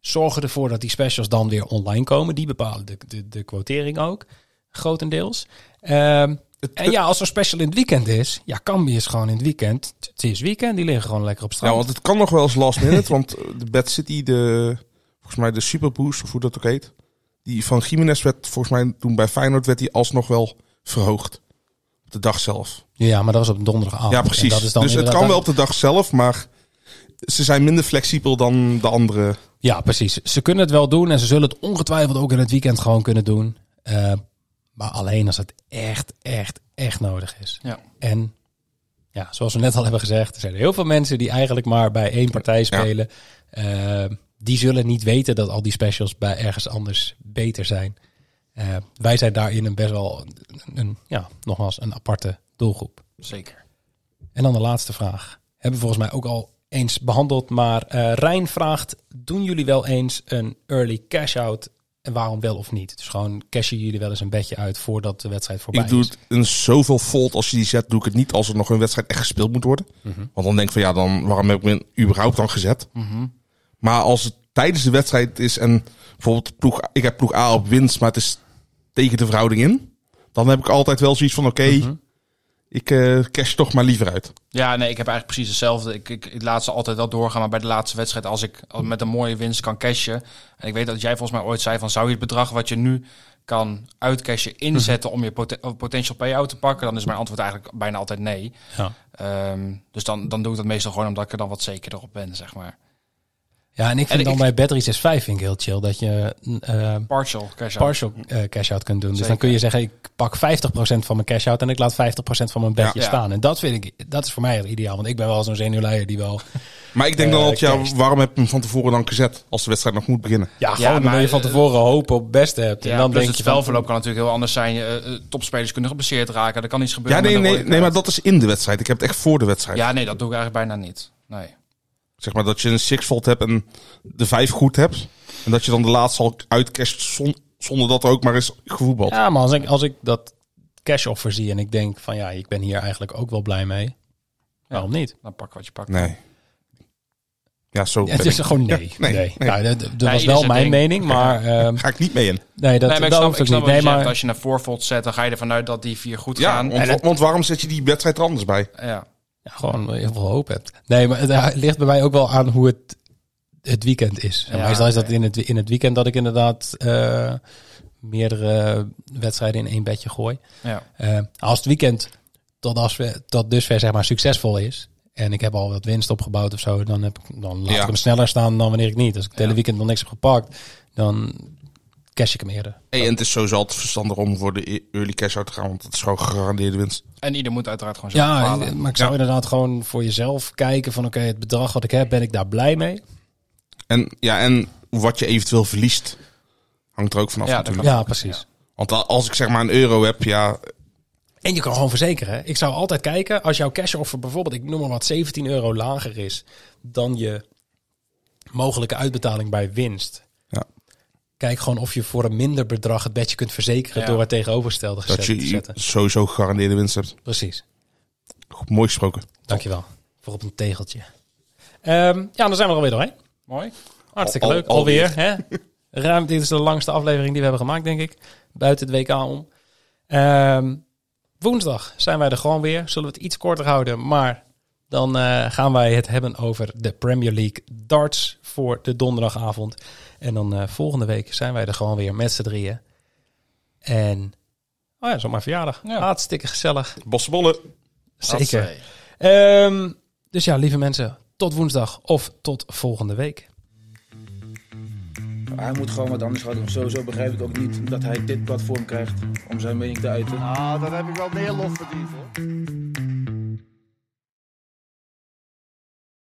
Speaker 6: zorgen ervoor dat die specials dan weer online komen. Die bepalen de, de, de quotering ook, grotendeels. Ehm, en ja, als er special in het weekend is, ja, Kambi is gewoon in het weekend. T- Het is weekend, die liggen gewoon lekker op straat.
Speaker 7: Ja, want het kan nog wel eens last minute. [laughs] want eh, de Bad City, de, volgens mij de Superboost, of hoe dat ook heet. Die van Jiménez werd volgens mij toen bij Feyenoord werd die alsnog wel verhoogd. Op de dag zelf.
Speaker 6: Ja, maar dat was op donderdagavond.
Speaker 7: ja,
Speaker 6: Oh, En
Speaker 7: precies.
Speaker 6: dat is dan
Speaker 7: dus het
Speaker 6: inderdaad-
Speaker 7: kan wel op de dag zelf, maar ze zijn minder flexibel dan de andere.
Speaker 6: Ja, precies. Ze kunnen het wel doen en ze zullen het ongetwijfeld ook in het weekend gewoon kunnen doen. Eh, maar alleen als het echt, echt, echt nodig is.
Speaker 8: Ja.
Speaker 6: En ja, zoals we net al hebben gezegd, er zijn heel veel mensen die eigenlijk maar bij één partij spelen. Eh, die zullen niet weten dat al die specials bij ergens anders beter zijn. Eh, wij zijn daarin een best wel, een, een- ja, nogmaals, een aparte doelgroep.
Speaker 8: Zeker.
Speaker 6: En dan de laatste vraag. Hebben we volgens mij ook al eens behandeld, maar eh, Rijn vraagt, doen jullie wel eens een early cash-out en waarom wel of niet? Dus gewoon cashen jullie wel eens een bedje uit voordat de wedstrijd voorbij
Speaker 7: Ik doe
Speaker 6: is?
Speaker 7: het in zoveel volt als je die zet, doe ik het niet als er nog een wedstrijd echt gespeeld moet worden.
Speaker 6: Mhm.
Speaker 7: Want dan denk ik van ja, dan, waarom heb ik me überhaupt dan gezet?
Speaker 6: Mhm.
Speaker 7: Maar als het tijdens de wedstrijd is en bijvoorbeeld ploeg, ik heb ploeg A op winst, maar het is tegen de verhouding in. Dan heb ik altijd wel zoiets van oké,
Speaker 6: Mhm.
Speaker 7: ik eh, cash toch maar liever uit.
Speaker 8: Ja, nee, ik heb eigenlijk precies hetzelfde. Ik, ik, ik laat ze altijd wel doorgaan, maar bij de laatste wedstrijd, als ik al met een mooie winst kan cashen. En ik weet dat jij volgens mij ooit zei van, zou je het bedrag wat je nu kan uitcashen
Speaker 6: Mhm.
Speaker 8: inzetten om je poten- potential payout te pakken? Dan is mijn antwoord eigenlijk bijna altijd nee.
Speaker 6: Ja.
Speaker 8: Ehm, dus dan, dan doe ik dat meestal gewoon omdat ik er dan wat zekerder op ben, zeg maar.
Speaker 6: Ja, en ik vind
Speaker 8: En
Speaker 6: dan
Speaker 8: ik-
Speaker 6: bij Battery 65 vind ik heel chill dat je eh,
Speaker 8: Partial cash out.
Speaker 6: partial eh, cash-out kunt doen. Dus dan
Speaker 8: Zeker.
Speaker 6: kun je zeggen, ik pak 50% van mijn cash-out en ik laat 50% van mijn bedje
Speaker 8: Ja.
Speaker 6: staan. En dat vind ik, dat is voor mij heel ideaal. Want ik ben wel zo'n zenuwleier die wel...
Speaker 7: Maar ik denk
Speaker 6: Eh,
Speaker 7: dan altijd,
Speaker 6: cash.
Speaker 7: ja, waarom heb ik hem van tevoren dan gezet als de wedstrijd nog moet beginnen?
Speaker 6: Ja,
Speaker 8: gewoon
Speaker 6: gewoon
Speaker 8: maar,
Speaker 6: omdat je van
Speaker 8: eh,
Speaker 6: tevoren hopen op het beste hebt.
Speaker 8: Ja,
Speaker 6: en dan
Speaker 8: plus
Speaker 6: denk
Speaker 8: het
Speaker 6: je van-
Speaker 8: spelverloop kan natuurlijk heel anders zijn. Je, eh, eh, topspelers kunnen geblesseerd raken, er kan iets
Speaker 7: Ja,
Speaker 8: gebeuren.
Speaker 7: nee,
Speaker 8: met een
Speaker 7: nee,
Speaker 8: rode
Speaker 7: nee, maar
Speaker 8: kaart.
Speaker 7: dat is in de wedstrijd. Ik heb het echt voor de wedstrijd.
Speaker 8: Ja, nee, dat doe ik eigenlijk bijna niet. Nee.
Speaker 7: Zeg maar dat je een six volt hebt en de vijf goed hebt. En dat je dan de laatste al uitcasht zon- zonder dat er ook maar eens gevoetbald.
Speaker 6: Ja, maar als ik, als ik dat cash-offer zie en ik denk van ja, ik ben hier eigenlijk ook wel blij mee. Waarom niet?
Speaker 8: Dan pak wat je pakt.
Speaker 7: Nee. Ja, zo
Speaker 6: Het
Speaker 7: ben
Speaker 6: is
Speaker 7: ik.
Speaker 6: gewoon nee.
Speaker 7: Ja,
Speaker 6: nee,
Speaker 7: nee, nee.
Speaker 6: Nou, dat dat was
Speaker 8: ieder
Speaker 6: wel
Speaker 8: zijn
Speaker 6: mijn
Speaker 8: ding.
Speaker 6: mening, maar ehm,
Speaker 7: Ga ik niet mee in.
Speaker 6: nee, dat,
Speaker 8: nee, maar
Speaker 6: dat
Speaker 8: ik snap,
Speaker 6: hoeft ook
Speaker 8: ik
Speaker 6: niet.
Speaker 8: snap wat
Speaker 6: Nee,
Speaker 8: je zegt.
Speaker 6: maar
Speaker 8: Als je naar voorvolt zet, dan ga je ervan uit dat die vier goed
Speaker 7: Ja,
Speaker 8: gaan.
Speaker 7: want, want waarom zet je die wedstrijd er anders bij?
Speaker 8: Ja.
Speaker 6: Ja, gewoon heel veel hoop hebt. Nee, maar het eh, ligt bij mij ook wel aan hoe het, het weekend is. En
Speaker 8: Ja,
Speaker 6: meestal is dat in het, in het weekend dat ik inderdaad eh, meerdere wedstrijden in één bedje gooi.
Speaker 8: Ja.
Speaker 6: Eh, als het weekend tot, als we, tot dusver zeg maar succesvol is. En ik heb al wat winst opgebouwd of zo. Dan, heb ik, dan laat
Speaker 7: Ja.
Speaker 6: ik hem sneller staan dan wanneer ik niet. Als ik het hele weekend nog niks heb gepakt, dan cash ik hem eerder.
Speaker 7: Hey, en het is sowieso altijd verstandig om voor de E- early cash out te gaan. Want dat is gewoon gegarandeerde winst.
Speaker 8: En ieder moet uiteraard gewoon zelf
Speaker 6: Ja, eh,
Speaker 8: bepalen.
Speaker 6: maar ik zou inderdaad gewoon voor jezelf kijken van oké, het bedrag wat ik heb, ben ik daar blij mee?
Speaker 7: En, ja, en wat je eventueel verliest hangt er ook vanaf
Speaker 8: Ja, dat
Speaker 7: natuurlijk.
Speaker 6: Ja, precies.
Speaker 7: Want a- als ik zeg maar een euro heb, ja...
Speaker 6: En je kan gewoon verzekeren. hè. Ik zou altijd kijken, als jouw cash offer bijvoorbeeld, ik noem maar wat, 17 euro lager is dan je mogelijke uitbetaling bij winst.
Speaker 7: Ja.
Speaker 6: Kijk gewoon of je voor een minder bedrag het bedje kunt verzekeren
Speaker 8: Ja.
Speaker 6: door het tegenovergestelde gezet
Speaker 7: Dat
Speaker 6: te
Speaker 7: je
Speaker 6: zetten.
Speaker 7: sowieso gegarandeerde winst hebt.
Speaker 6: Precies.
Speaker 7: Goed, mooi gesproken.
Speaker 6: Dankjewel voor op een tegeltje. Ehm, ja, dan zijn we er alweer doorheen.
Speaker 8: Mooi.
Speaker 6: Hartstikke
Speaker 7: Al-
Speaker 6: leuk.
Speaker 7: al-
Speaker 6: Alweer. Hè? Ruim, dit is de langste aflevering die we hebben gemaakt, denk ik. Buiten het WK om. Ehm, woensdag zijn wij er gewoon weer. Zullen we het iets korter houden, maar dan eh, gaan wij het hebben over de Premier League darts voor de donderdagavond. En dan eh, volgende week zijn wij er gewoon weer met z'n drieën. En, oh ja, zomaar verjaardag.
Speaker 8: Ja.
Speaker 6: Hartstikke gezellig.
Speaker 7: Bossenbollen.
Speaker 6: Zeker. Ehm, dus ja, lieve mensen, tot woensdag of tot volgende week.
Speaker 10: Hij moet gewoon wat anders gaan doen. Sowieso begrijp ik ook niet dat hij dit platform krijgt om zijn mening te uiten.
Speaker 3: Ah, dan heb ik wel meer lof verdiend hoor.